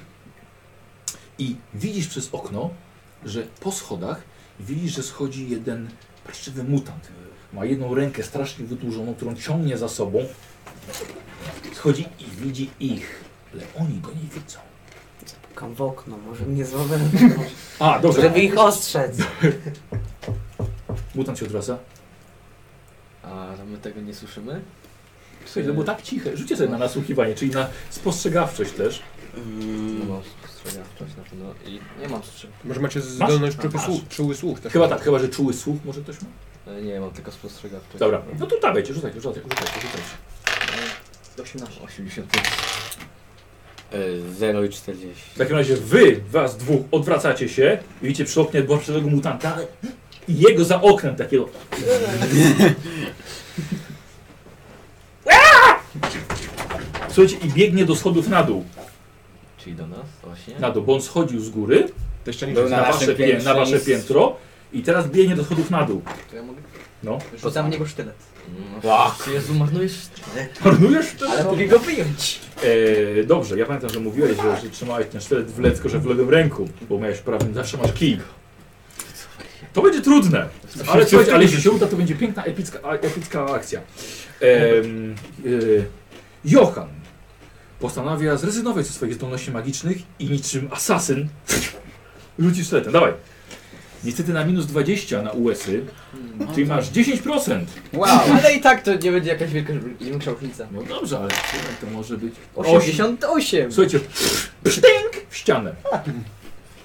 I widzisz przez okno, że po schodach widzisz, że schodzi jeden prawdziwy mutant. Ma jedną rękę strasznie wydłużoną, którą ciągnie za sobą. Schodzi i widzi ich, ale oni go nie widzą. Kam w okno, może mnie złowę. A, dobrze. Żeby ich ostrzec. Mutant się odwraca. A my tego nie słyszymy? Słuchaj, to było tak ciche. Rzućcie sobie na nasłuchiwanie, czyli na spostrzegawczość też. Mm. No mam spostrzegawczość na pewno i... Nie mam strzału. Może macie Masz? zdolność A, czuły masz. słuch, czuły słuch też. Chyba tak, chyba że czuły słuch może ktoś ma. e, Nie, mam tylko spostrzegawczość. Dobra, no to dawajcie, rzucajcie, rzucajcie, rzucajcie. rzucajcie. 18. 80. 0 E, i 40. W takim razie wy, was dwóch, odwracacie się i widzicie przy oknie dworczego mutanta i jego za oknem takiego... Słuchajcie, i biegnie do schodów na dół. Czyli do nas właśnie? Na dół, bo on schodził z góry Te ściany Był na, naszym wasze, pię- piętrze na wasze jest- piętro i teraz biegnie do schodów na dół. To ja mogę? No. Rzucam w niego sztylet. No, Ła. wszyscy, Jezu, marnujesz Marnujesz ten Ale mogę go wyjąć. Eee, dobrze, ja pamiętam, że mówiłeś, że, że trzymałeś ten sztylet w lecko, że w lewym ręku, bo miałeś prawym, zawsze masz kij. To będzie trudne, ale, słuchajcie, ale jeśli się uda, to będzie piękna, epicka, a- epicka akcja. Em, y, Johan postanawia zrezygnować ze swoich zdolności magicznych i niczym asasyn rzuci sztyletem. Dawaj. Niestety na minus 20 na USy, czyli masz 10%. Wow, ale i tak to nie będzie jakaś wielka większa różnica. No dobrze, ale to może być 88! Słuchajcie, psztynk w ścianę.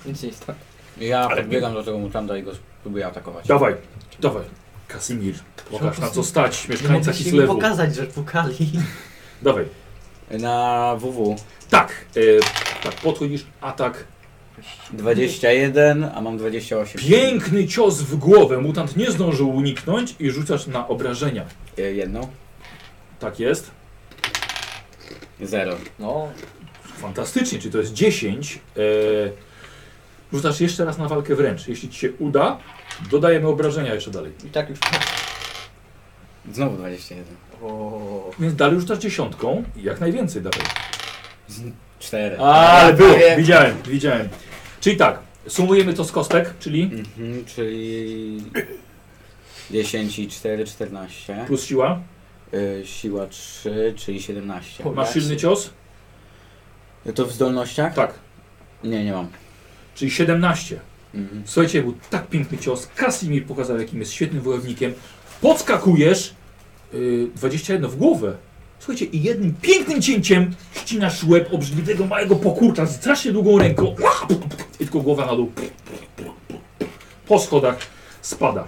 Nic nie stało. Ja Ale- podbiegam do tego mutanta i go spróbuję atakować. Dawaj, dawaj. Kasimir, pokaż na co stać mieszkańca Kislewu. pokazać, że pukali. Dawaj. Na WW Tak, e, tak, podchodzisz, atak. 21, a mam 28. Piękny cios w głowę. Mutant nie zdążył uniknąć i rzucasz na obrażenia. Y, Jedną. Tak jest. Zero. No, Fantastycznie, czyli to jest 10. E, rzucasz jeszcze raz na walkę wręcz. Jeśli ci się uda, dodajemy obrażenia jeszcze dalej. i tak już. Znowu 21. O, Więc dalej rzucasz dziesiątką i jak najwięcej dawaj. Cztery. Ale było, Prawie. widziałem, widziałem. Czyli tak, sumujemy to z kostek, czyli Mhm, czyli 10 i 4, 14. plus siła. Y, siła 3, czyli 17. Masz silny cios? To w zdolnościach? Tak. Nie, nie mam. Czyli 17. Mhm. Słuchajcie, był tak piękny cios. Kasimir pokazał, jakim jest świetnym wojownikiem. Podskakujesz yy, 21 w głowę. Słuchajcie, i jednym pięknym cięciem ścinasz łeb obrzydliwego małego pokurcza z strasznie długą ręką. I tylko głowa na dół. Po schodach spada.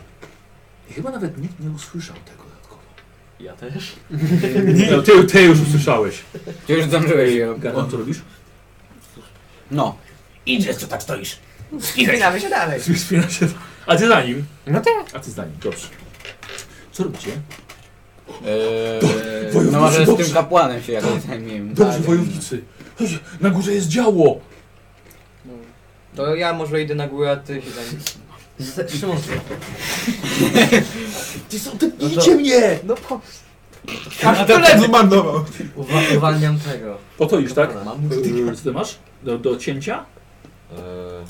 I chyba nawet nikt nie usłyszał tego dodatkowo. Ja też. No, ty, ty już usłyszałeś. Ty już zdążyłeś. Garnon, co robisz? No. Idzie, co tak stoisz? Spinamy się dalej. Wspina się. A ty za nim. No tak. A ty za nim, dobrze. Co robicie? Eee, wojownicy, no może z dobrze. tym kapłanem się jakoś zajmiemy. Dobrze, Ale- wojownicy. Chodź, na górze jest działo. To ja może idę na górę, a ty się zajmij. Szymon, Ty są, ty bijcie mnie! no po... Aż tyle zmarnował. Uwa uwalniam tego. Otoisz, tak? Kapłana. Mam Yy, Co ty masz? Do, do cięcia? Eee,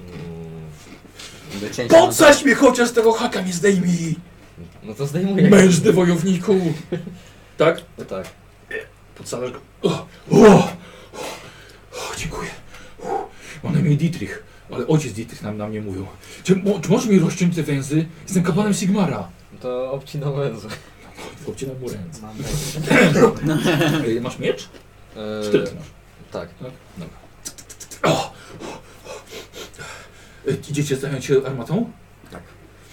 mm, Do cięcia na- Podsać mnie chociaż tego haka nie zdejmij! No to zdejmuję. Mężny wojowniku! Tak? No tak. Podsadzasz go. O, o, o, dziękuję. Mam na imię Dietrich, ale ojciec Dietrich nam, nam nie mówił. Czy, mo, czy możesz mi rozciąć te węzy? Jestem kapłanem Sigmara. No To obcinam węzeł. Chłopcie na górę. Mam Yy, Masz miecz? Eee, Sztylet masz. tak. Tak? Dobra. O, o, o. Yy, Idziecie zająć się armatą?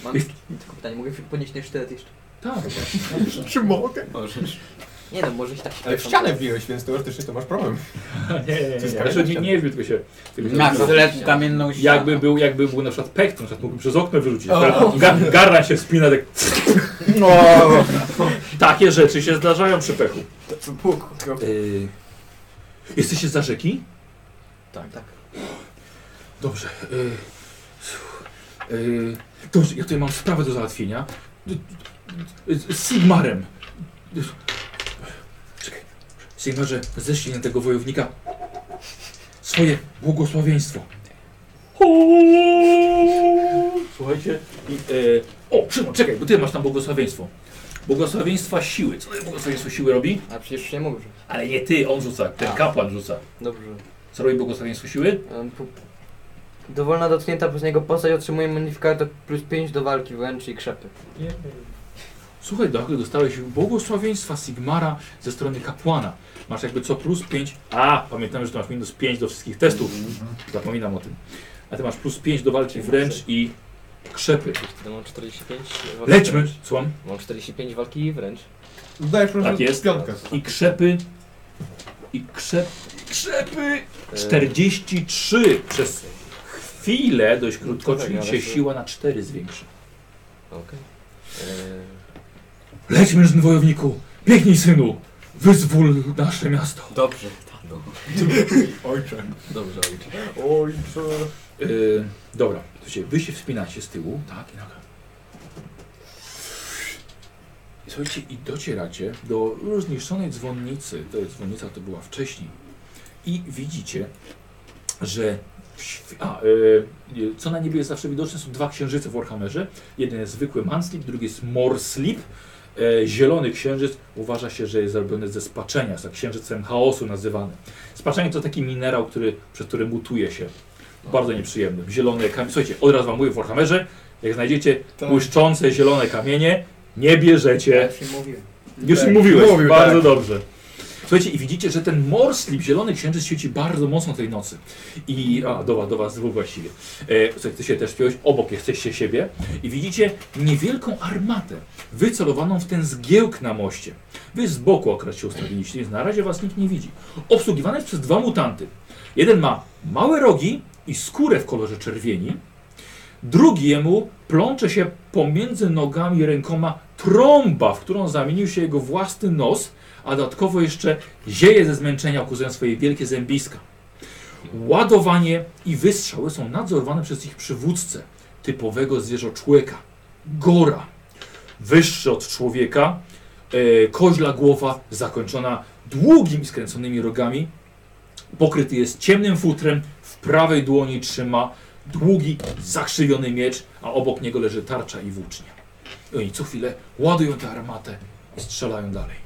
Mam tylko pytanie, mogę podnieść ten sztylet jeszcze? Tak. Czy mogę? Możesz. Nie no, może się tak Ale w ścianę wbiłeś, więc teoretycznie to masz problem. Nie, nie, nie. jest nie. kamienny Znaczy, nie, ścian. nie wbił, tylko się... Tylko się Na tyle kamienną ścianę. Jakby był, jakby był na przykład pech, to na przykład mógłby przez okno wyrzucić. O. Gar- Gar, garra się spina, tak... No, Takie rzeczy się zdarzają przy pechu. to Bóg. Yy, jesteście za rzeki? Tak. tak. Dobrze. Yy, yy, dobrze, ja tutaj mam sprawę do załatwienia. D- d- d- Z Sigmarem. Czekaj. Sigmarze, ześlij na tego wojownika swoje błogosławieństwo. Słuchajcie. I, yy, o, Szymon, czekaj, bo ty masz tam błogosławieństwo. Błogosławieństwa siły. Co to błogosławieństwo siły robi? A przecież nie mogę. Ale nie ty, on rzuca, ten kapłan rzuca. Dobrze. Co robi błogosławieństwo siły? Em, pu- Dowolna dotknięta przez niego postać otrzymuje modyfikator plus 5 do walki wręcz i krzepy. Słuchaj, Dachy, dostałeś błogosławieństwa Sigmara ze strony kapłana. Masz jakby co plus 5. A, pamiętamy, że to masz minus 5 do wszystkich testów. Zapominam o tym. A ty masz plus 5 do walki wręcz i krzepy. Wtedy No, mam 45 walki Lećmy! wręcz. Słucham? Mam 45 walki wręcz. Zdajesz Tak proszę jest. piątkę. I krzepy. I krzep. Krzepy! E. 43 przez chwilę, dość krótko, tak, czyli ale się to- siła na 4 zwiększa. Okej. Eee, Leć mężny wojowniku! Biegnij synu! Wyzwól nasze miasto! Dobrze, tato. Ojcze. Dobrze, E, ojcze. Yy, dobra, słuchajcie, wy się wspinacie z tyłu, tak, i nagle. I Słuchajcie, i docieracie do rozniszczonej dzwonnicy. To jest dzwonnica, to była wcześniej. I widzicie, że. w świ- A, yy, co na niebie jest zawsze widoczne, są dwa księżyce w Warhammerze. Jeden jest zwykły Manslip, drugi jest Morslip. E, zielony księżyc uważa się, że jest zrobiony ze spaczenia, jest tak księżycem chaosu nazywany. Spaczenie to taki minerał, który, przez który mutuje się. Bardzo nieprzyjemny. Zielone kamienie. Słuchajcie, od razu wam mówię w Warhammerze, jak znajdziecie Tak. błyszczące zielone kamienie, nie bierzecie. Ja się mówiłem. Już Tak. im mówiłeś. Mówił, bardzo tak. dobrze. Słuchajcie, i widzicie, że ten morslip, zielony księżyc świeci bardzo mocno tej nocy. I, a, do, was- do was dwóch właściwie. E, słuchaj, ty się też piłeś, obok jesteście siebie. I widzicie niewielką armatę, wycelowaną w ten zgiełk na moście. Wy z boku akurat się ustawiliście, więc na razie was nikt nie widzi. Obsługiwane jest przez dwa mutanty. Jeden ma małe rogi i skórę w kolorze czerwieni. Drugiemu plącze się pomiędzy nogami rękoma trąba, w którą zamienił się jego własny nos, a dodatkowo jeszcze zieje ze zmęczenia, okazując swoje wielkie zębiska. Ładowanie i wystrzały są nadzorowane przez ich przywódcę, typowego zwierzoczłeka, gora. Wyższy od człowieka, e, koźla głowa zakończona długimi skręconymi rogami, pokryty jest ciemnym futrem, w prawej dłoni trzyma długi, zakrzywiony miecz, a obok niego leży tarcza i włócznia. No I oni co chwilę ładują tę armatę i strzelają dalej.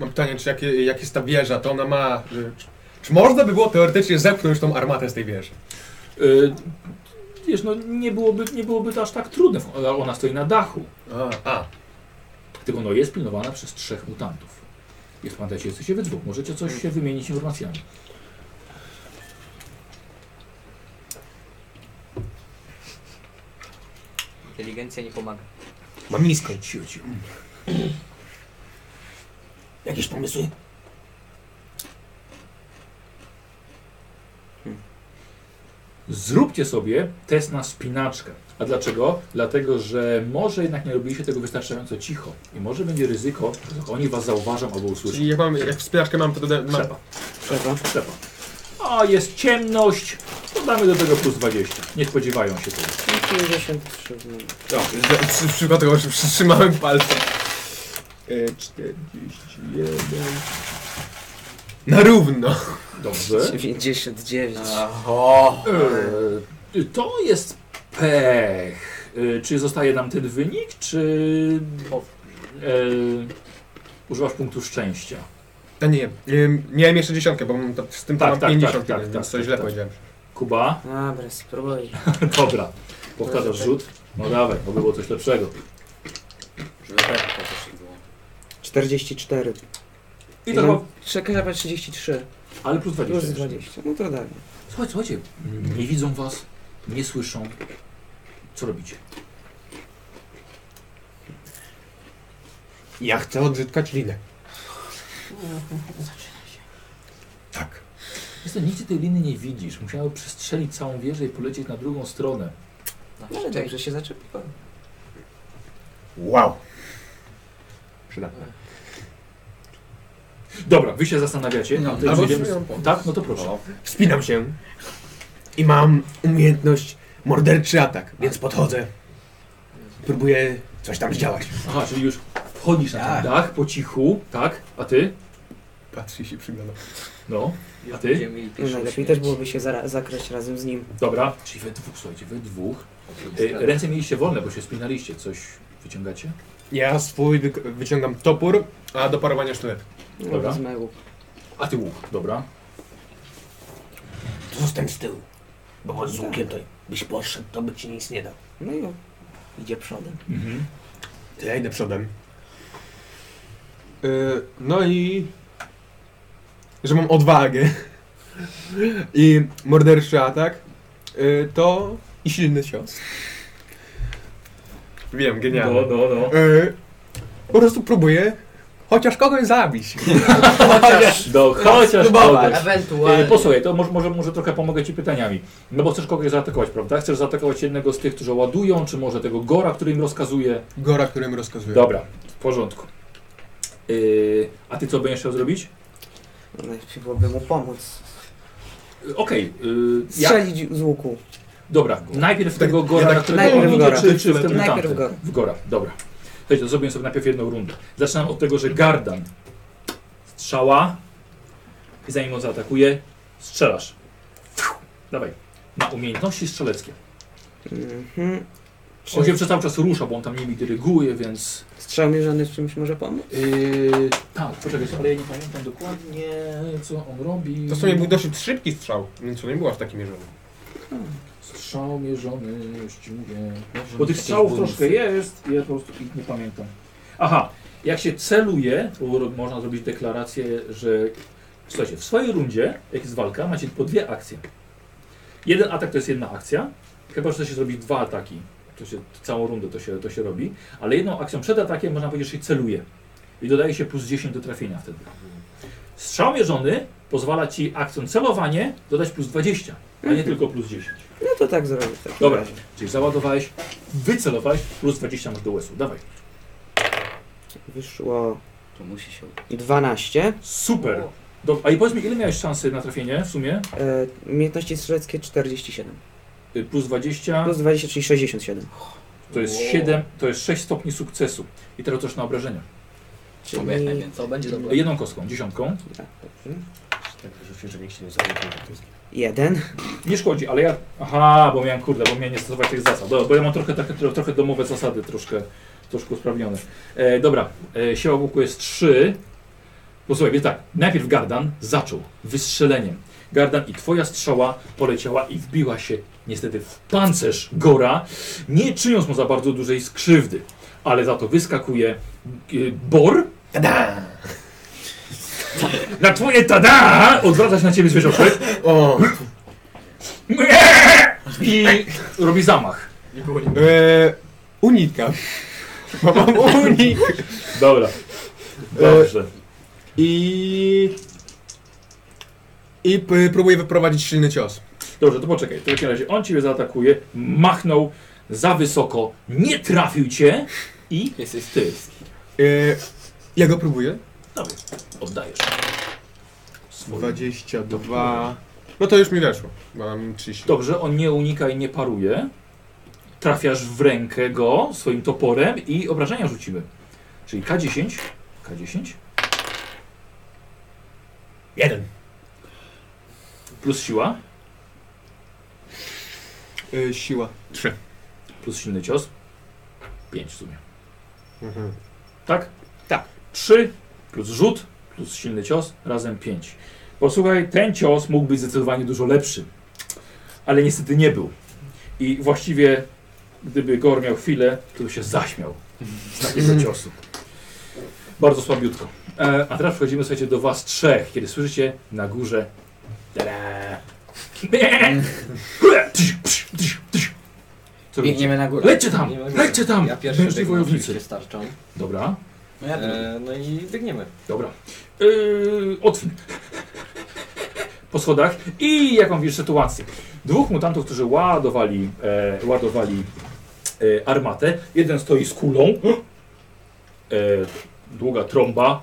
Mam pytanie, czy jak, jak jest ta wieża, to ona ma... y, Czy, czy można by było teoretycznie zepchnąć tą armatę z tej wieży? Y, Wiesz, no nie byłoby, nie byłoby to aż tak trudne, ale ona stoi na dachu. A, a. Tylko no jest pilnowana przez trzech mutantów. Jest pamiętajcie, jesteście we dwóch, możecie coś się wymienić informacjami. Inteligencja nie pomaga. Mam nisko. Ciu, ciu. Jakieś pomysły? Zróbcie sobie test na spinaczkę. A dlaczego? Dlatego, że może jednak nie robiliście tego wystarczająco cicho i może będzie ryzyko, że oni was zauważą albo usłyszą. Czyli jak mam, jak wspinaczkę mam, to doda- mam, Trzeba. Trzeba. A jest ciemność, dodamy do tego plus 20. Nie spodziewają się tego. 53. no. O, że- przy, przypadkowo przy- przytrzymałem palce. E, 41. Na równo. Dobrze. 99. Oho. Eee, To jest pech. Eee, Czy zostaje nam ten wynik, czy eee, używasz punktu szczęścia? A nie, e, miałem jeszcze dziesiątkę, bo mam to, z tym to Tak, mam tak, 50, tak, więc tak, coś tak, źle tak. powiedziałem. Kuba? Dobra, spróbuj. Dobra. Powtarzasz rzut? No dawaj, bo było coś lepszego. Żeby tak po prostu było. 44. I to chyba, Czekaj, chyba 33. ale plus 20. Plus jeszcze. 20. No to dalej. Słuchajcie, słuchajcie, nie widzą was, nie słyszą. Co robicie? Ja chcę odzyskać linę. Tak. Wiesz co, nigdzie tej liny nie widzisz. Musiały przestrzelić całą wieżę i polecieć na drugą stronę. No ale dobrze się zaczepiło. Wow. Przydatne. Dobra, wy się zastanawiacie. No, a ty albo idziemy- sobie ją po- Tak? No to proszę. Wspinam się i mam umiejętność morderczy atak, więc podchodzę. Próbuję coś tam zdziałać. Aha, czyli już wchodzisz na ten Tak. dach po cichu, tak? A ty? Patrzy i się przygląda. No, a ty? Będziemy mieli No, pierwszą najlepiej śmierć. też byłoby się zara- zakraść razem z nim. Dobra. Czyli we dwóch, słuchajcie, we dwóch. E, ręce mieliście wolne, bo się spinaliście. Coś wyciągacie? Ja swój wyk- wyciągam topór, a do parowania sztylet. No, Dobra. wezmę łuk. A ty łuk, dobra. To zostań z tyłu, bo z łukiem to byś podszedł, to by ci nic nie dał. No i on idzie przodem. Mhm. To ja idę przodem. Y, no i... Że mam odwagę. I morderczy atak. y, to... I silny cios. Wiem, No, genialnie. no, no. Y, po prostu próbuję chociaż kogoś zabić. Chociaż, do, No, chociaż spróbować. kogoś. E, Ewentualnie. Posłuchaj, to może, może, może trochę pomogę Ci pytaniami. No bo chcesz kogoś zaatakować, prawda? Chcesz zaatakować jednego z tych, którzy ładują, czy może tego Gora, który im rozkazuje? Gora, którym rozkazuję. Dobra, w porządku. E, a Ty co będziesz chciał zrobić? No, najlepiej byłoby mu pomóc. E, Okej, e, ja- Strzelić z łuku. Dobra, najpierw tego Tak, Gora, jednak- na którego Najpierw mówicie, Gora. czy, czy w tym Najpierw tamtym? go. W Gora, dobra. Słuchajcie, to zrobię sobie najpierw jedną rundę. Zaczynam od tego, że Gardan strzała i zanim on zaatakuje, strzelasz. Fiu. Dawaj, na umiejętności strzeleckie. Mhm. On się Czy przez cały czas rusza, bo on tam nimi dyryguje, więc... strzał mierzony z czymś może pomóc? Yy, tak, poczekaj, ale ja nie pamiętam dokładnie, co on robi. To w sumie był dosyć szybki strzał, więc to nie było aż taki mierzony. Strzał mierzony, już ci mówię. Bo tych strzałów troszkę jest, ja po prostu ich nie pamiętam. Aha, Jak się celuje, uro- można zrobić deklarację, że słuchajcie, w swojej rundzie, jak jest walka, macie po dwie akcje. Jeden atak to jest jedna akcja, chyba że chce się zrobić dwa ataki. To się, całą rundę to się, to się robi, ale jedną akcją przed atakiem można powiedzieć, że się celuje. I dodaje się plus 10 do trafienia wtedy. Strzał mierzony pozwala ci akcją celowanie dodać plus 20, a nie tylko plus 10. No to tak zrobię. w takim Dobra, razie. czyli załadowałeś, wycelowałeś, plus 20 masz do łesu. Dawaj. Wyszło To musi się 12. Super. Do, a i powiedz mi, ile miałeś szansy na trafienie w sumie? E, umiejętności strzeleckie 47. Y, Plus 20, Plus 20, czyli 67. to jest 7, to jest 6 stopni sukcesu. I teraz też na obrażenia. Czyli... Oby jak Mm. najwięcej. To będzie dobre. Jedną kostką, dziesiątką. Tak, dobrze. Tak, że że nikt się nie zajmie, to jest... Jeden. Nie szkodzi, ale ja... Aha, bo miałem, kurde, bo miałem nie stosować tych zasad. Dobra, bo ja mam trochę, takie- tro, trochę domowe zasady, troszkę, troszkę usprawnione. E, dobra, e, siła łuku jest 3. Posłuchaj, więc tak, najpierw Gardan zaczął wystrzeleniem. Gardan i twoja strzała poleciała i wbiła się niestety w pancerz Gora, nie czyniąc mu za bardzo dużej skrzywdy. Ale za to wyskakuje e, Bor. Tada! Na twoje tada! Odwraca się na ciebie zwierzątek. O! I robi zamach. Eee, unika. Bo Mam unik. Dobra. Dobrze. I... I p- próbuję wyprowadzić silny cios. Dobrze, to poczekaj. To w takim razie on ciebie zaatakuje, machnął za wysoko, nie trafił cię i jesteś ty. Eee, ja go próbuję. Oddajesz. Swój. 22. No to już mi weszło. bo Mam 30. Dobrze, on nie unika i nie paruje. Trafiasz w rękę go swoim toporem i obrażenia rzucimy. Czyli K10. K10 Jeden. plus siła, Eee, siła. plus silny cios. 5 w sumie. Mhm. Tak? Tak. 3 plus rzut plus silny cios razem 5. Posłuchaj, ten cios mógł być zdecydowanie dużo lepszy, ale niestety nie był. I właściwie, gdyby Gor miał chwilę, to by się zaśmiał z takiego ciosu. Bardzo słabiutko. E, a teraz przechodzimy, słuchajcie, do was trzech, kiedy słyszycie na górze Mm. Co robicie? Biegniemy na górę. Lećcie tam! Lećcie tam! Ja pierwszy Mężni biegnę, wojownicy! oczywiście starczą. Dobra. No ja drugi. E, no i biegniemy. Dobra. Yy, otwin. Po schodach. I jaką widzisz sytuację? Dwóch mutantów, którzy ładowali, e, ładowali e, armatę. Jeden stoi z kulą. E, długa trąba.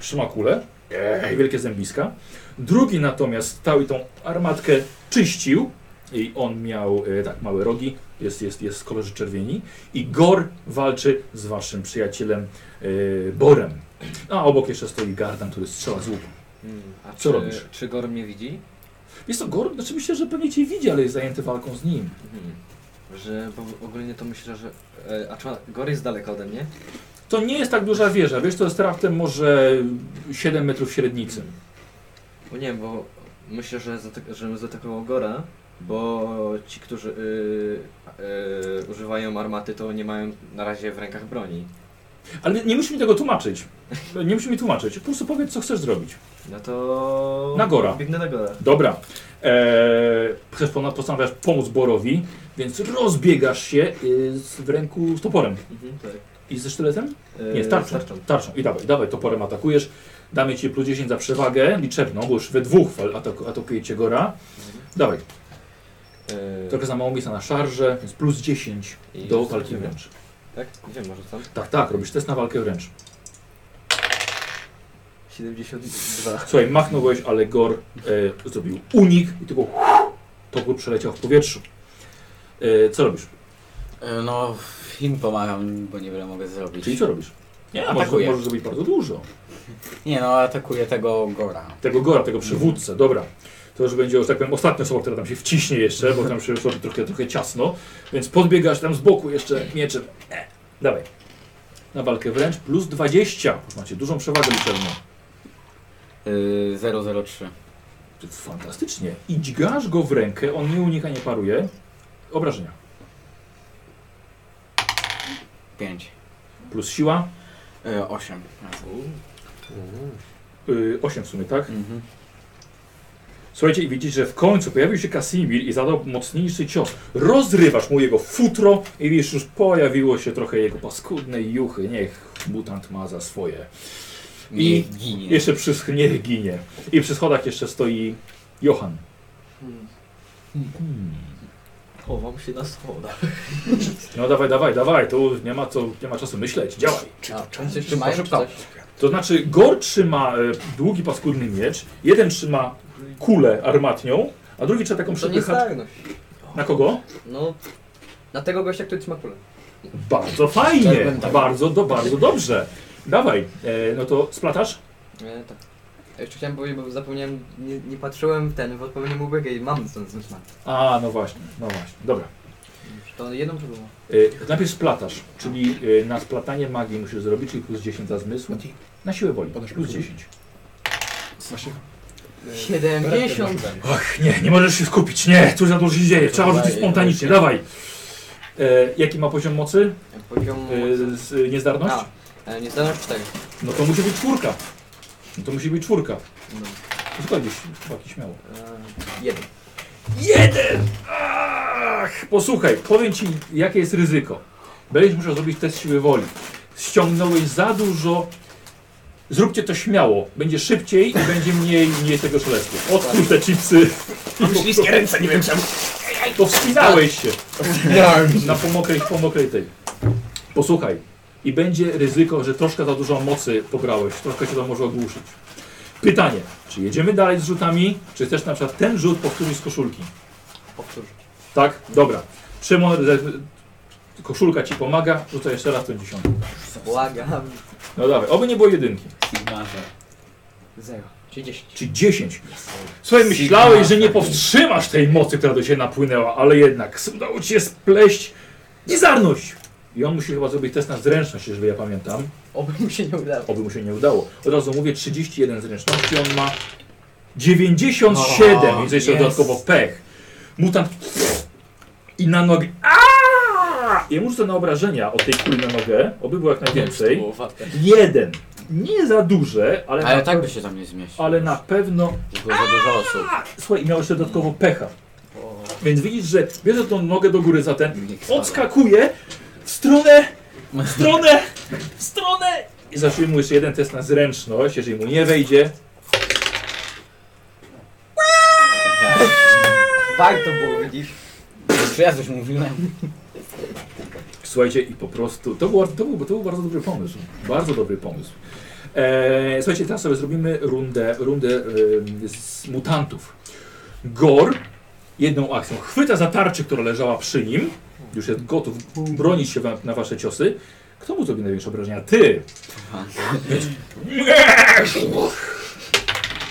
Trzyma kulę. E, wielkie zębiska. Drugi natomiast stał i tą armatkę czyścił. I on miał e, tak małe rogi. Jest, jest, jest z kolorze czerwieni. I Gor walczy z waszym przyjacielem e, Borem. A obok jeszcze stoi Gardan, który strzela z łuku. Hmm, A Co czy, robisz? Czy Gor mnie widzi? Jest to Gor? Znaczy myślę, że pewnie cię widzi, ale jest zajęty walką z nim. Mhm. Że bo ogólnie to myślę, że... E, a czy on- Gor jest daleko ode mnie? To nie jest tak duża wieża, wiesz, to jest raptem może 7 metrów średnicy. Bo nie, bo myślę, że zatek- żebym zaatakował Gora, bo ci, którzy y, y, używają armaty, to nie mają na razie w rękach broni. Ale nie musisz mi tego tłumaczyć. Nie musisz mi tłumaczyć. Po prostu powiedz, co chcesz zrobić. No to... Na Gora. Biegnę na Gora. Dobra. Eee, chcesz pona- postanawiasz pomóc Borowi, więc rozbiegasz się y, z, w ręku z toporem. Mhm, tak. I ze sztyletem? E, Nie, z tarczą. starczą. Tarczą. I dawaj, dawaj, toporem atakujesz. Damy ci plus 10 za przewagę liczebną, bo już we dwóch fal- ataku- atakujecie Gora. Dawaj. E, Trochę za mało miejsca na szarże, więc plus 10 I do rzucam walki siebie. wręcz. Tak? Gdzie może tam? Tak, tak, robisz test na walkę wręcz. 72. Słuchaj, machnąłeś, ale Gor e, zrobił unik i tylko topór przeleciał w powietrzu. E, co robisz? E, No, im pomagam, bo niewiele mogę zrobić. Czyli co robisz? Nie, możesz, Atakuję. możesz zrobić bardzo dużo. Nie no, atakuję tego Gora. Tego Gora, tego przywódcę, dobra. To już będzie, że tak powiem, ostatnia osoba, która tam się wciśnie jeszcze, bo tam się już robi trochę, trochę ciasno. Więc podbiegasz tam z boku jeszcze mieczem. E, dawaj. Na walkę wręcz plus 20. Już macie dużą przewagę liczebną. Y, 003. Fantastycznie. I dźgasz go w rękę, on nie unika, nie paruje. Obrażenia. 5. Plus siła. E, osiem razy. Yy, 8 w sumie, tak? Mhm. Słuchajcie, i widzicie, że w końcu pojawił się Kasimir i zadał mocniejszy cios. Rozrywasz mu jego futro i wiesz, już pojawiło się trochę jego paskudnej juchy. Niech mutant ma za swoje. I Niech ginie. jeszcze przy sch- niech ginie. I przy schodach jeszcze stoi Johan. hmm. Mhm. Chowam się na schodach. No dawaj, dawaj, dawaj, tu nie ma, co, nie ma czasu myśleć, działaj. Czy to czas? Coś trzymają, czy coś? To znaczy, Gor trzyma e, długi, paskudny miecz, jeden trzyma kulę armatnią, a drugi trzyma taką To nie tak. przepychaczkę. zdajność. Na kogo? No, na tego gościa, który trzyma kulę. Bardzo fajnie, bardzo, do, bardzo dobrze. Dawaj, e, no to splatasz? E, tak. Jeszcze chciałem powiedzieć, bo zapomniałem, nie, nie patrzyłem w ten, w odpowiednim ubieg i mam ten zmysł. A, no właśnie, no właśnie, dobra. To jedną czy drugą? E, najpierw splatasz, czyli e, na splatanie magii musisz zrobić, czyli plus 10 za zmysł. Na siłę woli, plus 10. Yy, 70! Och, nie, nie możesz się skupić, nie, tu za dużo się dzieje, trzeba rzucić spontanicznie, dawaj. E, jaki ma poziom mocy? Poziom... E, z, e, niezdarność? Yy, A, e, nie zdałem 4. No to musi być czwórka. No to musi być czwórka. Zgodzisz, chłopaki, śmiało. e, Jeden. Jeden! Ach, posłuchaj, powiem ci, jakie jest ryzyko. Będziesz musiał zrobić test siły woli. Ściągnąłeś za dużo. Zróbcie to śmiało. Będzie szybciej i będzie mniej, mniej tego szaleństwa. Odkrój te chipsy. Mam śliskie ręce, nie wiem czemu. To wspinałeś się Miałem na pomokrej, pomokrej tej. Posłuchaj. I będzie ryzyko, że troszkę za dużo mocy pograłeś. Troszkę się to może ogłuszyć. Pytanie. Czy jedziemy dalej z rzutami? Czy chcesz na przykład ten rzut powtórzyć z koszulki? Powtórz. Tak? Dobra. Szymon, ze- koszulka ci pomaga, rzucaj jeszcze raz tą dziesiątkę. Błagam. No dawaj, oby nie było jedynki. Sigmarze. Zero. Czy 10. Czy dziesięć. Słuchaj, myślałeś, że nie powstrzymasz tej mocy, która do ciebie napłynęła, ale jednak udało ci się spleść niezarność. I on musi chyba zrobić test na zręczność, jeżeli ja pamiętam. Oby mu się nie udało. Oby mu się nie udało. Od razu mówię, 31 zręczności, on ma 97, O, więc jeszcze jest. dodatkowo pech. Mutant i na nogę. Aaaa! Ja mu rzucę na obrażenia od tej kuli na nogę, oby było jak najwięcej. Jeden. Nie za duże, ale, Ale na, tak by się tam nie zmieścił. ale na pewno. Było za dużo osób. Słuchaj, i miał jeszcze dodatkowo pecha. Więc widzisz, że bierze tą nogę do góry za ten, Niech spada. odskakuje w stronę, w stronę, w stronę. I zaczyna mu jeszcze jeden test na zręczność. Jeżeli mu nie wejdzie, Warto było, widzisz? Czy ja coś mówiłem? Słuchajcie, i po prostu. To był, to był, to był bardzo dobry pomysł. Bardzo dobry pomysł. Eee, słuchajcie, teraz sobie zrobimy rundę, rundę em, z mutantów. Gor jedną akcją chwyta za tarczę, która leżała przy nim. Już jest gotów bronić się wam, na wasze ciosy. Kto mu zrobi największe obrażenia? Ty!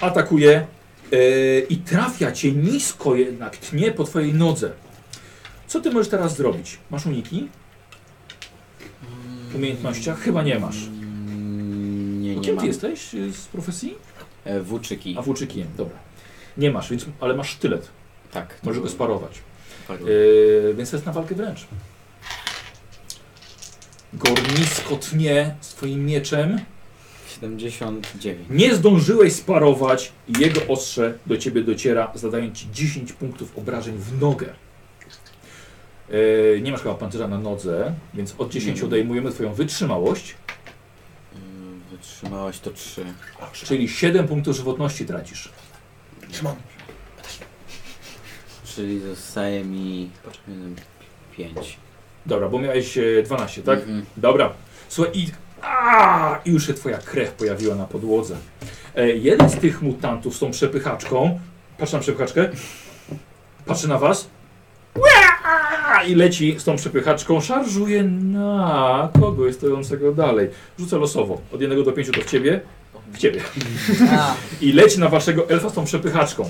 Atakuje eee, i trafia cię nisko jednak, tnie po twojej nodze. Co ty możesz teraz zrobić? Masz uniki? W umiejętnościach? Chyba nie masz. Mm, Nie, nie Kim ty mam. jesteś y, z profesji? E, Włóczyki. A włóczykiem, dobra. Nie masz, więc, ale masz sztylet. Tak. to Możesz go był- sparować. padł. Yy, więc to jest na walkę wręcz. Gornisko tnie swoim mieczem. 79. Nie zdążyłeś sparować i jego ostrze do ciebie dociera, zadając ci 10 punktów obrażeń w nogę. Yy, nie masz chyba pancerza na nodze, więc od 10 Nie. odejmujemy twoją wytrzymałość. Mm, Wytrzymałaś to 3. Czyli 7 punktów żywotności tracisz. Szymon, Czyli zostaje mi mm, 5. Dobra, bo miałeś e, 12, tak? Mhm. Dobra. Słuchaj, i a, i już się twoja krew pojawiła na podłodze. E, jeden z tych mutantów z tą przepychaczką, patrz na przepychaczkę, patrzy na was Ua! i leci z tą przepychaczką, szarżuje na kogoś stojącego dalej. Rzucę losowo, od 1 do 5 to w ciebie, w ciebie. A, I leci na waszego elfa z tą przepychaczką.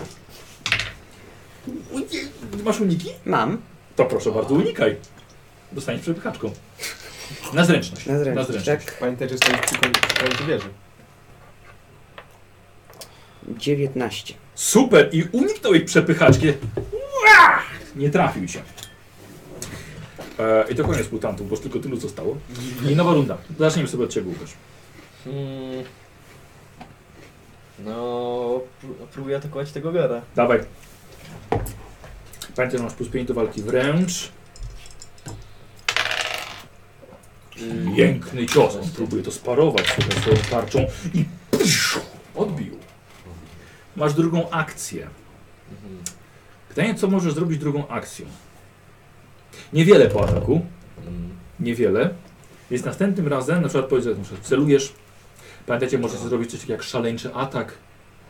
Masz uniki? Mam. To proszę bardzo, unikaj. Dostaniesz przepychaczką. Na zręczność. Na zręczność. Tak. Pamiętaj, że jesteś przy końcu wieży. 19. Super! I uniknął ich przepychaczki. Ua! Nie trafił się. E, I to koniec mutantów, bo już tylko tylu zostało. I nowa runda. Zacznijmy sobie od Ciebie, Łukasz. Hmm. No, pró- próbuję atakować tego gara. Dawaj. Pamiętaj, że masz plus 5 do walki wręcz. Piękny cios. On próbuje to sparować sobie swoją tarczą i psiu, odbił. Masz drugą akcję. Mhm. Pytanie, co możesz zrobić drugą akcją? Niewiele po ataku. Mhm. Mm. Niewiele. Więc następnym razem, na przykład powiedzmy, że celujesz. Pamiętajcie, możecie zrobić coś takiego jak szaleńczy atak.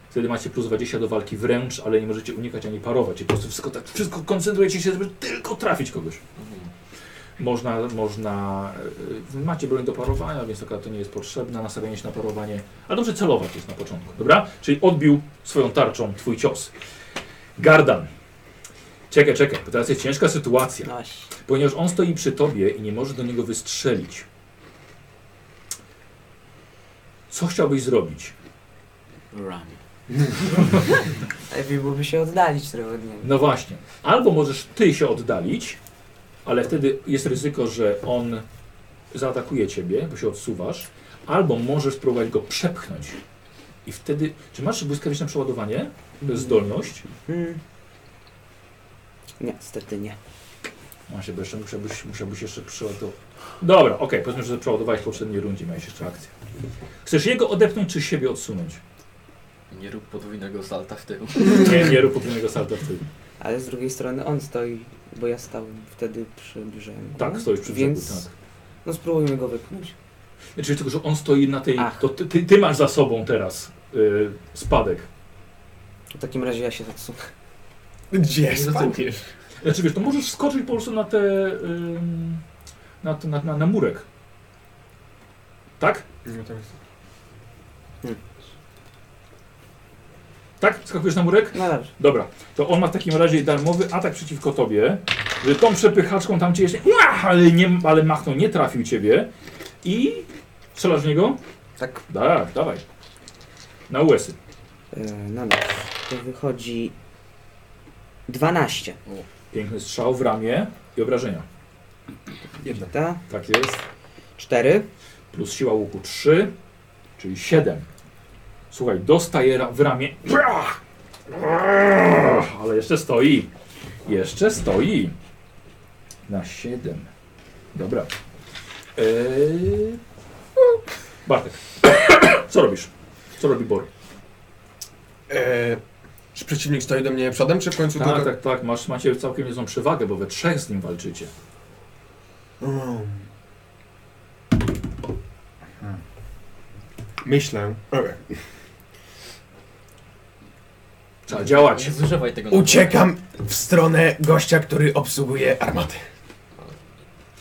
Wtedy macie plus 20 do walki wręcz, ale nie możecie unikać ani parować. I po prostu wszystko, tak, wszystko koncentrujecie się, żeby tylko trafić kogoś. Mhm. Można, można. y, Macie broń do parowania, więc taka to nie jest potrzebna. Nastawienie się na parowanie. A dobrze celować jest na początku, dobra? Czyli odbił swoją tarczą twój cios. Gardan. Czekaj, czekaj, bo teraz jest ciężka sytuacja. Aś. Ponieważ on stoi przy tobie i nie może do niego wystrzelić. Co chciałbyś zrobić? Run. Lepiej byłoby się oddalić trochę od niego. No właśnie. Albo możesz ty się oddalić, ale wtedy jest ryzyko, że on zaatakuje ciebie, bo się odsuwasz. Albo możesz spróbować go przepchnąć. I wtedy. Czy masz błyskawiczne przeładowanie? To jest zdolność. Mhm. Hmm. Nie, niestety nie. No Właśnie, bo jeszcze musiałbyś, musiałbyś jeszcze przeładować. Dobra, okej, powiedzmy, że przeładowałeś w poprzedniej rundzie, miałeś jeszcze akcję. Chcesz jego odepchnąć, czy siebie odsunąć? Nie rób podwójnego salta w tył. Nie, nie rób podwójnego salta w tył. Ale z drugiej strony on stoi, bo ja stałem wtedy przy brzegu. Tak, stoisz przy brzegu, No, Więc tak. no spróbujmy go wypchnąć. Czyli tylko, że on stoi na tej... Ach. To ty, ty, ty masz za sobą teraz y, spadek. tak. W takim razie ja się odsunę. Gdzie zacypiesz. Znaczy wiesz, to możesz skoczyć po prostu na te... ym, na, te- na, na, na murek. Tak? No to jest. Tak? Skakujesz na murek? No dobrze. Dobra. To on ma w takim razie darmowy atak przeciwko tobie, że tą przepychaczką tam cię jeszcze... Ua! Ale, nie, ale machnął, nie trafił ciebie. I... Strzelasz w niego? Tak. Tak, dawaj. Na łesy. E, no dobrze. To wychodzi No. 12. Piękny strzał w ramię i obrażenia. Jedna. Ta? Tak jest. 4. plus siła łuku 3, czyli 7. Słuchaj, dostaje ra- w ramię. Brach! Brach! Ale jeszcze stoi. Jeszcze stoi. Na 7. Dobra. Eee... Bartek, co robisz? Co robi Bor? Eee, czy przeciwnik stoi do mnie przodem, czy w końcu Tak, tylko... tak, tak. Masz, macie całkiem niezłą przewagę, bo we trzech z nim walczycie. Mm. Myślę. Okej. Trzeba działać. Nie zużywaj tego na Uciekam w stronę gościa, który obsługuje armatę.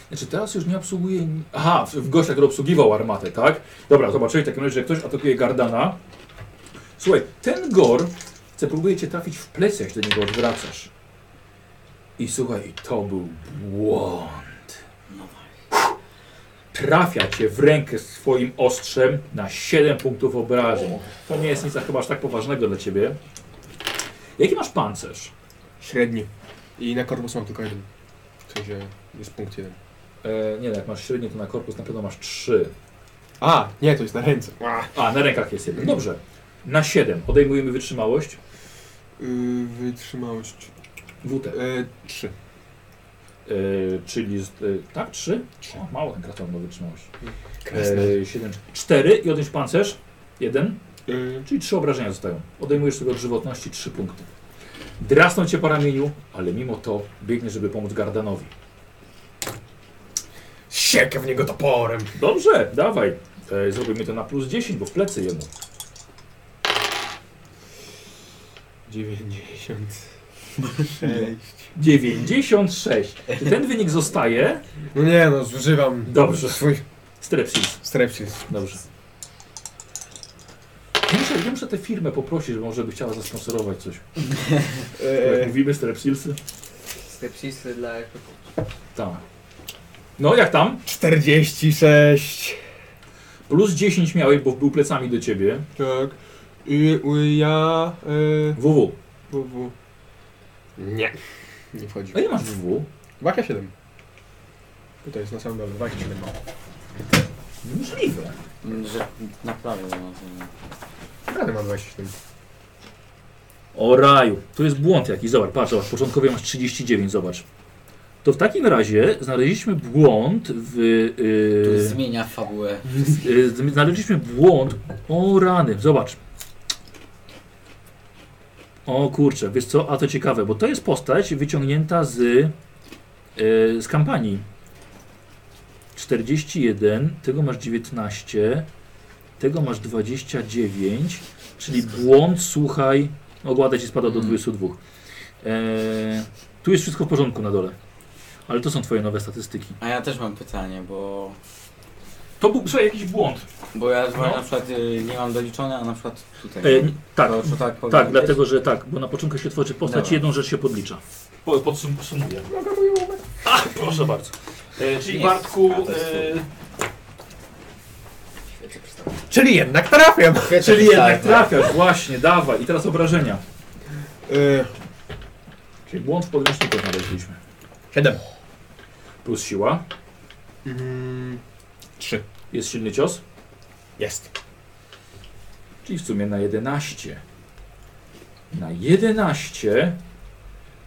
Znaczy teraz już nie obsługuje... Aha, w- w gościa, który obsługiwał armatę, tak? Dobra, zobaczyli w takim razie, że ktoś atakuje Gardana. Słuchaj, ten Gor chce próbuje cię trafić w plecy, jak się do niego odwracasz. I słuchaj, to był błąd. Trafia cię w rękę swoim ostrzem na 7 punktów obrażeń. To nie jest nic chyba aż tak poważnego dla ciebie. Jaki masz pancerz? Średni. I na korpus mam tylko jeden. W sensie jest punkt jeden. E, nie, jak masz średnie, to na korpus na pewno masz 3. A, nie, to jest na ręce. A, na rękach jest jeden. Dobrze. Na 7 odejmujemy wytrzymałość. Yy, wytrzymałość. WT. Yy, trzy. Yy, czyli. z- Yy, tak, 3? O, mało ten kraton ma wytrzymałość. Kresne. E, Yy, 7, 4 i odjąć pancerz. 1, Yy, czyli 3 obrażenia zostają. Odejmujesz sobie od żywotności 3 punkty. Drasną cię po ramieniu, ale mimo to biegnie, żeby pomóc Gardanowi. Siekę w niego toporem. Dobrze, dawaj. Yy, zrobimy to na plus 10, bo w plecy jemu. 90. 96. Czy Ten wynik zostaje. No nie no, zużywam Dobrze. swój Strepsis. strepsis. Dobrze. Ja muszę, ja muszę tę firmę poprosić, bo może by chciała zasponsorować coś. E. Jak mówimy strepsilsy? Stepsisy dla Tak. No jak tam? 46. Plus 10 miałeś, bo był plecami do ciebie. Tak. I, i ja... Yy, WW. w, w. Nie. Nie wchodzi. A ile masz WW? Wakia 7. Tutaj jest na samym dole, wakia 7 ma. Możliwe. Mm, Że naprawię to. no. Ale mam właśnie w tym. O raju, tu jest błąd jakiś, zobacz, patrz, zobacz, początkowy masz 39, zobacz. To w takim razie znaleźliśmy błąd w... To Yy, zmienia fabułę. Y, Znaleźliśmy błąd. O rany, zobacz. O kurczę, wiesz co, a to ciekawe, bo to jest postać wyciągnięta z, y, z kampanii. 41, tego masz 19, tego masz 29, czyli błąd, słuchaj, ogłada ci spada do Mm. 22. E, tu jest wszystko w porządku na dole, ale to są twoje nowe statystyki. A ja też mam pytanie, bo To był słuchaj, jakiś błąd. Bo ja no. No. na przykład y, nie mam doliczone, a na przykład tutaj. E, tak, to, to tak, powinno Tak, być? dlatego, że tak, bo na początku się tworzy postać Dobra. jedną rzecz się podlicza. Po, podsumuję. Ach, proszę bardzo. E, czyli Nie, Bartku, a to jest e, Czyli jednak trafiam! czyli tak, Tak, jednak trafiasz, właśnie, dawaj. I teraz obrażenia. Yy, Czyli błąd w podręczniku znaleźliśmy. 7. Plus siła, Mm, 3. jest silny cios, Jest. czyli w sumie na 11. Na 11.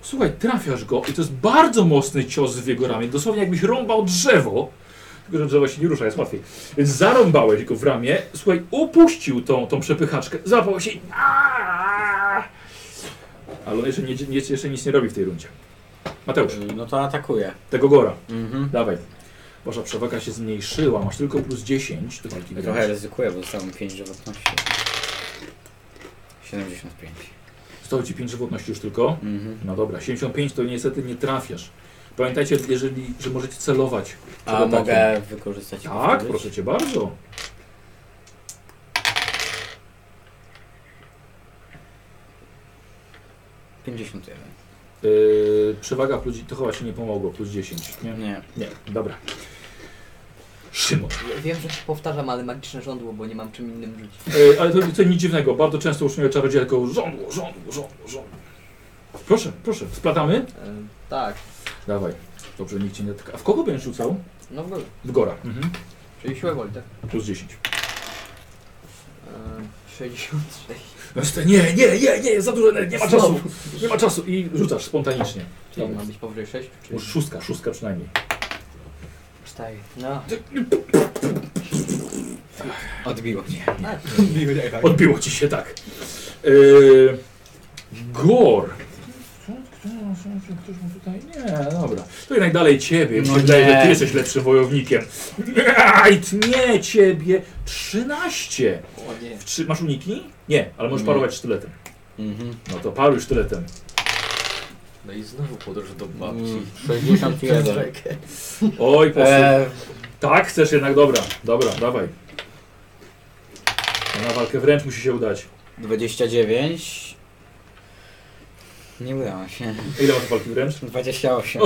Słuchaj, trafiasz go i to jest bardzo mocny cios w jego ramię. Dosłownie jakbyś rąbał drzewo. Tylko, że drzewo się nie rusza, jest łatwiej. Więc zarąbałeś go w ramię. Słuchaj, upuścił tą, tą przepychaczkę. Zapał się i... Aaaa! Ale on jeszcze, nie, nie, jeszcze nic nie robi w tej rundzie. Mateusz, Y, No to atakuje. tego gora. Mhm. Dawaj. Wasza przewaga się zmniejszyła. Masz tylko plus 10 do walki wręcz. Y, Trochę ryzykuję, bo dostałem 5 żywotności. 75. Zostało ci 5 żywotności już tylko. Mhm. No dobra, 75 to niestety nie trafiasz. Pamiętajcie, jeżeli, że możecie celować. A atakiem. mogę wykorzystać Tak, powtórzyć? proszę cię bardzo. Yy, przewaga plus, to chyba się nie pomogło, plus 10. Nie, 51. Nie. nie. dobra. Szymon. Ja Wiem, że się powtarzam, ale magiczne żądło, bo nie mam czym innym rzucić. Yy, ale to, to nic dziwnego, bardzo często uczniowie czarodzieja tylko żądło, żądło, żądło, żądło. Proszę, proszę, splatamy? E, tak, Dawaj. Dobrze, nikt cię nie dotyka. A w kogo będziesz rzucał? no w ogóle. W Gora. Mhm. Czyli siłę woli, tak? Plus 10. E, 66. No Nie, nie, nie, nie, za dużo energii, nie ma czasu. Nie ma czasu i rzucasz spontanicznie. Czyli ma być powyżej 6? Czyli Może szóstka, szóstka przynajmniej. 4. No. Odbiło cię. Odbiło ci się tak. Yy, gor. Ktoś mu tutaj. Nie, dobra. To jednak dalej ciebie. Mi się No wydaje, że ty nie. jesteś lepszym wojownikiem. Aj, Nie ciebie. 13. O nie. W Trzy, masz uniki? Nie, ale możesz Nie. parować sztyletem. Mhm. No to paruj sztyletem. No i znowu podróż do Mm, 61. Oj, poszło. E, Tak, chcesz jednak, dobra, dobra, dawaj. No Na walkę wręcz musi się udać. 29. Nie udało się. Ile masz walki wręcz? 28.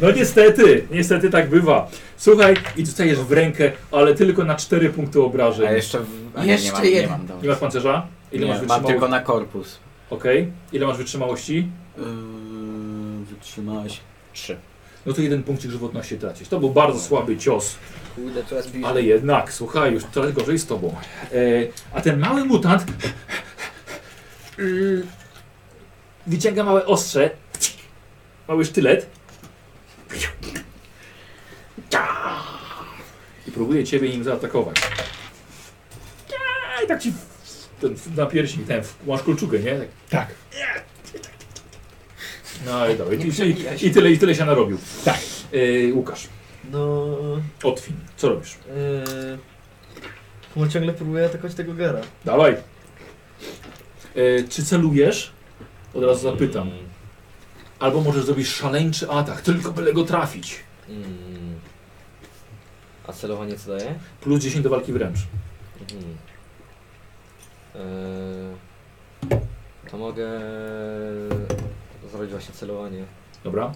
No niestety, niestety tak bywa. Słuchaj, i dostajesz w rękę, ale tylko na 4 punkty obrażeń. A jeszcze. W... A nie, Jeszcze nie mam, jeden. Nie mam, Nie dobra. masz pancerza? Ile Nie, masz mam wytrzymałości? tylko na korpus. Okej. Ile masz wytrzymałości? Yy, wytrzymałeś 3. No to jeden punkcik żywotności tracisz. To był bardzo słaby cios, Kurde, coraz bliżej. ale jednak, słuchaj, już coraz gorzej z tobą. E, a ten mały mutant y, wyciąga małe ostrze, mały sztylet i próbuje ciebie nim zaatakować. I tak ci w- ten, na piersi, ten, w- masz kolczugę, nie? Tak. Tak. No i dobra, i, i, i tyle, i tyle się narobił. Tak. E, Łukasz, No... Otwin, co robisz? Yy, no ciągle próbuję atakować tego gara. Dawaj. E, czy celujesz? Od razu Mm. zapytam. Albo możesz zrobić szaleńczy atak, tylko byle go trafić. Mm. A celowanie co daje? Plus 10 do walki wręcz. Mhm. Eee, to mogę zrobić właśnie celowanie. Dobra?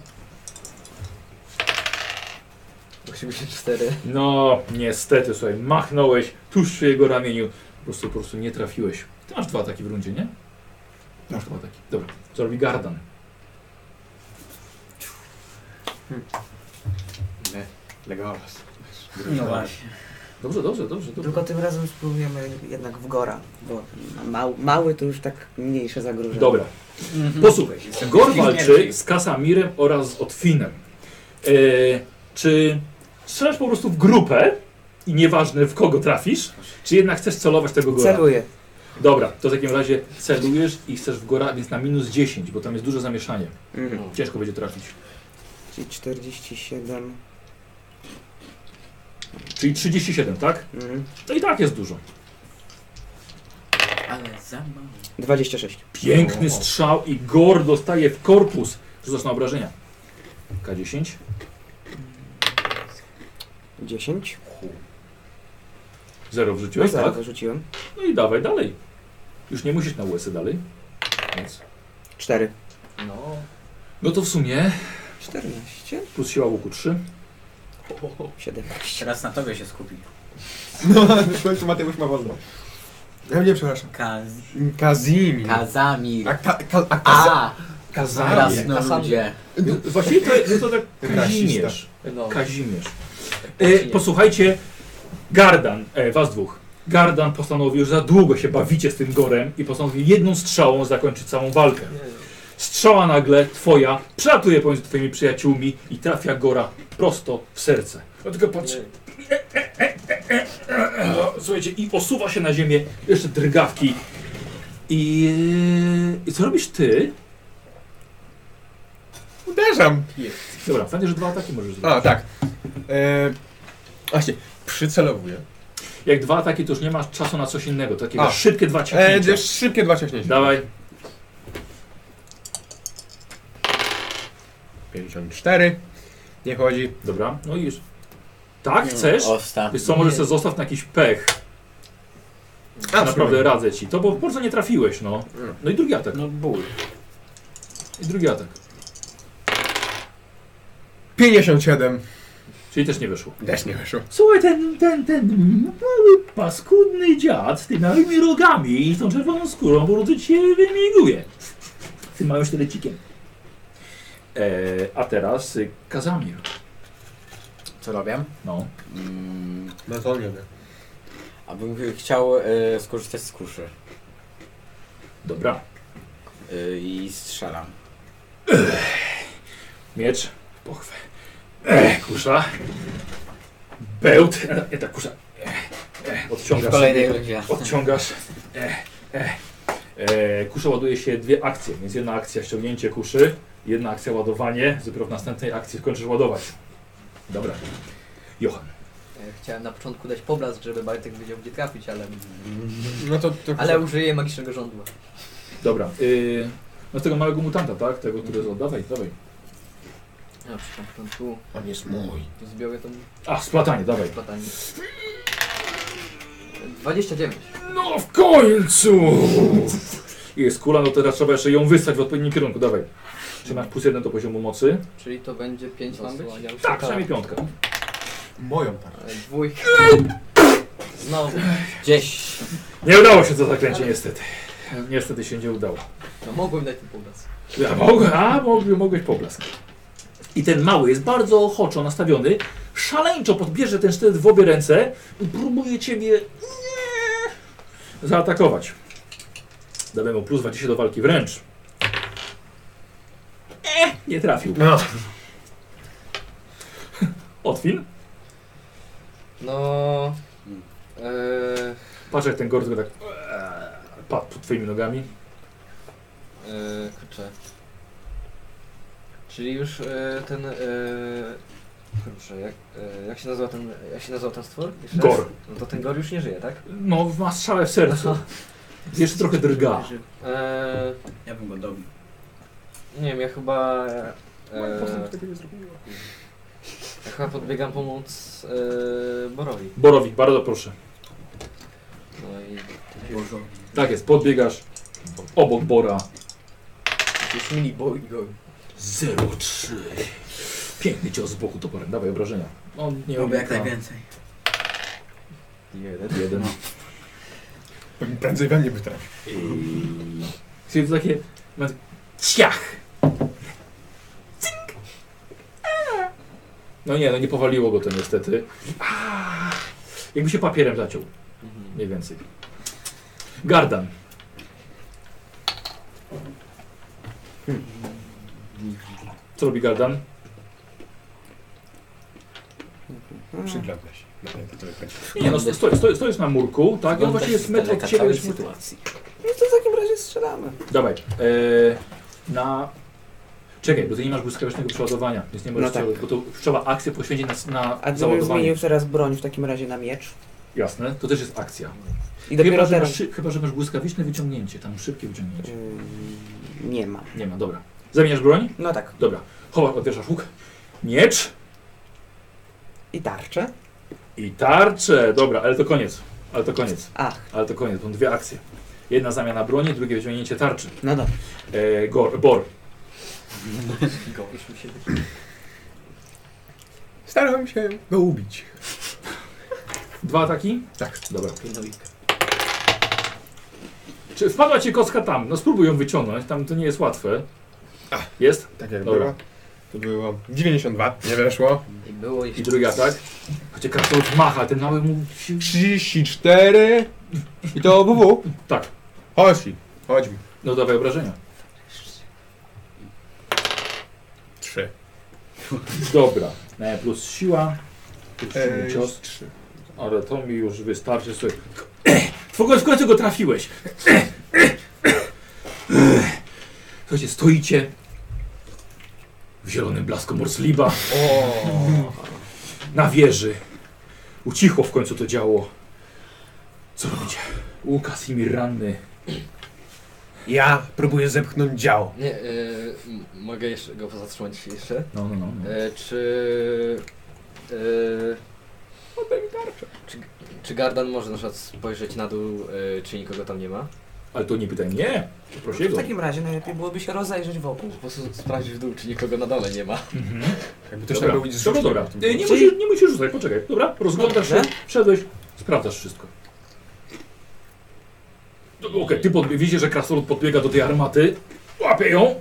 84. No, niestety, słuchaj, machnąłeś tuż przy jego ramieniu. Po prostu, po prostu nie trafiłeś. Ty masz dwa ataki w rundzie, nie? Masz dwa ataki. Dobra, co robi Gardan? No właśnie. Dobrze, dobrze, dobrze. dobrze. Tylko tym razem spróbujemy jednak w Gora, bo mał, mały to już tak mniejsze zagrożenie. Dobra. Mhm. Posłuchaj, Jestem Gor śmierdzi. walczy z Kasamirem oraz z Otwinem. E, czy strzelasz po prostu w grupę i nieważne w kogo trafisz, czy jednak chcesz celować tego Gora? Celuję. Dobra, to w takim razie celujesz i chcesz w Gora, więc na minus 10, bo tam jest duże zamieszanie. Mhm. No, Ciężko będzie trafić. Czyli 47. Czyli 37, tak? Mhm. To i tak jest dużo. Ale za mało. 26. Piękny O. strzał i Gor dostaje w korpus. Rzucasz na obrażenia. K10. 10. Zero No wrzuciłeś, Zero tak? Zarzuciłem. No i dawaj dalej. Już nie musisz na USy dalej. Więc... 4. No. No to w sumie 14. plus siła łuku 3. 17. Teraz na tobie się skupi. No, w końcu Mateusz ma wolno. Ja nie, przepraszam. Kaz... Kazimir. Kazamir. A, ka, ka, a, kasa- A! Kazamir. Krasnoludzie. Właściwie No, to jest to tak Rasista. Kazimierz. No. Kazimierz. E, posłuchajcie, Gardan, e, was dwóch. Gardan postanowił, że za długo się bawicie z tym gorem i postanowił jedną strzałą zakończyć całą walkę. Strzała nagle twoja przelatuje pomiędzy twoimi przyjaciółmi i trafia gora prosto w serce. On tylko patrzy. Słuchajcie, i osuwa się na ziemię, jeszcze drgawki. I, i co robisz ty? Uderzam. Dobra, fajnie, że dwa ataki możesz zrobić. A, tak. E, właśnie, przycelowuję. Jak dwa ataki, to już nie masz czasu na coś innego. To Takie A. szybkie dwa E, ciągnięcia. d- szybkie dwa ciągnięcia. Dawaj. 54. Nie chodzi. Dobra, no i już. Tak, chcesz? Ostatni. Wiesz co, może sobie zostaw na jakiś pech. A, Naprawdę radzę ci. To bo bardzo nie trafiłeś, no. Mm. No i drugi atak. No ból. I drugi atak. 57. Czyli też nie wyszło. Też nie wyszło. Słuchaj, ten, ten, ten mały paskudny dziad z tymi małymi rogami i z tą czerwoną skórą po prostu cię wymiguje. Z tym małym sztylecikiem. Eee, a teraz y, Kazamir. Co robię? No. Mm, No to nie wiem. abym ch- chciał e, skorzystać z kuszy Dobra. e, i strzelam. Miecz. Pochwę. Eee, kusza. Bełt. Eee, ta kusza. Eee, eee, odciągasz. Kolejnej rundzie. Odciągasz. E, e, e, kusze ładuje się dwie akcje, więc jedna akcja ściągnięcie kuszy, jedna akcja ładowanie, dopiero w następnej akcji skończysz ładować. Dobra. Johan. E, Chciałem na początku dać poblask, żeby Bartek wiedział gdzie trafić, ale, No to, to ale użyję magicznego żądła. Dobra. Y, no z tego małego mutanta, tak? Tego, który jest. Dawaj, dawaj. Ja przy na początku On jest mój. zbiorę tą A, splatanie, dawaj. badanie. 29. No w końcu! Jest kula, no teraz trzeba jeszcze ją wystać w odpowiednim kierunku, dawaj. Czy masz plus jeden do poziomu mocy? Czyli to będzie 5 mam być? Tak, przynajmniej piątka. Moją partię. E, Dwójka. Znowu. Gdzieś. Nie udało się to zaklęcie, niestety. Niestety się nie udało. No mogłem dać ten poblask. Ja mogę, a mog, mogłeś poblask. I ten mały jest bardzo ochoczo nastawiony, szaleńczo podbierze ten sztylet w obie ręce i próbuje ciebie nie, zaatakować. Damy mu plus 20 do walki wręcz. E, nie trafił. No. Otwin? No... Eee, Patrz jak ten gordy tak e, padł pod twoimi nogami. Eee, kurczę. Czyli już e, ten. E, kurczę, jak, e, jak się nazywa ten. Jak się nazywał ten stwór? Jeszcze Gor. raz? No to ten gor już nie żyje, tak? No, ma strzałę w sercu. Jeszcze trochę drga. Eee, Ja bym go dobił. nie wiem, ja chyba. E, Eee, ja chyba podbiegam pomóc e, Borowi. Borowi, bardzo proszę. No i Boże. Tak jest, podbiegasz obok Bora. jakiś mini boj gor. 0,3. Piękny cios z boku toporem, dawaj obrażenia. On nie Robię jak unika. najwięcej. Jeden, jeden. Prędzej we mnie by trafił. I... to takie... ma- Ciach! Cink! A! No nie, no nie powaliło go to niestety. A! Jakby się papierem zaciął, Mhm. mniej więcej. Gardan. Co robi Gardan? Przygląda się. No. Naprawdę, to jak- Nie, no stoi, stoi, stoi na murku, tak? I on właśnie jest metr od ciebie. całej jest metr- sytuacji. No to w takim razie strzelamy. Dawaj. E, na. Czekaj, bo ty nie masz błyskawicznego przeładowania, więc nie możesz No tak. strzelać, bo to trzeba akcję poświęcić na, A na gdybym załadowanie. zmienił teraz broń w takim razie na miecz? Jasne, to też jest akcja. I Chyba dopiero że, masz, teraz... szy- chyba, że masz błyskawiczne wyciągnięcie, tam szybkie wyciągnięcie. Ym, nie ma. Nie ma, dobra. Zamieniasz broń? No tak. Dobra. Chowasz, odwieszasz łuk. Miecz I tarczę? i tarczę. Dobra, ale to koniec. Ale to koniec. Ach, Ale to koniec. Są dwie akcje. Jedna zamiana broni, drugie wyciągnięcie tarczy. no dobra. E, gor, bor. Starałem się go ubić. Dwa ataki? Tak. Dobra. Czy wpadła ci kocka tam? No spróbuj ją wyciągnąć, tam to nie jest łatwe. Jest? Tak jak Dobra. było. To było 92, nie weszło. I było I tak? jeszcze... drugi atak. Chociaż kartą macha, ten mały mu... 34 i to WW. Tak. Chodź, chodźmy. No dawaj obrażenia. 3. Dobra. E, plus siła. Plus silny Eee, cios. Ale to mi już wystarczy sobie. W ogóle w końcu go trafiłeś. Słuchajcie, stoicie w zielonym blasku Morsliba. Na wieży. Ucichło w końcu to działo. Co robicie? Łukas i Miranny. Ja próbuję zepchnąć dział. Nie, y, m- mogę jeszcze go zatrzymać jeszcze? No, no, no. no. E, czy... Y, czy, czy Gardan może na przykład spojrzeć na dół, y, czy nikogo tam nie ma? Ale to nie pytaj mnie. Proszę W jego. takim razie najlepiej byłoby się rozejrzeć wokół. Po prostu sprawdzić w dół, czy nikogo na dole nie ma. Mhm. Jakby ktoś Dobra, tam robić dobra, dobra. E, Nie musisz, nie musisz rzucać, poczekaj. Dobra, rozglądasz się, Dobrze. wszedłeś, sprawdzasz wszystko. No, Okej, ty podbie- widzisz, że krasnolud podbiega do tej armaty, łapie ją.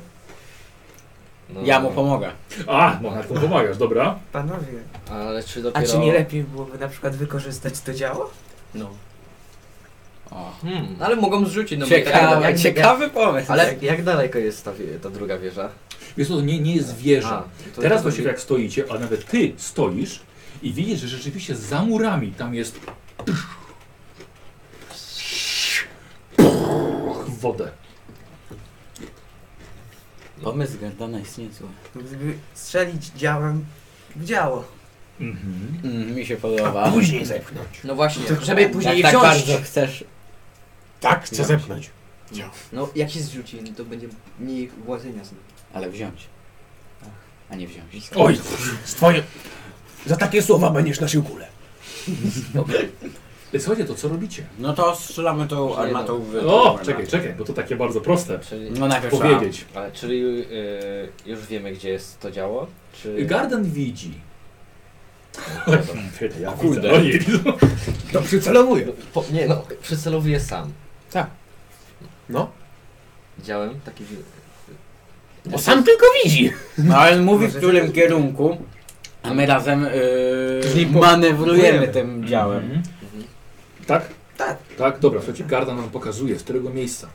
No, Ja mu pomogę. A, no na to pomagasz, dobra. Panowie, Ale czy a dopiero... czy nie lepiej byłoby na przykład wykorzystać to działo? No. O. Hmm. Ale mogą zrzucić, no bo i tak Ciekawy, dalej. ciekawy pomysł. Ale jak, jak daleko jest ta, wie- ta druga wieża? Więc to nie, nie jest wieża. A, to- Teraz to- właściwie jak stoicie, a nawet ty stoisz i widzisz, że rzeczywiście za murami tam jest... w Wodę. Pomysł Gardana jest niezły. Gdyby strzelić działem w działo. Mhm. Mm, mi się podoba. Później zepchnąć. No właśnie, Żeby później jak tak wziąć. bardzo chcesz. Tak, chcę zepchnąć. no jak się zrzuci, to będzie mniej łazenia z Ale wziąć. A nie wziąć. Oj, Z twoje... Za takie słowa będziesz na siłkule. E, słuchajcie, to co robicie? No to strzelamy tą armatą w... O, czekaj, czekaj, bo to takie bardzo proste Czyli, No najpierw trzeba- powiedzieć. ale, czyli y, już wiemy, gdzie jest to działo? Czy... Y, Garden widzi. Ja Kurde. widzę, oni widzą. To przycelowuję. Po, nie no, przycelowuje sam. Tak. No. Widziałem taki... wi- Bo sam tylko widzi. No ale mówi w którym kierunku, a my razem Czyli yy, po- manewrujemy próbujemy. tym działem. Mhm. Tak? Tak. Tak, dobra, słuchajcie, Garden nam pokazuje, z którego miejsca.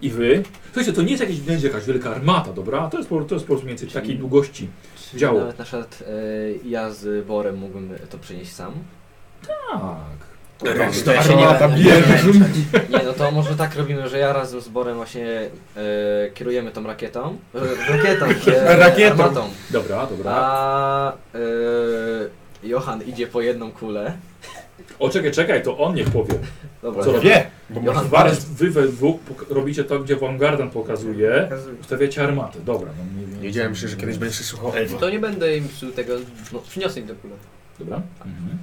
I wy? Słuchajcie, to nie jest jakieś, będzie jakaś wielka armata, dobra? To jest, po- to jest po prostu mniej więcej Czyli- takiej długości. Czy Działo. nawet na przykład y, ja z Borem mógłbym to przynieść sam? tak, Tak. Reszta armata bierze. Nie, no to może tak robimy, że ja razem z Borem właśnie e, kierujemy tą rakietą. E, rakietą, e, Rakietą. Armatą. Dobra, dobra. A e, Johan idzie po jedną kulę. O, czekaj, czekaj, to on niech powie. Dobra, Co robi? Wie, bo Johan, może Zaraz wy we dwóch pok- robicie to, gdzie wam Garden pokazuje. Pokazuję. Ustawiacie armatę, dobra. No, mniej więcej. Wiedziałem się, że kiedyś będziesz słuchał Elwa. To nie będę im psuł tego, no przyniosę im do kulę. Dobra. Mhm.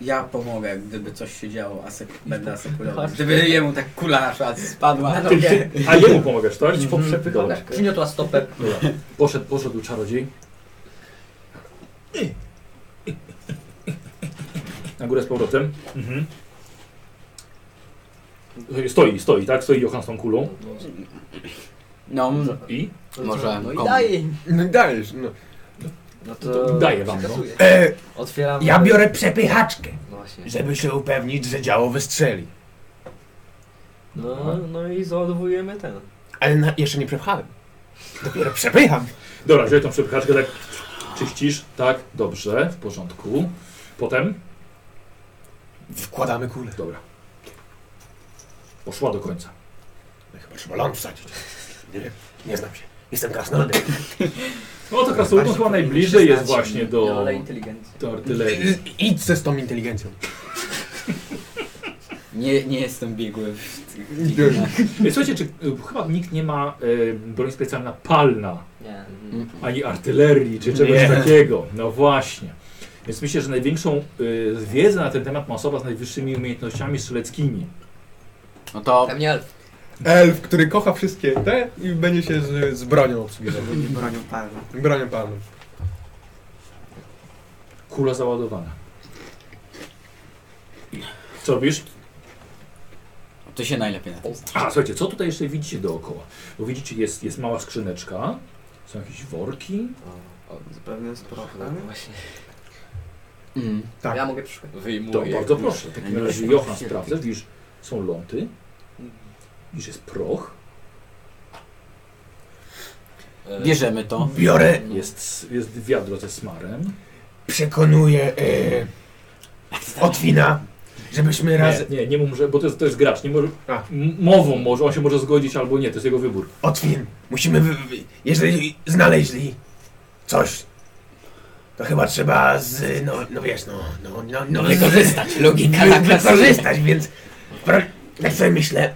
Ja pomogę, gdyby coś się działo, asek- będę asekulował. Gdyby jemu tak kula nasza spadła. Ty, ty, a jemu pomagasz, tak? Idź po przepychonach. Przyniosła stopę. Dobra. Poszedł, poszedł czarodziej. Na górę z powrotem. Mhm. Stoi, stoi, tak? Stoi Johan z tą kulą. No, m- I? może No i komu- daję im. No i dajesz, no. No to... Daję wam, no. Kasuję. E, Otwieram... ja biorę przepychaczkę, No Właśnie. żeby się upewnić, że działo wystrzeli. No, no i załadowujemy ten. Ale na, jeszcze nie przepchałem. Dopiero przepycham. Dobra, wziąłeś tą przepychaczkę, tak czyścisz. Tak, dobrze, w porządku. Potem, Wkładamy kulę. dobra. Poszła do końca. No Chyba trzeba ląd wsadzić. Nie wiem, nie znam się. Jestem krasnoludem. No to krasnolud chyba najbliżej jest właśnie Ja, do, ale inteligencja. do artylerii. Idź ze z tą inteligencją. Nie, nie jestem biegły w tych filmach. E, Słuchajcie, czy e, chyba nikt nie ma e, broni specjalna palna, Nie. Mm. mm. ani artylerii, czy czegoś Nie. takiego. No właśnie. Więc myślę, że największą e, wiedzę na ten temat ma osoba z najwyższymi umiejętnościami strzeleckimi. No to Pewnie elf. Elf, który kocha wszystkie te i będzie się z, z bronią obsługiwał. Lubi bronią palną. Bronią palną. Kula załadowana. Co robisz? ty się najlepiej na tym znasz. A, słuchajcie, co tutaj jeszcze widzicie dookoła? Bo widzicie, jest, jest mała skrzyneczka, są jakieś worki. Zapewne z prochem. Właśnie. Mm. Tak. Ja mogę przyszukać. To Wyjmuję. bardzo proszę. W takim razie Johan sprawdza, widzisz, są ląty, widzisz, jest proch, E, Mm. Bierzemy to. Biorę, No. jest, jest wiadro ze smarem. przekonuję e, Otwina, żebyśmy razem... Nie, nie, nie może, bo to jest, to jest gracz, nie może, A. m- mową może, on się może zgodzić albo nie, to jest jego wybór. Otwin, musimy... Wy, wy, jeżeli znaleźli coś, to chyba trzeba z... No, no wiesz, no... No, no, no wykorzystać. Logika Wy- na klasy. Wykorzystać, więc... pro- Tak sobie myślę,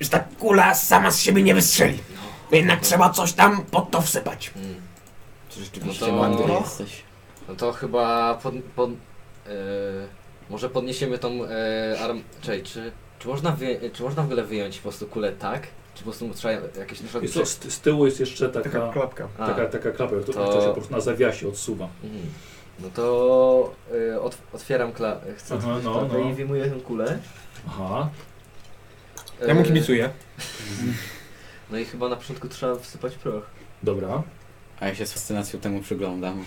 że ta kula sama z siebie nie wystrzeli. Jednak trzeba coś tam pod to wsypać. Mm. Czy rzeczywiście No to- mądry jesteś? No to chyba pod... pod e, może podniesiemy tą e, arm... Czekaj, czy, czy, można wy, czy można w ogóle wyjąć po prostu kulę tak? Czy po prostu trzeba jakieś na przykład... Jest, to, z, z tyłu jest jeszcze Taka taka, klapka. A, taka, taka klapa, która To- która się po prostu na zawiasie odsuwa. mhm. No to e, otw otwieram kla... Chcę Aha, no, klapę no. i wyjmuję tę kulę. Aha, Ja mu E, kibicuję. No i chyba na początku trzeba wsypać proch. dobra. A ja się z fascynacją temu przyglądam.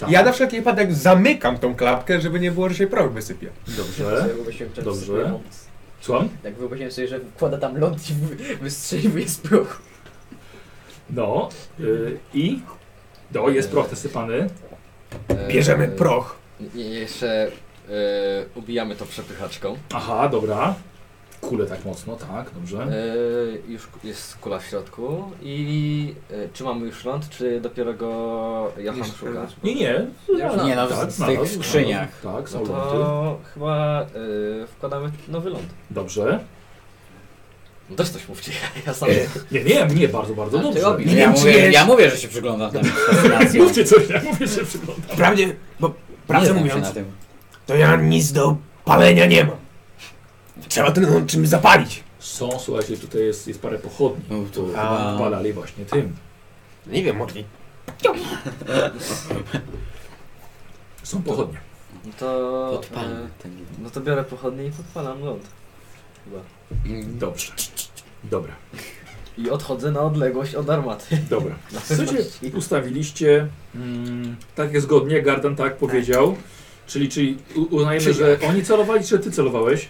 Tak. Ja na wszelki wypadek zamykam tą klapkę, żeby nie było, że się proch wysypie. Tak? Dobrze. Dobrze. Słucham? Jak wyobraziłem sobie, że wkłada tam ląd i wy- wystrzeliwuje z prochu. No. y, I? No, jest proch nasypany. E, Bierzemy proch. I i jeszcze e, ubijamy to przepychaczką. Aha, dobra. Kule tak mocno, tak, dobrze. E, już k- jest kula w środku i e, czy mamy już ląd, czy dopiero go Johan Jeszcze szuka? raz. Nie, nie. Nie no, Tak, z znalazł, tych skrzyniach. znalazł. Tak, No są ląty. to chyba e, wkładamy nowy ląd. Dobrze. No też coś mówcie, ja sam... Nie, nie, nie, bardzo, bardzo Ale ty dobrze. robisz. Nie Ja wiem, czy mówię, jest... ja mówię, że się przyglądam temu z fascynacją. Mówcie coś, ja mówię, że przyglądam. Prawdzie, bo Nie prawdę znam się mówiąc, na tym. to ja nic do palenia nie mam. Trzeba ten ląd czymś zapalić. Są, słuchajcie, tutaj jest, jest parę pochodni. No, to To chyba- palali właśnie tym. Nie wiem, mogli. Są pochodnie. No to... Podpalmy ten. no to biorę pochodnie i podpalam ląd. Dobrze. Dobra, I odchodzę na odległość od armaty. dobra. Słuchajcie, ustawiliście mm, tak jak zgodnie, Gardan tak powiedział. Czyli, czyli u- uznajemy, że oni celowali, czy ty celowałeś?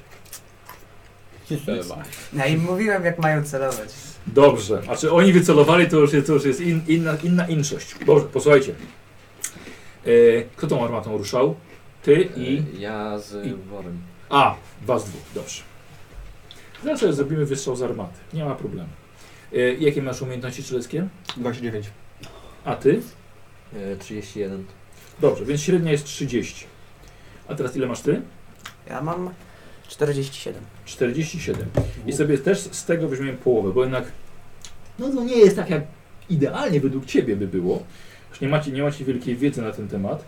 No i mówiłem, jak mają celować. Dobrze, a czy oni wycelowali, to już jest, to już jest in, inna, inna inszość. Dobrze, posłuchajcie. E, kto tą armatą ruszał? Ty i... E, ja z i- worem. A, was dwóch, dobrze. Zaraz sobie zrobimy wystrzał z armaty, nie ma problemu. E, jakie masz umiejętności strzeleckie? 29. A ty? E, 31. Dobrze, więc średnia jest 30. A teraz ile masz ty? Ja mam 47. 47. I sobie też z tego weźmiemy połowę, bo jednak no to nie jest tak jak idealnie według Ciebie by było. Już nie macie, nie macie wielkiej wiedzy na ten temat.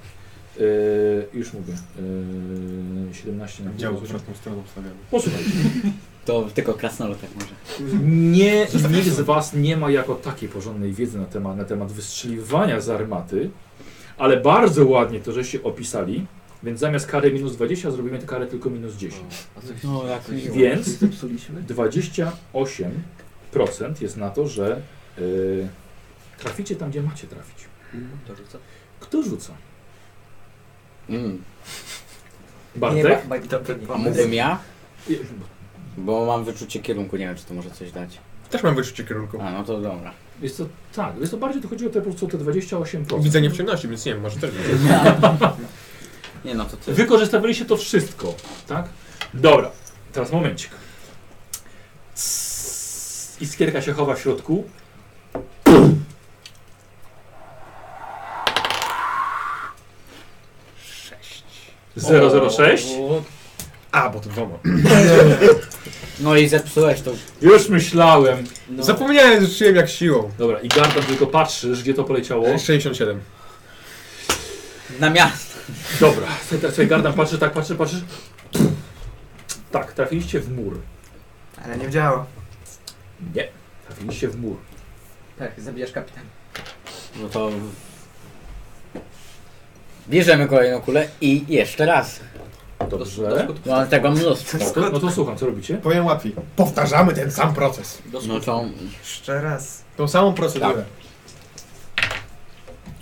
Eee, już mówię. Eee, 17 na Działo pół. z tą stroną obstawiamy. Posłuchajcie, To tylko krasnolud tak może. nie, nikt z Was nie ma jako takiej porządnej wiedzy na temat, na temat wystrzeliwania z armaty, ale bardzo ładnie to, żeście opisali, więc zamiast kary minus 20 zrobimy tę karę tylko minus 10. A coś, No, jak coś miło. Więc- zepsuliśmy? 28% jest na to, że y, traficie tam, gdzie macie trafić. Mm, To rzucę. Kto rzuca? Mm. Bartek? ba- ba- A mógłbym ja? Nie, Bo mam wyczucie kierunku, nie wiem czy to może coś dać. Też mam wyczucie kierunku. A no to dobra. Jest to, tak, jest to bardziej to chodziło o te, po prostu o te 28%. Widzenie w ciemności, więc nie wiem, może też widzę. Nie no to ty. Wykorzystywaliście to wszystko, tak? Dobra, teraz momencik. Css, Iskierka się chowa w środku. Sześć. 006. A, bo to dwoma. No i zepsułeś to. Już myślałem. No. Zapomniałem, że szyję jak siłą. Dobra, i Garda tylko patrzysz, gdzie to poleciało. 67. Na miasto. Dobra, sobie, tak- sobie Garda patrzy, tak patrzy, patrzysz. Tak, trafiliście w mur. Ale nie działa. Nie, trafiliście w mur. Tak, zabijasz kapitan. No to... Bierzemy kolejną kulę i jeszcze raz. Dobrze. skutku. Mam tego mnóstwo. No to, no to słucham, co robicie? Powiem łatwiej. Powtarzamy ten sam proces. No to... Jeszcze raz. Tą samą procedurę.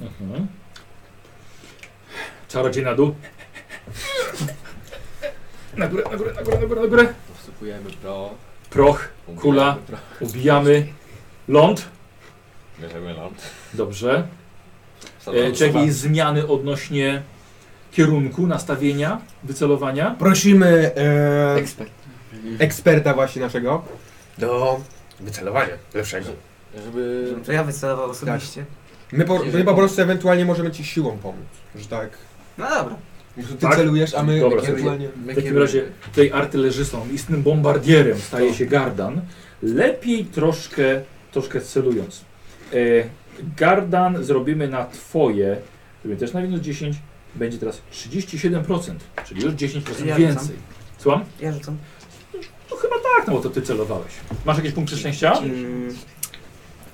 Mhm. Czarodziej na dół. Na górę, na górę, na górę, na górę, na górę. Wsypujemy pro. Proch, Kula. ubijamy. Ląd. Bierzemy ląd. Dobrze. E, czy jakieś zmiany odnośnie kierunku, nastawienia, wycelowania? Prosimy e, Ekspert. eksperta właśnie naszego. Do wycelowania lepszego. Żeby... To ja wycelował osobiście. Tak. My po, my po prostu ewentualnie możemy ci siłą pomóc. Że tak. No dobra. Ty Tak? celujesz, a my Dobra, ewentualnie... W takim razie tej artylerzystą, istnym bombardierem staje się Gardan. Lepiej troszkę, troszkę celując. E, Gardan zrobimy na twoje, zrobimy też na minus 10, będzie teraz 37%, czyli już 10% Ja więcej. Słucham? Ja rzucam. No chyba tak, no bo to ty celowałeś. Masz jakieś punkty szczęścia? Mm,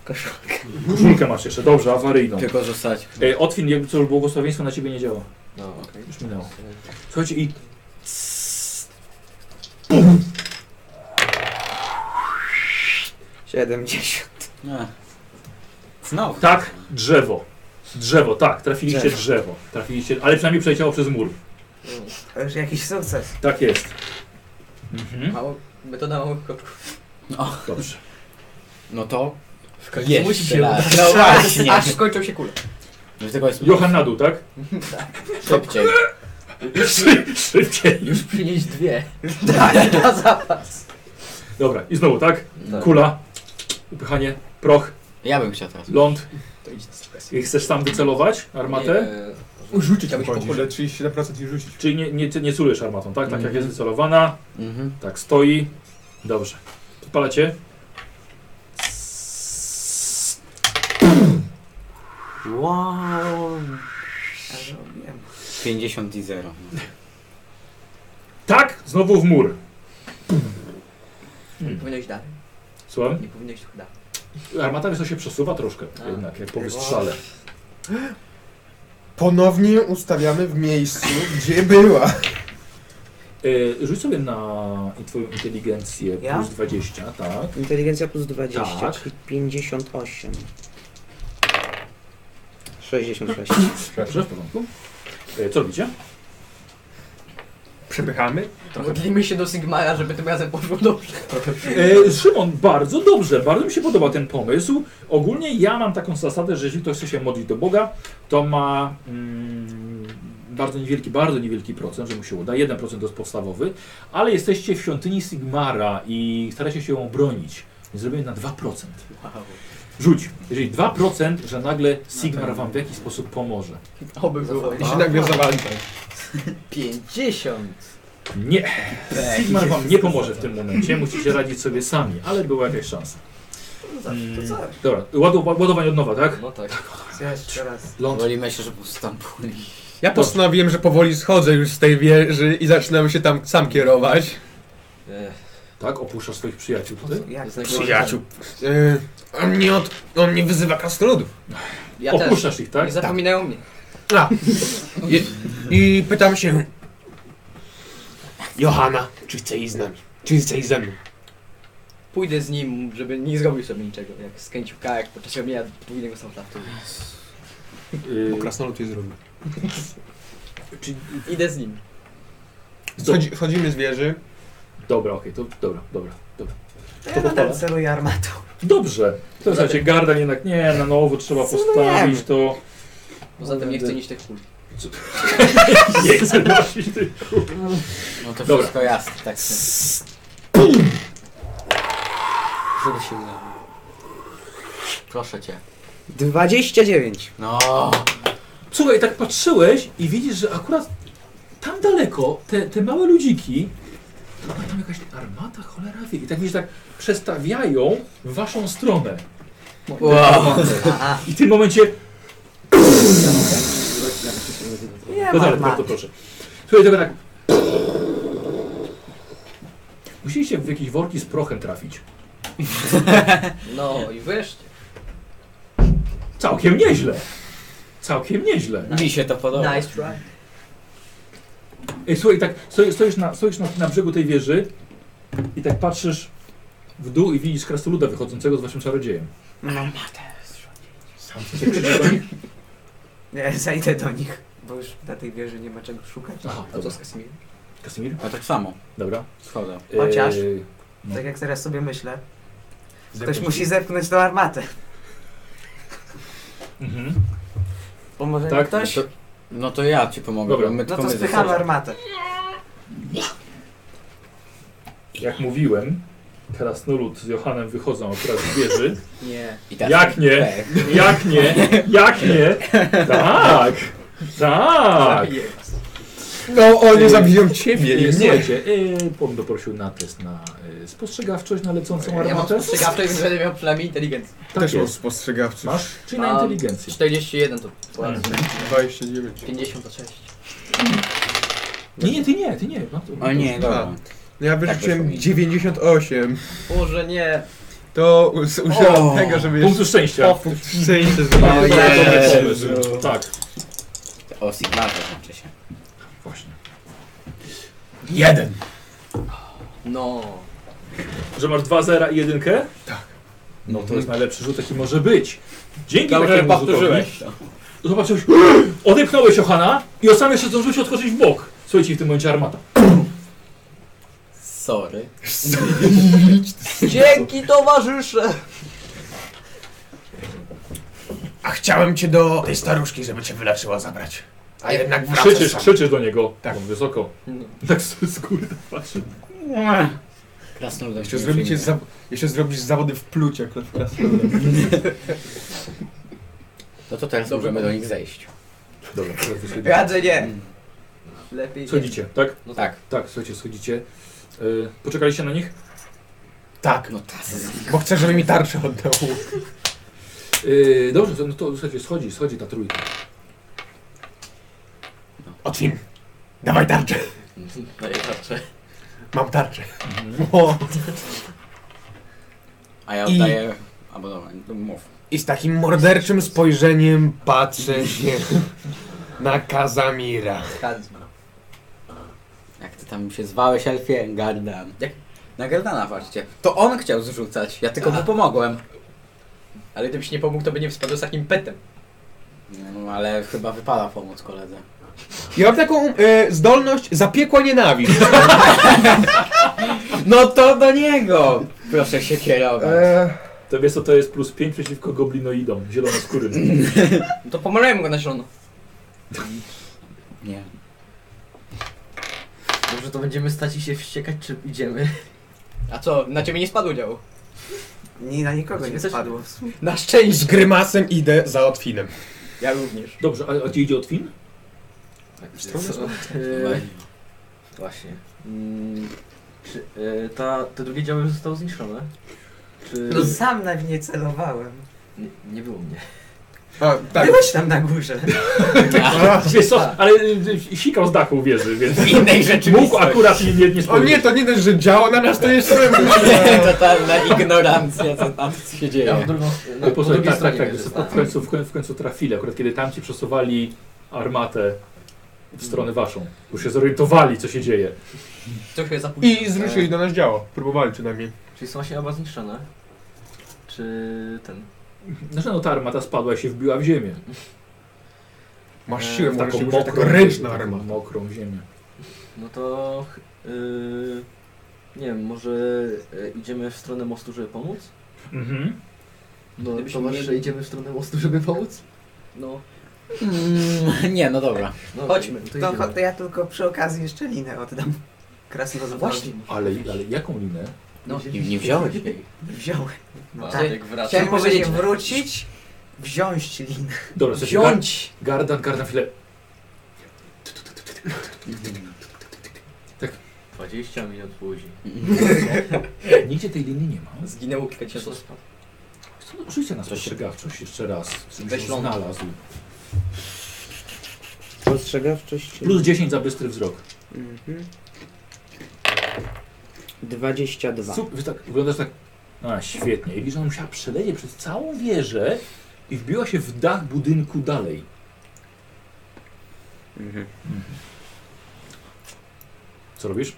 Koszulkę masz jeszcze, dobrze, awaryjną. Tylko zostać. E, Otwin, jakby co, błogosławieństwo na ciebie nie działa. No, okej. Już minęło. Słuchajcie i... Pum! 70. No. No. Tak, drzewo. Drzewo, tak, trafiliście drzewo. Trafiliście, ale przynajmniej przeleciało przez mur. E, to już jakiś sukces. Tak jest. Mhm. Mało, metoda małych kroków. Dobrze. No to... W Jeszcze musi się raz. udać. No właśnie. Aż skończą się kule. No tylko jest Johan na dół, tak? szybciej. Szy- Szybciej. Już przynieść dwie. Tak, na zapas. Dobra, i znowu, tak? Tak. Kula, upychanie, proch, Ja bym chciał teraz. ląd. To idź z presji. I chcesz tam wycelować armatę? e, Rzucić Chciałbyś chodzi. po Kurde, 37% i rzucić. Czyli nie, nie, ty nie celujesz armatą, tak? Tak jak Mhm. jest wycelowana, Mhm. tak stoi. Dobrze. Podpalacie? Wow. Ja robiłem. 50 i 0. Tak, znowu w mur. Hmm. Powinieneś dalej. Słucham? Nie powinieneś chyba dalej. Armata wiesz, co się przesuwa troszkę A. jednak, jak po wystrzale. Ponownie ustawiamy w miejscu, gdzie była. E, rzuć sobie na twoją inteligencję Ja? plus 20, tak. Inteligencja plus 20, Tak. czyli 58. 66. Dobrze, w porządku. E, co robicie? Przepychamy? Modlimy się do Sigmara, żeby tym razem poszło dobrze. E, Szymon, bardzo dobrze, bardzo mi się podoba ten pomysł. Ogólnie ja mam taką zasadę, że jeżeli ktoś chce się modlić do Boga, to ma mm, bardzo niewielki, bardzo niewielki procent, że mu się uda. 1% to jest podstawowy, ale jesteście w świątyni Sigmara i staracie się ją bronić. Więc zrobimy na 2%. Wow. Rzuć. Jeżeli 2%, że nagle Sigmar wam w jakiś sposób pomoże. Oby było. I się tak nagle zawali tam. 50. Nie. Sigmar wam nie pomoże w tym momencie. Musicie radzić sobie sami, ale była jakaś szansa. Mm, No zawsze to coś. Dobra, ładu, ładowanie od nowa, tak? No tak. Ja jeszcze raz. Ląd. Wolimy się, że po prostu tam płynie. Ja postanowiłem, że powoli schodzę już z tej wieży i zaczynam się tam sam kierować. Ech, Tak, opuszczasz swoich przyjaciół tutaj. Jak? E, jest najgorzej. Przyjaciół. E, Yy, tak. on, mnie od, on mnie wyzywa kastroludów. Ja też. Opuszczasz ich, tak? Nie zapominają mnie. I, I pytam się... Johana, czy chce iść z nami? Czy chce iść ze mną? Pójdę z nim, żeby nie zrobił sobie niczego. Jak skręcił kark podczas robienia podwójnego samolotu. Y, Bo krasnolud jest zrobił. czy, Idę z nim. Schodzi, chodzimy z wieży. dobra, okej, to dobra, dobra. dobra. Ja To po nadal pole. celuję armatą. Dobrze. To znaczy Gardan jednak nie, na nowo trzeba Co postawić to. Poza tym nie chcę nić tych kul. Nie chcę nosić tych No to Dobra. wszystko jasne, tak. Żeby się udało. Proszę cię. 29. No, Słuchaj, tak patrzyłeś i widzisz, że akurat tam daleko te, te małe ludziki, to chyba tam jakaś armata, cholera wie, i tak widzisz, tak przestawiają w waszą stronę. Wow. I w tym momencie, Nie ma no dalej, bardzo armaty. proszę. Słuchaj, tego tak. Musieliście w jakieś worki z prochem trafić. No i wreszcie. Całkiem nieźle. Całkiem nieźle. mi się to podoba. Nice try. Ej, słuchaj, tak stoi- stoisz, na, stoisz na, na brzegu tej wieży i tak patrzysz w dół i widzisz krasnoluda wychodzącego z waszym czarodziejem. No, Nie, zajdę do nich, bo już na tej wieży nie ma czego szukać. Aha, A co dobra. z Kasimir? Kasimir? Ja tak samo. Dobra. Schodzę. Chociaż. Eee, Tak jak teraz sobie myślę, ktoś musi zepchnąć tą armatę. mhm. Pomoże Tak, mi ktoś? To, no to ja ci pomogę. Dobra. bo my No tylko to my ze spychamy sobą. armatę. Jak mówiłem, krasnolud z Johanem wychodzą akurat z wieży. Nie. I teraz- Jak nie? Tak. Jak nie? Jak nie? Tak! Tak! Zabiję was. No, oni zabiją ciebie, Nie, nie mnie. słuchajcie, yy, Pom doprosił na test na yy, spostrzegawczość, na lecącą Ja mam armatę. spostrzegawczość, więc będę miał przynajmniej inteligencję. Tak Też mam jest. spostrzegawczy. Masz? Czyli na Mam inteligencję. 41 to Mm. Mhm. 29. 56. Nie, nie, ty nie, ty nie. No, to, O nie, Tak. dobra. No ja Tak wyszło wyrzuciłem mi. 98. Boże nie. To us- użyłem O. tego, żeby Punktu szczęścia. punkt szczęścia Ojej. zrobić. Tak, O, Sigma to znaczy się. właśnie. Jeden. No. Że masz dwa zera i jedynkę? No To jest najlepszy rzut, jaki może być. Dzięki takiemu rzutowi to. zobaczyłeś, odepchnąłeś Johana i ostatnio się zdążyłeś odskoczyć w bok. Słuchajcie, w tym momencie armata. Sorry. Dzięki towarzysze! A chciałem cię do tej staruszki, żeby cię wyleczyła zabrać. A jednak wracasz Krzyczysz, sam. krzyczysz do niego. Tak. On wysoko. No. Tak z góry tak patrzy. Krasnoludem Jeszcze się zrobicie przyjmie. za... Jeszcze zrobisz zawody w plucie, jak w krasnoludach. No to teraz Dobra, możemy bo- do nich zejść. Dobra, teraz wyszedł. Radzę nie. Lepiej nie. Schodzicie, tak? No tak. Tak, słuchajcie, schodzicie. Y, poczekaliście na nich? Tak, No tak. bo chcę, żeby mi tarczę oddał. Y, dobrze, no to słuchajcie, schodzi, schodzi ta trójka. Otwin, dawaj tarczę. No i patrzę. Mam tarczę. A ja I- oddaję... Albo dobra, no mów. I z takim morderczym spojrzeniem patrzę się na Kazamira. Kazma. Jak ty tam się zwałeś, Elfie? Gardan. Jak? Na Gardana patrzcie. To on chciał zrzucać, ja tylko mu pomogłem. Ale gdybyś nie pomógł, to by nie spadł z takim petem. No ale chyba wypada pomóc koledze. Ja mam taką e, zdolność zapiekła nienawiść. No to do niego! Proszę się kierować. E, To wiesz co, to jest plus 5 przeciwko goblinoidom, zielonoskórym. No to pomalałem go na zielono. Nie. Dobrze, to będziemy stać i się wściekać, czy idziemy? A co, na ciebie nie spadło działo? Nie, na nikogo nie Jesteś- spadło. Na szczęście! z grymasem idę za Otwinem. Ja również. Dobrze, a, a gdzie idzie Otwin? Tak, E, Właśnie. Mm, czy e, ta, te drugie działo już zostało zniszczone? Czy... No sam na mnie celowałem. nie, nie było mnie. A, Tak. tak. Byłeś tam na górze. Wiesz co, ale y, y, sikał z dachu wieży, więc W innej rzeczywistości. mógł akurat nie, nie, nie O nie, spojrzeć. to nie dość, że działa na nas, to jeszcze... Totalna ignorancja, co tam się dzieje. drugą, No, po drugiej tak, tak, stronie tak, wieży w końcu, w, końcu, w końcu trafili, akurat kiedy tamci przesuwali armatę w stronę waszą. Już się zorientowali, co się dzieje. Trochę za późno. I zruszyli do nas działa. Próbowali przynajmniej. E, Czyli są właśnie oba zniszczone. Czy ten... Znaczy no ta armata spadła i się wbiła w ziemię. Masz E, siłę w Taką taką, mokrą taką ręczną ziemię, armatę. Mokrą ziemię. No to... ch- y, nie wiem, może e, idziemy w stronę mostu, żeby pomóc? Mhm. No, Gdybyśmy towarzysze, mieli- idziemy w stronę mostu, żeby pomóc? No, Mm, nie, no dobra. no Chodźmy. okej, To, idziemy. to ja tylko przy okazji jeszcze linę oddam. Krasno Właśnie. Ale, ale jaką linę? No, Nie, nie wziąłeś jej. Wziąłem. tak. Chciałem Chciałem powiedzieć powiedzieć, wrócić, wziąć linę. Dobra, słuchajcie, gar, Wziąć! gardan, gardan, chwilę. 20 minut później. E, Nigdzie tej linii nie ma. zginęło kilka ciosów. Rzućcie na spostrzegawczość jeszcze raz. Żebyś Weź ją ląd. znalazł. Postrzegawczość. Plus 10 za bystry wzrok. Mhm. 22. Sup, wiesz, tak, wyglądasz tak. A, świetnie. I widzisz, ona musiała przelecieć przez całą wieżę i wbiła się w dach budynku dalej. Mhm. Co robisz?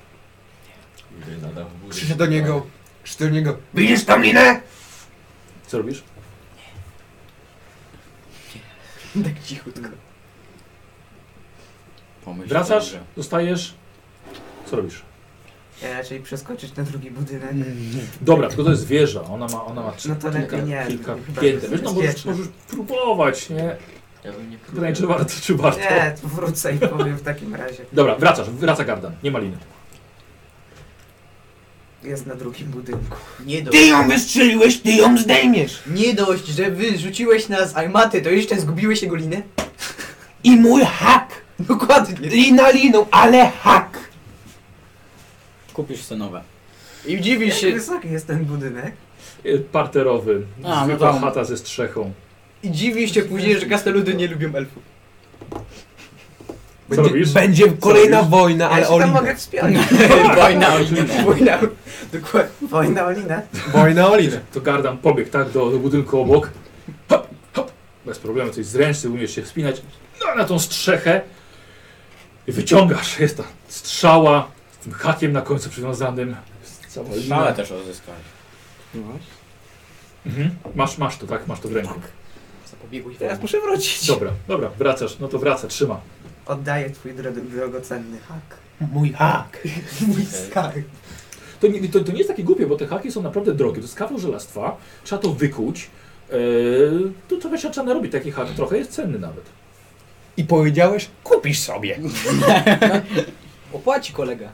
Krzyczę do niego, krzyczę do niego. Widzisz tą linę? Co robisz? Tak cichutko. Wracasz? Zostajesz? Co robisz? Ja raczej przeskoczyć na drugi budynek. Dobra, tylko to jest wieża. Ona ma, ona ma No to Mm, kilka, lepiej nie, kilka chyba pięter. jest Wiesz, no możesz, bezpieczne. możesz próbować, nie? Ja bym nie Pytanie, czy warto, czy warto. Nie, to wrócę i powiem w takim razie. Dobra, wracasz, wraca gardan. Nie ma liny. Jest na drugim budynku. Nie dość, Ty ją wystrzeliłeś, ty ją zdejmiesz! nie dość, że wyrzuciłeś nas z armaty, to jeszcze zgubiłeś jego linę? I mój hak! Dokładnie. Lina liną, ale hak! Kupisz co nowe. I dziwisz Jak się, wysoki jest ten budynek? Y, Parterowy. A, no Zwykła to- chata ze strzechą. i dziwisz się później, że kasteludy nie lubią elfów. Co robisz? Będzie kolejna wojna, Ja ale się o tam linę. mogę wspiąć. No. Wojna o Wojna. Dokładnie. Wojna o linę. Wojna o linę. To gardan pobiegł, tak, do, do budynku obok. Hop, hop. Bez problemu, coś z ręczny, umiesz się wspinać. No, na tą strzechę. I wyciągasz, jest ta strzała z tym hakiem na końcu przywiązanym. Jest Cała lina. też odzyskałeś. No Mhm. Masz, masz to, tak? Masz to w ręku. Zapobieguj Teraz muszę wrócić. Dobra, dobra, wracasz, no to wraca, trzyma. Oddaję twój dro- drogocenny hak. Mój hak! To nie, to, to nie jest takie głupie, bo te haki są naprawdę drogie. To jest kawał żelastwa, trzeba to wykuć. Eee, to trochę się trzeba narobić taki hak, trochę jest cenny nawet. I powiedziałeś, kupisz sobie. Opłaci kolega.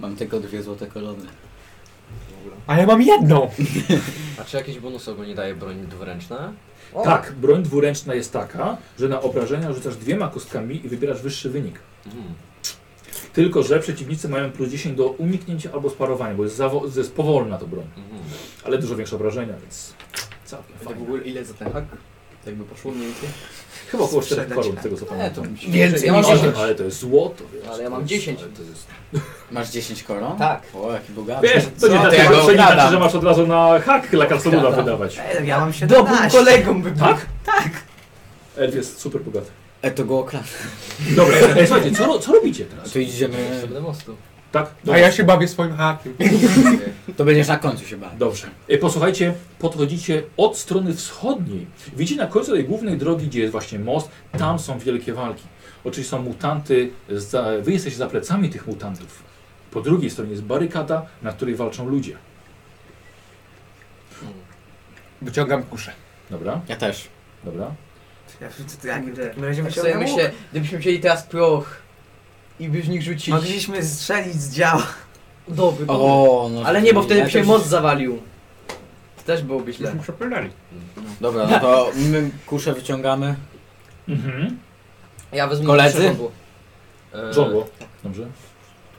Mam tylko dwie złote kolony. A ja mam jedną. A czy jakieś bonusy ogólnie daje broń dwuręczna? Tak, broń dwuręczna jest taka, że na obrażenia rzucasz dwiema kostkami i wybierasz wyższy wynik. Mm. Tylko, że przeciwnicy mają plus 10 do uniknięcia albo sparowania, bo jest, zawo- jest powolna to broń, Mhm. ale dużo większe obrażenia, więc całkiem To w fajnie. ogóle ile za ten hak? Jakby poszło mniej więcej? Chyba około 4 Sprzedać. koron, z tego co pamiętam. Więcej Ja mam niż Ale, 10. ale to jest złoto, wiesz. Ale ja mam to jest- 10. ale To jest... Masz 10 koron? Tak. O, jaki bogaty. Wiesz, to nie Co ty, znaczy, ja go że- to nie znaczy, okradam. że masz od razu na hak dla kastomuda wydawać. Ej, no ja mam się Dobrym kolegą by był. Tak? Tak. Elf jest super bogaty. E, to go okradł. Dobra, ej, słuchajcie, co, ro- co robicie teraz? To idziemy... Do mostu. Tak? A ja się bawię swoim hakiem. To będziesz na końcu się bawił. Dobrze. E, Posłuchajcie, podchodzicie od strony wschodniej. Widzicie na końcu tej głównej drogi, gdzie jest właśnie most, tam są wielkie walki. Oczywiście są mutanty, za, wy jesteście za plecami tych mutantów. Po drugiej stronie jest barykada, na której walczą ludzie. Wyciągam kuszę. Dobra, Ja też. dobra. Ja, to, to, jak, w takim razie Tak sobie wyciągnę łuk. myślę, gdybyśmy wzięli teraz proch i by w nich rzucić Mogliśmy strzelić z działa. dobry. O, no Ale nie, bo wtedy ja by się też- most zawalił. To też byłoby źle. Dobra, no to my kuszę wyciągamy. Mhm. Ja wezmę Koledzy? żądło. E, Żądło. Dobrze.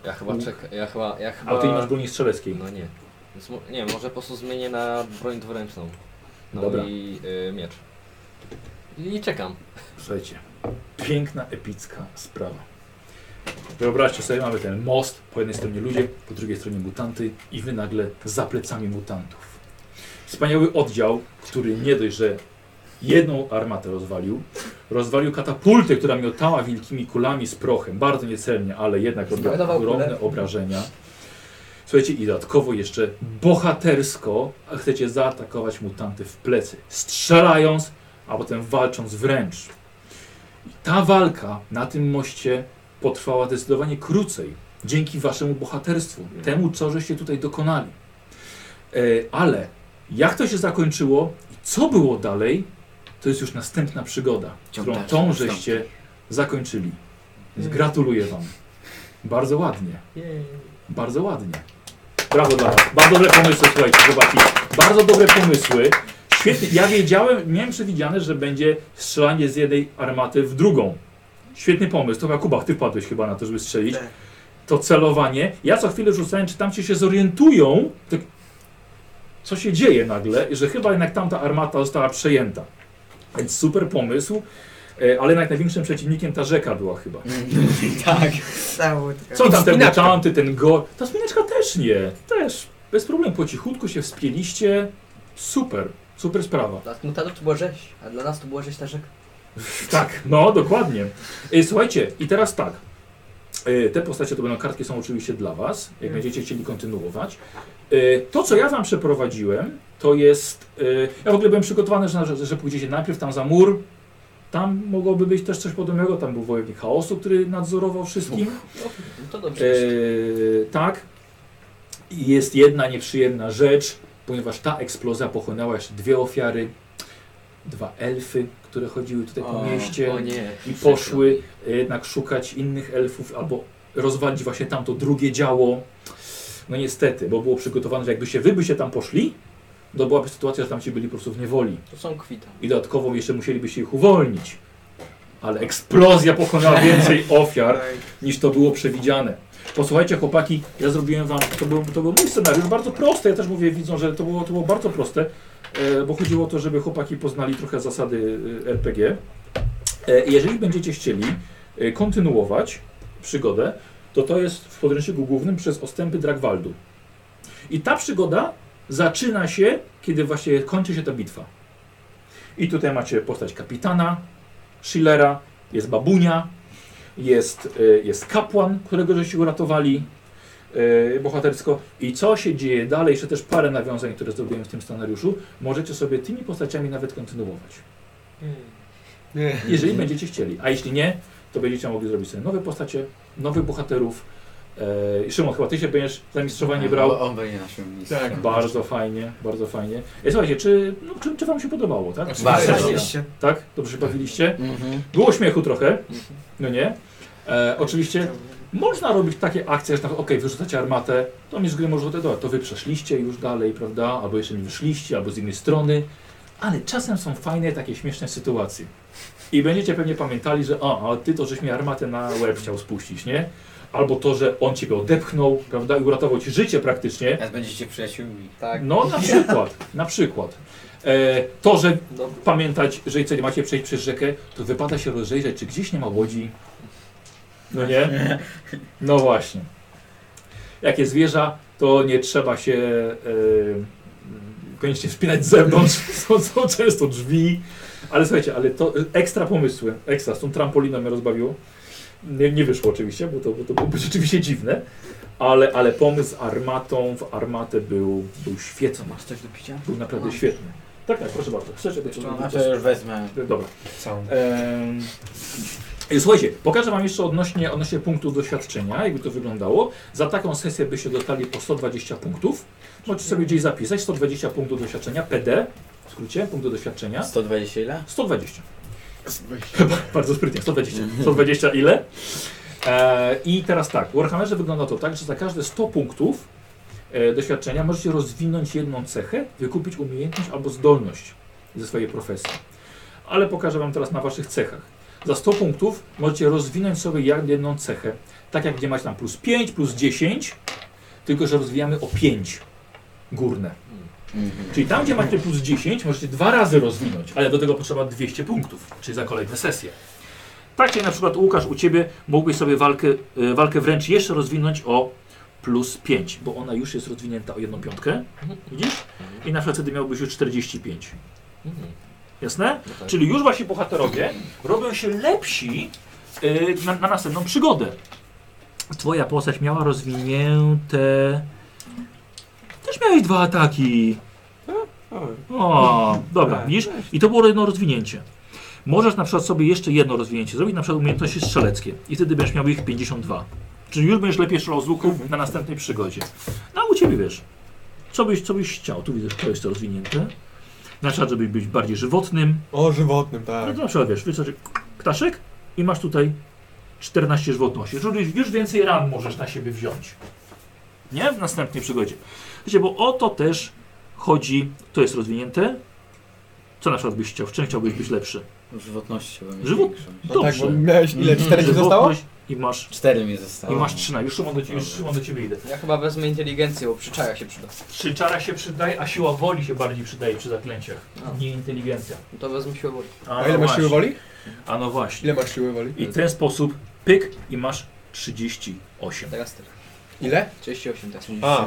Ja chyba czek, ja chyba, ja chyba... A ty nie masz broni strzeleckiej. No nie. Więc, mo- nie, może po prostu zmienię na broń dwuręczną. No Dobra. i y, miecz. I czekam. Słuchajcie, piękna, epicka sprawa. Wyobraźcie sobie, mamy ten most, po jednej stronie ludzie, po drugiej stronie mutanty i wy nagle za plecami mutantów. Wspaniały oddział, który nie dość, że jedną armatę rozwalił, rozwalił katapultę, która miotała wielkimi kulami z prochem, bardzo niecelnie, ale jednak robiła Znajdował ogromne kulę. obrażenia. Słuchajcie, i dodatkowo jeszcze bohatersko chcecie zaatakować mutanty w plecy, strzelając, a potem walcząc wręcz. I ta walka na tym moście potrwała zdecydowanie krócej, dzięki waszemu bohaterstwu, temu, co żeście tutaj dokonali. E, ale jak to się zakończyło i co było dalej, to jest już następna przygoda, Ciąg którą dalszy tą nastąpi. żeście zakończyli. Więc gratuluję wam. Bardzo ładnie. Bardzo ładnie. Brawo dla was. Bardzo dobre pomysły, słuchajcie, chłopaki. Bardzo dobre pomysły. Świetnie. Ja wiedziałem, miałem przewidziane, że będzie strzelanie z jednej armaty w drugą. Świetny pomysł. To Kuba, ty wpadłeś chyba na to, żeby strzelić. Tak. To celowanie. Ja co chwilę rzucałem, czy tamci się zorientują, to co się dzieje nagle, że chyba jednak tamta armata została przejęta. Więc super pomysł, e, ale jednak największym przeciwnikiem ta rzeka była chyba. tak. Cały taka... Co tam ten mutanty, ten go... Ta spinaczka też nie, też. Bez problemu, po cichutku się wspięliście. Super, super sprawa. Dla mutantów to była rzeź, a dla nas to była rzeź ta rzeka. Tak, no dokładnie. E, Słuchajcie, i teraz tak. E, Te postacie to będą kartki, są oczywiście dla Was, jak będziecie chcieli kontynuować. E, To, co ja Wam przeprowadziłem, to jest. e, Ja w ogóle byłem przygotowany, że, że, że pójdziecie najpierw tam za mur. Tam mogłoby być też coś podobnego. Tam był wojownik chaosu, który nadzorował wszystkim. No to dobrze. Y, E, tak. I Jest jedna nieprzyjemna rzecz, ponieważ ta eksplozja pochłonęła jeszcze dwie ofiary. Dwa elfy, które chodziły tutaj po O, mieście O nie. i poszły y, jednak szukać innych elfów albo rozwalić właśnie tamto drugie działo. No niestety, bo było przygotowane, że jakby się wy by się tam poszli, to byłaby sytuacja, że tam ci byli po prostu w niewoli. To są kwita. I dodatkowo jeszcze musielibyście ich uwolnić. Ale eksplozja pokonała więcej No ofiar niż to było przewidziane. Posłuchajcie chłopaki, ja zrobiłem wam, to był, to był mój scenariusz, bardzo prosty, ja też mówię widzą, że to było, to było bardzo proste, e, bo chodziło o to, żeby chłopaki poznali trochę zasady e, RPG. E, jeżeli będziecie chcieli e, kontynuować przygodę, to to jest w podręczniku głównym przez Ostępy Dragwaldu. I ta przygoda zaczyna się, kiedy właśnie kończy się ta bitwa. I tutaj macie postać kapitana, Schillera, jest babunia, jest, y, jest kapłan, którego żeście uratowali y, bohatersko. I co się dzieje dalej, jeszcze też parę nawiązań, które zrobiłem w tym scenariuszu, możecie sobie tymi postaciami nawet kontynuować. Nie. Jeżeli będziecie chcieli. A jeśli nie, to będziecie mogli zrobić sobie nowe postacie, nowych bohaterów. E, Szymon, chyba ty się będziesz zamistrzowanie brał. On, on będzie naszym mistrzem. Tak, Bardzo fajnie, bardzo fajnie. E, słuchajcie, czy, no, czy, czy wam się podobało, tak? Bardzo. Oczywiście. Tak? Dobrze się bawiliście? Mhm. Było śmiechu trochę, no nie? E, oczywiście można robić takie akcje, że tak, okej, wyrzucacie armatę, to mi z gry może dobra, to wy przeszliście już dalej, prawda? Albo jeszcze nie wyszliście, albo z innej strony. Ale czasem są fajne takie śmieszne sytuacje. I będziecie pewnie pamiętali, że o, a ty to żeś mi armatę na łeb chciał spuścić, nie? Albo to, że on ciebie odepchnął, prawda? I uratował ci życie praktycznie. Teraz będziecie przyjaciółmi. Tak. No na przykład, na przykład. E, to, że Dobra. pamiętać, że jeżeli macie przejść przez rzekę, to wypada się rozejrzeć, czy gdzieś nie ma łodzi. No nie? No właśnie. Jak jest wieża, to nie trzeba się e, koniecznie wspinać z zewnątrz. Są, są często drzwi. Ale słuchajcie, ale to e, ekstra pomysły. Ekstra, z tą trampoliną mnie rozbawiło. Nie, nie wyszło oczywiście, bo to, bo to byłoby rzeczywiście dziwne. Ale, ale pomysł z armatą w armatę był, był świetny. Masz coś do picia? Był naprawdę świetny. Tak, tak, proszę bardzo. Chcesz, żeby to E, No to już wezmę. Dobra. Całą. Em, i Słuchajcie, pokażę Wam jeszcze odnośnie, odnośnie punktów doświadczenia, jakby to wyglądało. Za taką sesję byście dostali po 120 punktów. Możecie sobie gdzieś zapisać 120 punktów doświadczenia, PD, w skrócie, punktu doświadczenia. 120 ile? 120. Bardzo sprytnie, 120. 120 ile? E, I teraz tak, w Warhammerze wygląda to tak, że za każde 100 punktów e, doświadczenia możecie rozwinąć jedną cechę, wykupić umiejętność albo zdolność ze swojej profesji. Ale pokażę Wam teraz na Waszych cechach. Za 100 punktów możecie rozwinąć sobie jak- jedną cechę. Tak jak gdzie macie tam plus 5, plus 10, tylko że rozwijamy o 5 górne. Mhm. Czyli tam, gdzie macie plus 10, możecie dwa razy rozwinąć, ale do tego potrzeba 200 punktów, czyli za kolejne sesje. Tak jak na przykład Łukasz u Ciebie mógłbyś sobie walkę, y, walkę wręcz jeszcze rozwinąć o plus 5, bo ona już jest rozwinięta o jedną piątkę, widzisz? I na przykład wtedy miałbyś już 45. Jasne? Czyli już wasi bohaterowie robią się lepsi y, na, na następną przygodę. Twoja postać miała rozwinięte... Też miałeś dwa ataki. O, dobra, widzisz? I to było jedno rozwinięcie. Możesz na przykład sobie jeszcze jedno rozwinięcie zrobić, na przykład umiejętności strzeleckie i wtedy będziesz miał ich 52. Czyli już będziesz lepiej strzelał z łuku na następnej przygodzie. No a u Ciebie wiesz, co byś, co byś chciał. Tu widzę, to jest to rozwinięte. Na przykład, żeby być bardziej żywotnym. O, żywotnym, No tak. to na przykład wiesz, wycoczy ptaszek i masz tutaj 14 żywotności. Czyli już więcej ran możesz na siebie wziąć. Nie? W następnej przygodzie. Wiecie, bo o to też chodzi, to jest rozwinięte. Co na przykład byś chciał? W czym chciałbyś być lepszy? Żywotności chyba mieć Żywot- większą. No tak, Dobrze. bo miałeś ile? Cztery ci zostało? Żywotność I masz, Cztery mi i zostało. masz 13. Już Szymon do, ciebie- już Dobra. Szymon do ciebie idę. Ja chyba wezmę inteligencję, bo przyczaja się przyda. Czy czara się przydaje, a siła woli się bardziej przydaje przy zaklęciach. A. Nie inteligencja. No to wezmę siłę woli. A, A ile masz siły woli? A no właśnie. Ile masz siły woli? I w ten sposób pyk i masz 38. Teraz ty. Ile? 38 teraz. A.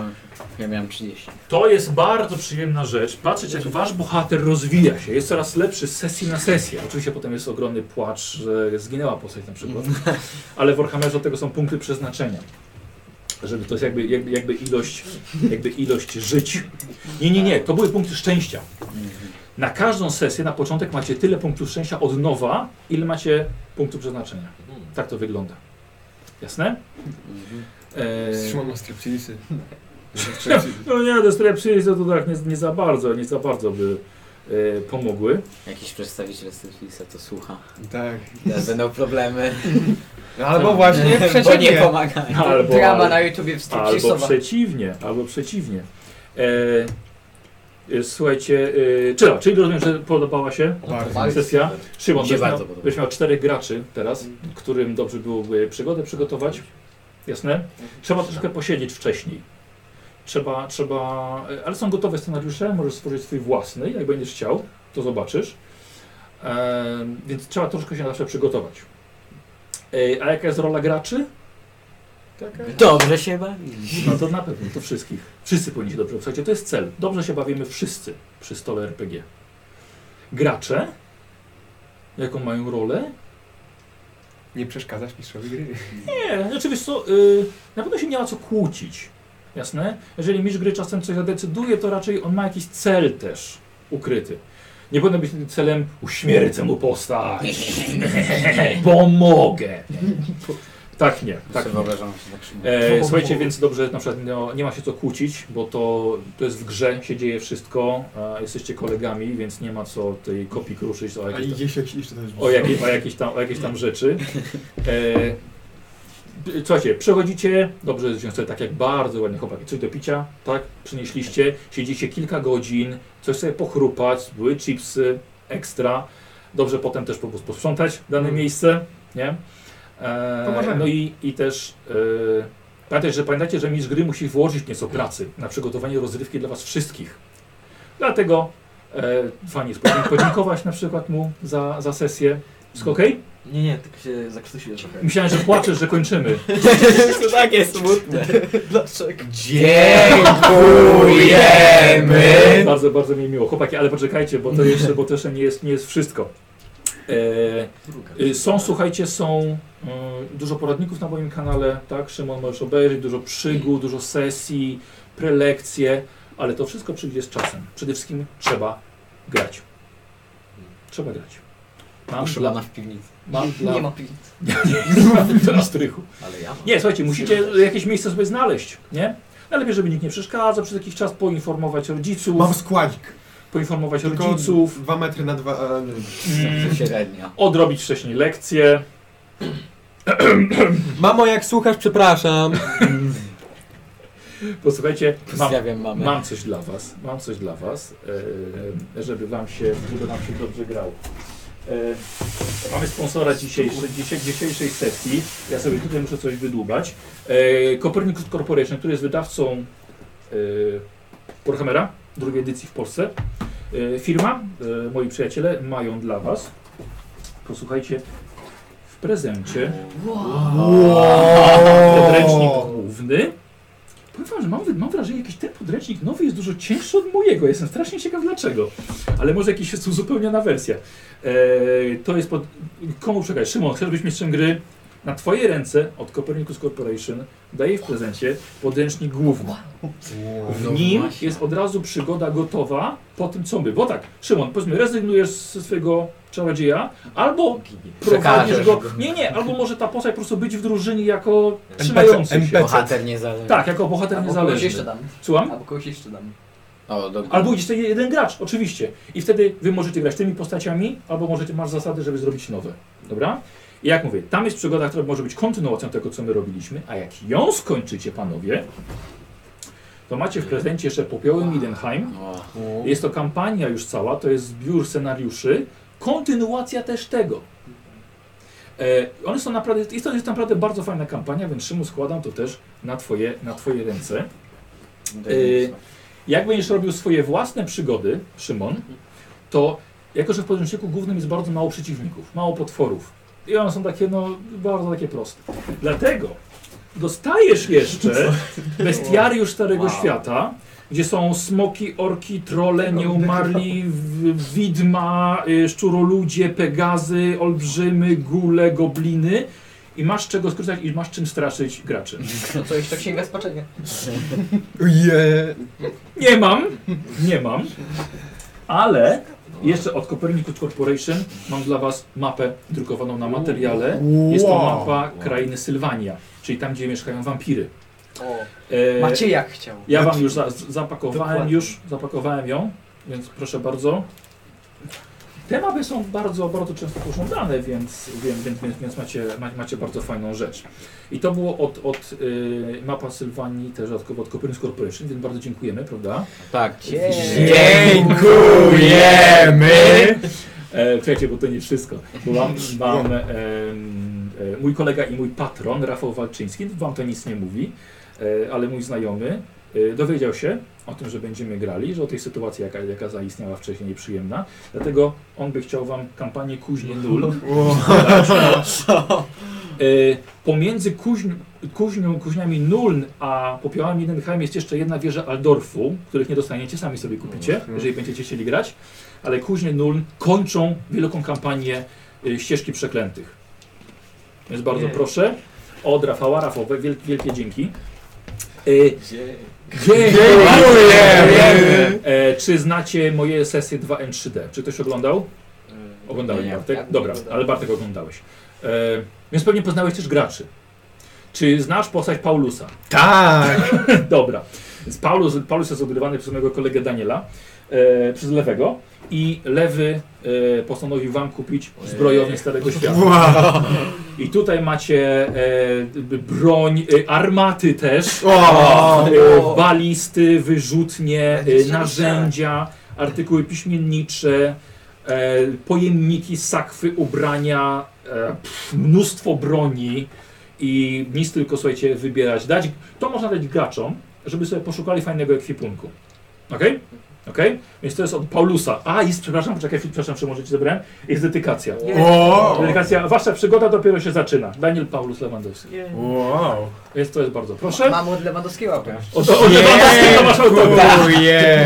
Ja miałem 30. To jest bardzo przyjemna rzecz. Patrzeć, jak wasz bohater rozwija się. Jest coraz lepszy z sesji na sesję. Oczywiście potem jest ogromny płacz, że zginęła postać na przykład. Ale w Warhammerze od tego są punkty przeznaczenia. Żeby to jest jakby, jakby, jakby, ilość, jakby ilość żyć. Nie, nie, nie. To były punkty szczęścia. Na każdą sesję na początek macie tyle punktów szczęścia od nowa, ile macie punktów przeznaczenia. Tak to wygląda. Jasne? Eee, Trzymam na stripteasy. no nie, te strepsy to tak nie, nie za bardzo, nie za bardzo by e, pomogły. Jakiś przedstawiciel Stylisa to słucha. Tak. Teraz będą problemy. No Albo właśnie Bo nie przeciwnie. pomagają. Albo, Tak, Drama na YouTubie albo wstrzykisowa. przeciwnie, albo przeciwnie. E, e, słuchajcie, e, czyli, czyli rozumiem, że podobała się No Bardzo. Bardzo. sesja. Szymon, Mi się byś miał, bardzo podoba. byś miał czterech graczy teraz, którym dobrze byłoby przygodę przygotować. Jasne? Trzeba troszkę posiedzieć wcześniej. Trzeba, trzeba, ale są gotowe scenariusze, możesz stworzyć swój własny, jak będziesz chciał, to zobaczysz. Em, więc trzeba troszkę się zawsze przygotować. Ej, a jaka jest rola graczy? Taka? Dobrze się bawi. No to na pewno, to wszystkich. Wszyscy powinni się dobrze Słuchajcie, to jest cel. Dobrze się bawimy wszyscy przy stole RPG. Gracze, jaką mają rolę? Nie przeszkadzasz mistrzowi gry. Nie, znaczy wiesz co, y, na pewno się nie ma co kłócić. Jasne? Jeżeli mistrz gry czasem coś zadecyduje, to raczej on ma jakiś cel też ukryty. Nie powinno być celem uśmiercę mu postać, pomogę. Tak nie, tak Tak nie. wyobrażam że się tak szybko. E, słuchajcie, więc dobrze, na przykład no, nie ma się co kłócić, bo to, to jest w grze, się dzieje wszystko, a jesteście kolegami, więc nie ma co tej kopii kruszyć o A jakieś idzie się jeszcze też. o, jakie, o, jakieś tam, o jakieś tam rzeczy. E, b- słuchajcie, przechodzicie, dobrze zresztą sobie tak jak bardzo ładnie chłopaki, coś do picia, tak, przynieśliście, siedzicie kilka godzin, coś sobie pochrupać, były chipsy, ekstra, dobrze potem też po prostu posprzątać dane Mm. miejsce, nie? E, To możemy. no i, i też e, pamiętajcie, że pamiętajcie, że mistrz gry musi włożyć nieco pracy na przygotowanie rozrywki dla was wszystkich. Dlatego e, fajnie jest podzięk- podziękować na przykład mu za, za sesję. Wszystko Mhm. okej? Nie, nie, tylko się zakrztusiłem trochę. Myślałem, że płaczesz, że kończymy. To takie Tak smutne. Dziękujemy! Bardzo, bardzo mi miło. Chłopaki, ale poczekajcie, bo to jeszcze, bo to jeszcze nie, jest, nie jest wszystko. E, y, są, słuchajcie, są y, dużo poradników na moim kanale, tak? Szymon możesz obejrzeć, dużo przygód, dużo sesji, prelekcje, ale to wszystko przyjdzie z czasem. Przede wszystkim trzeba grać. Trzeba grać. Mam dla, Szulana w piwnicy. mam dla, Nie ma piwnicy. to na strychu. Ale ja mam. Nie, słuchajcie, musicie jakieś miejsce sobie znaleźć, nie? Najlepiej, żeby nikt nie przeszkadzał, przez jakiś czas poinformować rodziców, Mam składzik. poinformować Tylko rodziców, dwa metry na dwa. a, nie. mm, Średnio. odrobić wcześniej lekcje. Mamo, jak słuchasz, przepraszam. Posłuchajcie, mam, Pozdrawiam mamę. mam coś dla was, mam coś dla was, e, żeby wam się, żeby nam się dobrze grało. E, mamy sponsora dzisiejszej, dzisiaj, dzisiejszej sesji, ja sobie tutaj muszę coś wydłubać. E, Copernicus Corporation, który jest wydawcą e, Warhammera, drugiej edycji w Polsce. E, firma, e, moi przyjaciele, mają dla was, posłuchajcie, w prezencie podręcznik główny. Powiem wam, że mam, mam wrażenie, jakiś ten podręcznik nowy jest dużo cięższy od mojego. Jestem strasznie ciekaw dlaczego. Ale może jakiś jest E, uzupełniona wersja. Eee, to jest pod... Komu przekazać? Szymon, chcesz być mistrzem gry? Na twoje ręce od Copernicus Corporation daję w prezencie podręcznik główny. W nim jest od razu przygoda gotowa po tym, co my. Bo tak, Szymon, powiedzmy, rezygnujesz ze swojego czarodzieja, albo prowadzisz Przekażesz go. go. Nie, nie, albo może ta postać po prostu być w drużynie jako NPC, trzymający się. NPC. Bohater niezależny. Tak, jako bohater Albo kogoś niezależny. jeszcze dam. Słucham? Albo kogoś jeszcze dam. O, do... Albo idzie tutaj jeden gracz, oczywiście. I wtedy wy możecie grać tymi postaciami, albo możecie masz zasady, żeby zrobić nowe. Dobra? I jak mówię, tam jest przygoda, która może być kontynuacją tego, co my robiliśmy, a jak ją skończycie, panowie, to macie w prezencie jeszcze Popioły Midenheim. O, Jest to kampania już cała, to jest zbiór scenariuszy, kontynuacja też tego. E, one są naprawdę, jest to jest naprawdę bardzo fajna kampania, więc Szymu składam to też na twoje, na twoje ręce. Y, Jak będziesz robił swoje własne przygody, Szymon, to jako, że w podręczniku głównym jest bardzo mało przeciwników, mało potworów. I one są takie, no, bardzo takie proste. Dlatego dostajesz jeszcze bestiariusz Starego Wow. Świata, gdzie są smoki, orki, trole, nieumarli, w- widma, y, szczuroludzie, pegazy, olbrzymy, gule, gobliny. I masz czego skorzystać i masz czym straszyć graczy. No to jeszcze księga spaczenia. Je. Nie mam, nie mam, ale jeszcze od Copernicus Corporation mam dla Was mapę drukowaną na materiale. Jest to Wow. mapa krainy Sylwania, czyli tam, gdzie mieszkają wampiry. O. E, Macie jak chciał. ja Wam już za, zapakowałem, Dokładnie. już zapakowałem ją, więc proszę bardzo. Te mapy są bardzo, bardzo często pożądane, więc, więc, więc, więc, więc macie, ma- macie bardzo fajną rzecz. I to było od, od y, mapa Sylwanii, też dodatkowo od Copernicus Corporation, więc bardzo dziękujemy, prawda? Tak. Dziękujemy! E, czekajcie, bo to nie wszystko. Bo mam, mam em, e, mój kolega i mój patron, Rafał Walczyński, wam to nic nie mówi, e, ale mój znajomy e, dowiedział się o tym, że będziemy grali, że o tej sytuacji, jaka, jaka zaistniała wcześniej, nieprzyjemna. Dlatego on by chciał wam kampanię Kuźnie Nul. E, pomiędzy kuźń, kuźnią, kuźniami Nuln a popiołami Nenheim jest jeszcze jedna wieża Aldorfu, których nie dostaniecie, sami sobie kupicie, jeżeli będziecie chcieli grać. Ale kuźnie Nuln kończą wielką kampanię y, Ścieżki Przeklętych. Więc bardzo proszę. Od Rafała, Rafowe, wielkie, wielkie dzięki. Y, Dziękujemy! E, czy znacie moje sesje 2N3D? Czy ktoś oglądał? Y, Oglądałeś nie, Bartek? ja nie Dobra, oglądałem. ale Bartek oglądałeś. E, więc pewnie poznałeś też graczy. Czy znasz postać Paulusa? Tak! Dobra. Więc Paulus, Paulus jest odgrywany przez mojego kolegę Daniela, e, przez lewego. I lewy e, postanowił wam kupić zbrojownię Starego Świata. Wow. I tutaj macie e, b- broń, e, armaty też, O! e, balisty, wyrzutnie, e, narzędzia, artykuły piśmiennicze, e, pojemniki, sakwy, ubrania, e, pff, mnóstwo broni i nic tylko słuchajcie wybierać. Dać, to można dać graczom, żeby sobie poszukali fajnego ekwipunku. Okej? Okej? Więc to jest od Paulusa. A, jest, przepraszam, poczekaj, chwilę, przepraszam, czy możecie zebrałem? Jest dedykacja. O! Delegacja, wasza przygoda dopiero się zaczyna. Daniel Paulus Lewandowski. Wow! Jest to jest bardzo proszę. Mam od Lewandowskiego autora. Od, od Lewandowskiego masz autograf.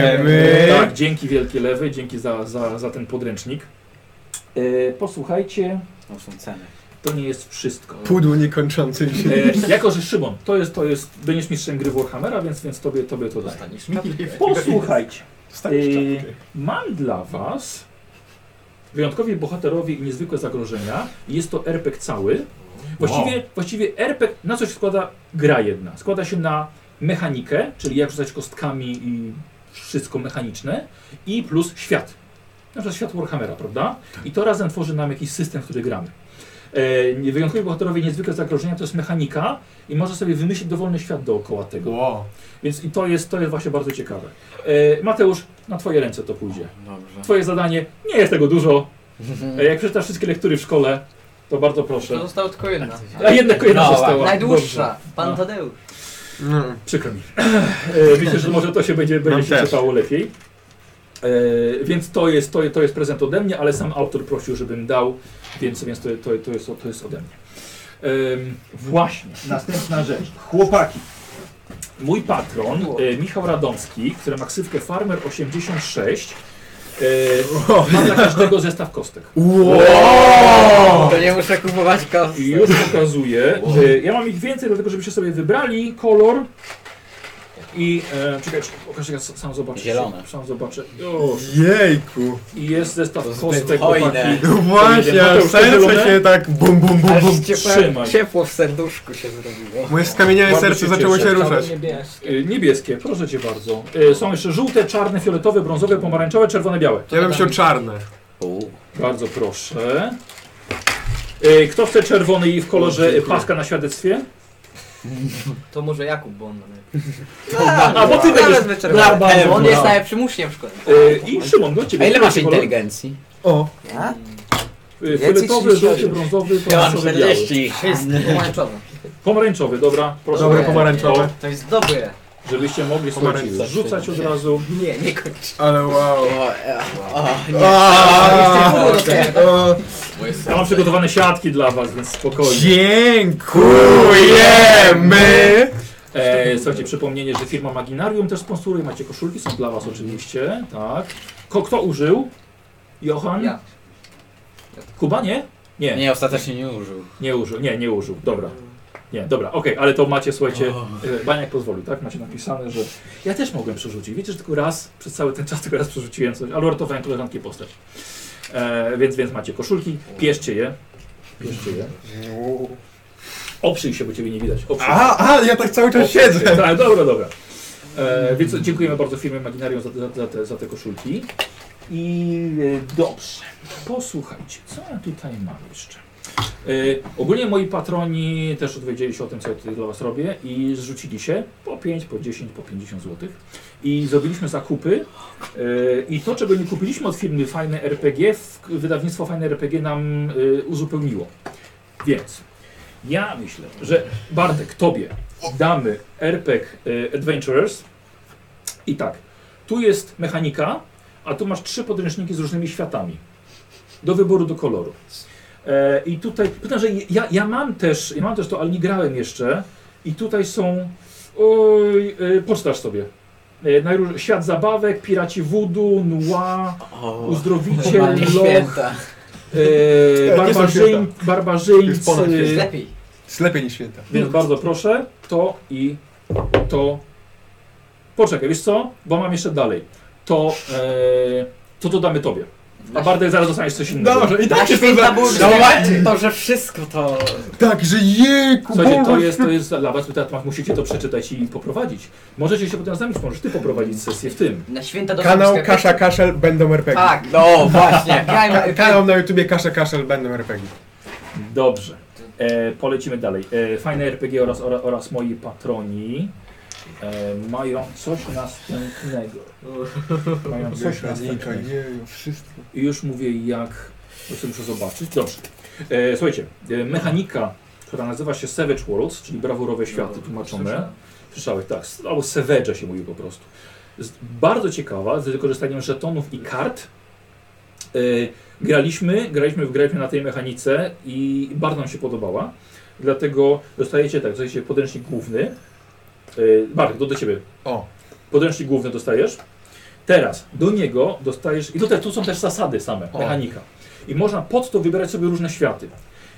Dziękujemy! Tak, dzięki wielkie lewy, dzięki za, za, za ten podręcznik. E, posłuchajcie, To są ceny. to nie jest wszystko. Pudło niekończące się. E, jako, że Szymon, to jest, to jest, będziesz mistrzem gry Warhammera, więc, więc tobie, tobie to daję. Dostaniesz. Posłuchajcie. Wstawisz Yy, czapkę. Mam dla Was wyjątkowi bohaterowie i niezwykłe zagrożenia. Jest to RPG cały. Właściwie, właściwie RPG na coś składa gra jedna. Składa się na mechanikę, czyli jak rzucać kostkami i wszystko mechaniczne, i plus świat. Na przykład świat Warhammera, prawda? I to razem tworzy nam jakiś system, w który gramy. E, wyjątkowi bohaterowie i niezwykłe zagrożenia to jest mechanika i można sobie wymyślić dowolny świat dookoła tego. Wow. Więc i to jest, to jest właśnie bardzo ciekawe. E, Mateusz, na twoje ręce to pójdzie. Dobrze. Twoje zadanie, nie jest tego dużo. E, Jak przeczytasz wszystkie lektury w szkole, to bardzo To proszę. została tylko jedna. A jedna jedna No, została. Najdłuższa. Pan No. Tadeusz. Mm. Dobrze, Przykro mi. E, Myślę, że może to się będzie, Nam będzie się też. czytało lepiej. E, więc to jest, to, to jest prezent ode mnie, ale sam autor prosił, żebym dał, więc, więc to, to, to, jest, to jest ode mnie. Em, właśnie, następna rzecz. Chłopaki. Mój patron, e, Michał Radomski, który ma ksywkę Farmer86, Yy, mam dla każdego zestaw kostek. O, to nie muszę kupować kostek. I już pokazuję. E, Ja mam ich więcej, dlatego żebyście sobie wybrali kolor. I e, czekajcie, pokażę, ja s- sam zobaczę. Zielone. Sam zobaczę. Już. Jejku! I jest zestaw To zbyt kostek, hojne. chłopaki. No właśnie, Mateusz, to zielone? serce się tak bum bum bum Aż bum. ciepło, trzymaj. ciepło w serduszku się zrobiło. Moje skamieniałe Bardzo serce się zaczęło cieszę. się ruszać. E, Niebieskie, proszę cię bardzo. E, Są jeszcze żółte, czarne, fioletowe, brązowe, pomarańczowe, czerwone, białe. Ja bym się o czarne. Bardzo proszę. E, Kto chce czerwony i w kolorze paska na świadectwie? To może Jakub, bo on ma najlepiej. Tak, A bo ty będziesz. Wezmę Bla, czerwony. bla, Bo on jest bla. najlepszym uczniem w szkole. E, I Szymon, do ciebie. A ile masz Kolor? inteligencji? O, Ja? E, Więcej Fioletowy, niż żółty, ja. brązowy, Ja mam pomarańczowy, biały. 40. Pomarańczowy. Pomarańczowy, dobra. Proszę. dobre Dobre. pomarańczowe. To jest dobre. Żebyście mogli słuchajcie, Pomarańczowy. rzucać od razu. Nie, nie kończ. Ale wow. O, e, o, nie. Aaaa! Kurde. O, Ja mam przygotowane siatki dla was, więc spokojnie. Dziękujemy! E, słuchajcie, przypomnienie, że firma Maginarium też sponsoruje. Macie koszulki, są dla was oczywiście. Tak. Ko, kto użył? Johan? Ja. Kuba, nie? Nie, nie, Nie, ostatecznie nie użył. użył. Nie, nie użył. Dobra. Nie, dobra, okej, ale to macie, słuchajcie, e, Baniak pozwolił, tak? Macie napisane, że ja też mogłem przerzucić. Wiecie, że tylko raz, przez cały ten czas tylko raz przerzuciłem coś, ale uratowałem koleżanki postać. E, więc, więc macie koszulki, pieszcie je. Pieszcie je. Oprzyj się, bo ciebie nie widać. Oprzyj się. Aha, aha, ja tak cały czas Oprócz tego. siedzę. Tak, dobra, dobra. E, więc dziękujemy bardzo firmie Maginarium za, za, za, te, za te koszulki. I e, dobrze, posłuchajcie, co ja tutaj mam jeszcze. E, ogólnie moi patroni też dowiedzieli się o tym, co ja tutaj dla Was robię i zrzucili się po 5, po 10, po 50 zł. I zrobiliśmy zakupy e, i to, czego nie kupiliśmy od firmy Fajne RPG, w, wydawnictwo Fajne RPG nam e, uzupełniło. Więc ja myślę, że Bartek, tobie damy RPG y, Adventurers. I tak, tu jest mechanika, a tu masz trzy podręczniki z różnymi światami. Do wyboru, do koloru. E, I tutaj, pytam, że ja, ja mam też, ja mam też to, ale nie grałem jeszcze. I tutaj są, oj, y, poczytasz sobie. E, najróż- Świat zabawek, piraci voodoo, noir, O, uzdrowiciel, normalnie loch, święta. e, Nie są barbarzyń, święta. Jest ponad barbarzyńcy, święta. Lepiej. Jest lepiej niż święta. więc bardzo proszę, to i to. Poczekaj, wiesz co? Bo mam jeszcze dalej. To, e, to dodamy tobie. A Bartek zaraz dostaniesz coś innego. Dobrze, i tak się to Święta były za... przyjemne. No To, że wszystko to... Tak, że jejku, Słuchajcie, to Boże. jest, to jest dla was, teraz ma- musicie to przeczytać i poprowadzić. Możecie się potem z nami, możesz ty poprowadzić sesję w tym. Na święta do Kanał Kasza Kaszel będą RPG. Tak. No, właśnie. tak. Grajmy. Kanał na YouTubie Kasza Kaszel będą RPG. Dobrze, e, polecimy dalej. E, fajne RPG oraz, oraz, oraz moi patroni e, mają coś następnego. Mają coś następnego. jeju, wszystko. I już mówię jak. To sobie muszę zobaczyć. Dobrze. E, słuchajcie, e, mechanika, która nazywa się Savage Worlds, czyli brawurowe światy tłumaczone. Słyszałeś, tak. s- Albo Savage się mówi po prostu. Jest bardzo ciekawa, z wykorzystaniem żetonów i kart. E, graliśmy, graliśmy, graliśmy na tej mechanice i bardzo nam się podobała. Dlatego dostajecie tak, dostajecie podręcznik główny. E, Bartek, to do ciebie. O. Podręcznik główny dostajesz. Teraz do niego dostajesz. I tutaj tu są też zasady same, O. mechanika. I można pod to wybierać sobie różne światy.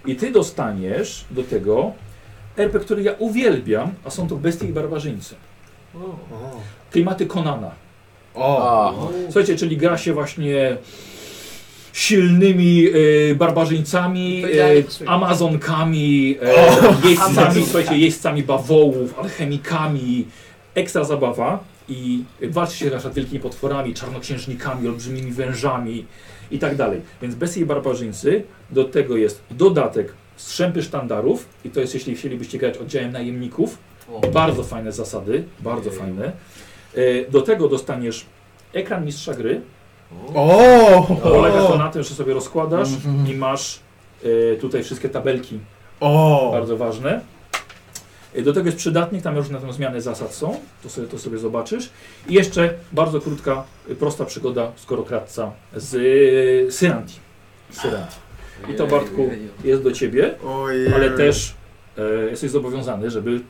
I ty dostaniesz do tego RP, który ja uwielbiam, a są to bestie i barbarzyńcy. Klimaty Konana. O. O, Słuchajcie, czyli gra się właśnie silnymi e, barbarzyńcami, Powiedziałem, e, słuchaj. amazonkami, e, jeźdźcami, słuchajcie, jeźdźcami bawołów, alchemikami. Ekstra zabawa i walczy się na przykład wielkimi potworami, czarnoksiężnikami, olbrzymimi wężami i tak dalej. Więc bestie i barbarzyńcy, do tego jest dodatek strzępy sztandarów i to jest jeśli chcielibyście grać oddziałem najemników. Bardzo fajne zasady, bardzo fajne. E, Do tego dostaniesz ekran mistrza gry. Polega to O. Mhm, na tym, że sobie rozkładasz i masz e, tutaj wszystkie tabelki, O. bardzo ważne. E, Do tego jest przydatnik, tam różne tam zmiany zasad są, to sobie, to sobie zobaczysz. I jeszcze bardzo krótka, e, prosta przygoda skorokradca z e, Syranti. Syranti. I to Bartku jest do Ciebie, Ojej. ale też e, jesteś zobowiązany, żeby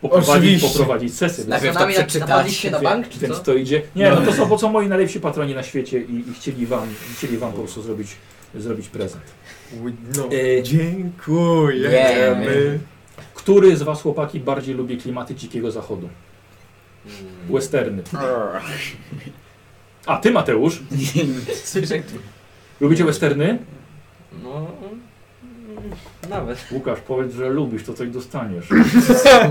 poprowadzić, Oczywiście. Tak, poprowadzić sesję. Więc, Najpierw to Zastanawiam się, przeczytać. napadliście na bank, czy więc co? to idzie. Nie, no to są, bo są moi najlepsi patroni na świecie i, i chcieli wam, chcieli wam po prostu zrobić, zrobić prezent. No. E, Dziękujemy. Który z was chłopaki bardziej lubi klimaty dzikiego zachodu? Hmm. Westerny. A ty Mateusz, lubicie westerny? No... mm, Nawet. Łukasz, powiedz, że lubisz, to coś dostaniesz.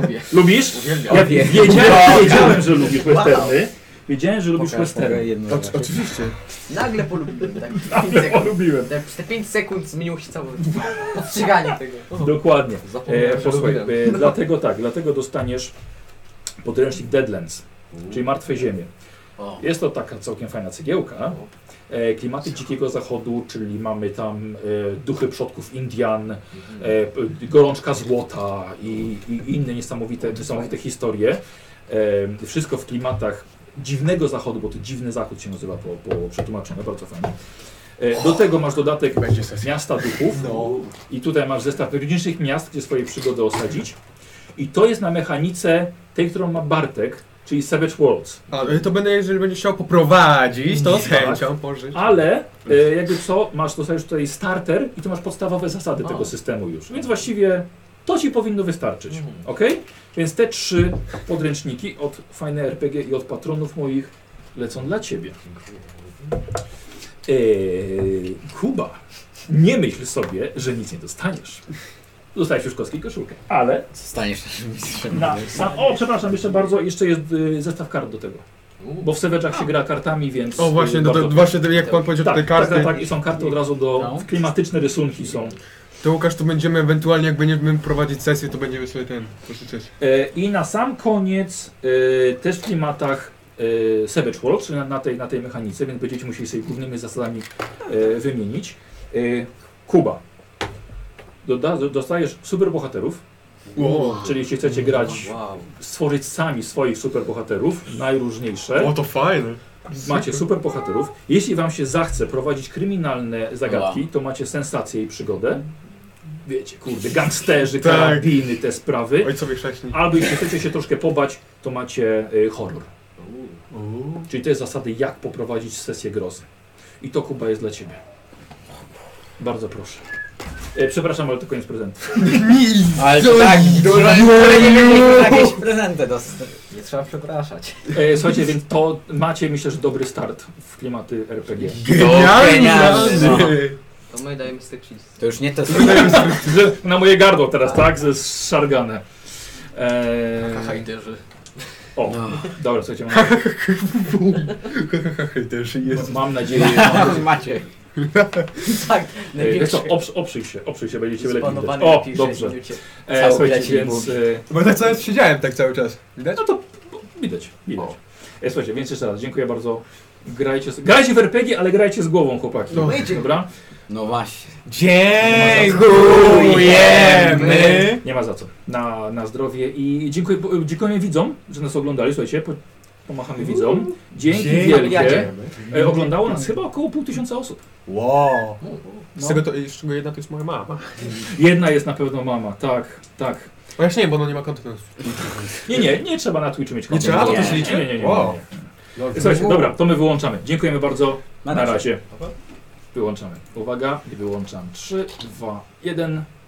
Lubię. Lubisz? Uwielbiam. Ja wiedziałem, wiedziałem, że lubisz westerny. Wiedziałem, że lubisz westerny. Oczy- Oczywiście. Nagle polubiłem, tak? Ale polubiłem. Tak, przez te 5 sekund zmieniło się całe postrzeganie tego. Dokładnie. E, Zapomniałem, że posłuchaj, lubiłem. e, dlatego tak, dlatego dostaniesz podręcznik Deadlands, czyli Martwe Ziemie. O. Jest to taka całkiem fajna cegiełka. E, klimaty Dzikiego Zachodu, czyli mamy tam e, duchy przodków Indian, e, Mhm. p- gorączka złota i, i inne niesamowite, niesamowite historie. E, wszystko w klimatach dziwnego zachodu, bo to dziwny zachód się nazywa po, po przetłumaczeniu, bardzo fajnie. E, do tego masz dodatek Będzie sesja. miasta duchów i tutaj masz zestaw różniejszych miast, gdzie swoje przygody osadzić. I to jest na mechanice tej, którą ma Bartek, czyli Savage Worlds. A, y, to będę, jeżeli będziesz chciał poprowadzić, to z Tak. chęcią pożyć. Ale e, jakby co, masz dostajesz tutaj starter i tu masz podstawowe zasady tego systemu już. Więc właściwie to ci powinno wystarczyć. Ok? Więc te trzy podręczniki od Fajne RPG i od patronów moich lecą dla ciebie. Eee, Kuba, nie myśl sobie, że nic nie dostaniesz. Dostajesz już kostki i koszulkę, ale Staniesz naszym mistrzem. na, na, o, przepraszam, jeszcze bardzo, jeszcze jest y, zestaw kart do tego. Bo w Seweczach się gra kartami, więc. O właśnie, no y, do, bardzo- do, właśnie do, jak pan powiedział tak, tutaj tak, karty, tak, tak, i są karty od razu do. No. Klimatyczne rysunki są. to Łukasz, to będziemy ewentualnie, jak będziemy prowadzić sesję, to będziemy sobie ten pożyczać. E, I na sam koniec e, też w klimatach e, Savage World, czyli na, na, tej, na tej mechanice, więc będziecie musieli sobie głównymi zasadami e, wymienić. E, Kuba. Doda, dostajesz superbohaterów, Wow. czyli jeśli chcecie grać, Wow. stworzyć sami swoich superbohaterów, najróżniejsze. O, to fajne. Macie super bohaterów. Jeśli wam się zachce prowadzić kryminalne zagadki, to macie sensację i przygodę. Wiecie, kurde, gangsterzy, Tak. karabiny, te sprawy. Ojcowie chrześni. Albo jeśli chcecie się troszkę pobać, to macie y, horror. Czyli to jest zasady, jak poprowadzić sesję grozy. I to Kuba jest dla ciebie. Bardzo proszę. E, przepraszam, ale to koniec prezentu. Ale to tak, dużo, nie wiem, jakieś prezenty dostać. Nie trzeba przepraszać. E, słuchajcie, więc to macie, myślę, że dobry start w klimaty RPG. Genialny! To my dajemy styk cheese. To już nie to Że Na moje gardło teraz, tak? Ze szargane. Eee, Hajderzy. No. o, dobra, słuchajcie, mam, Też jest. mam nadzieję, mam nadzieję. Macie. tak. Eee, wiesz co, oprz, oprzyj się, oprzyj się, będziecie lepiej widać. Zbanowany O, lepiej dobrze. sześć minut. Eee, Cały słuchajcie, plecik więc... mówi. Eee, Bo tak cały siedziałem tak cały czas. Widać? no to widać, widać. Eee, słuchajcie, więc jeszcze raz, dziękuję bardzo. Grajcie, z- grajcie w RPG, ale grajcie z głową, chłopaki. No. Dobra? No właśnie. Dziękujemy! Nie ma za co. Na, na zdrowie i dziękuję, po- dziękuję widzom, że nas oglądali. Słuchajcie, po, pomachamy widzom. Dzięki wielkie. E, oglądało nas chyba około pół tysiąca osób. Wow. No. Z tego to jeszcze jedna to jest moja mama. Jedna jest na pewno mama, tak, tak. A ja się nie, bo ona nie ma konta. Nie, nie, nie trzeba na Twitchu mieć konta. trzeba? To nie, się liczy? Nie, nie, nie. Wow. nie, nie. Słuchajcie, dobra, to my wyłączamy. Dziękujemy bardzo. Na Na razie. razie. Wyłączamy. Uwaga, i wyłączam. 3, 2, 1.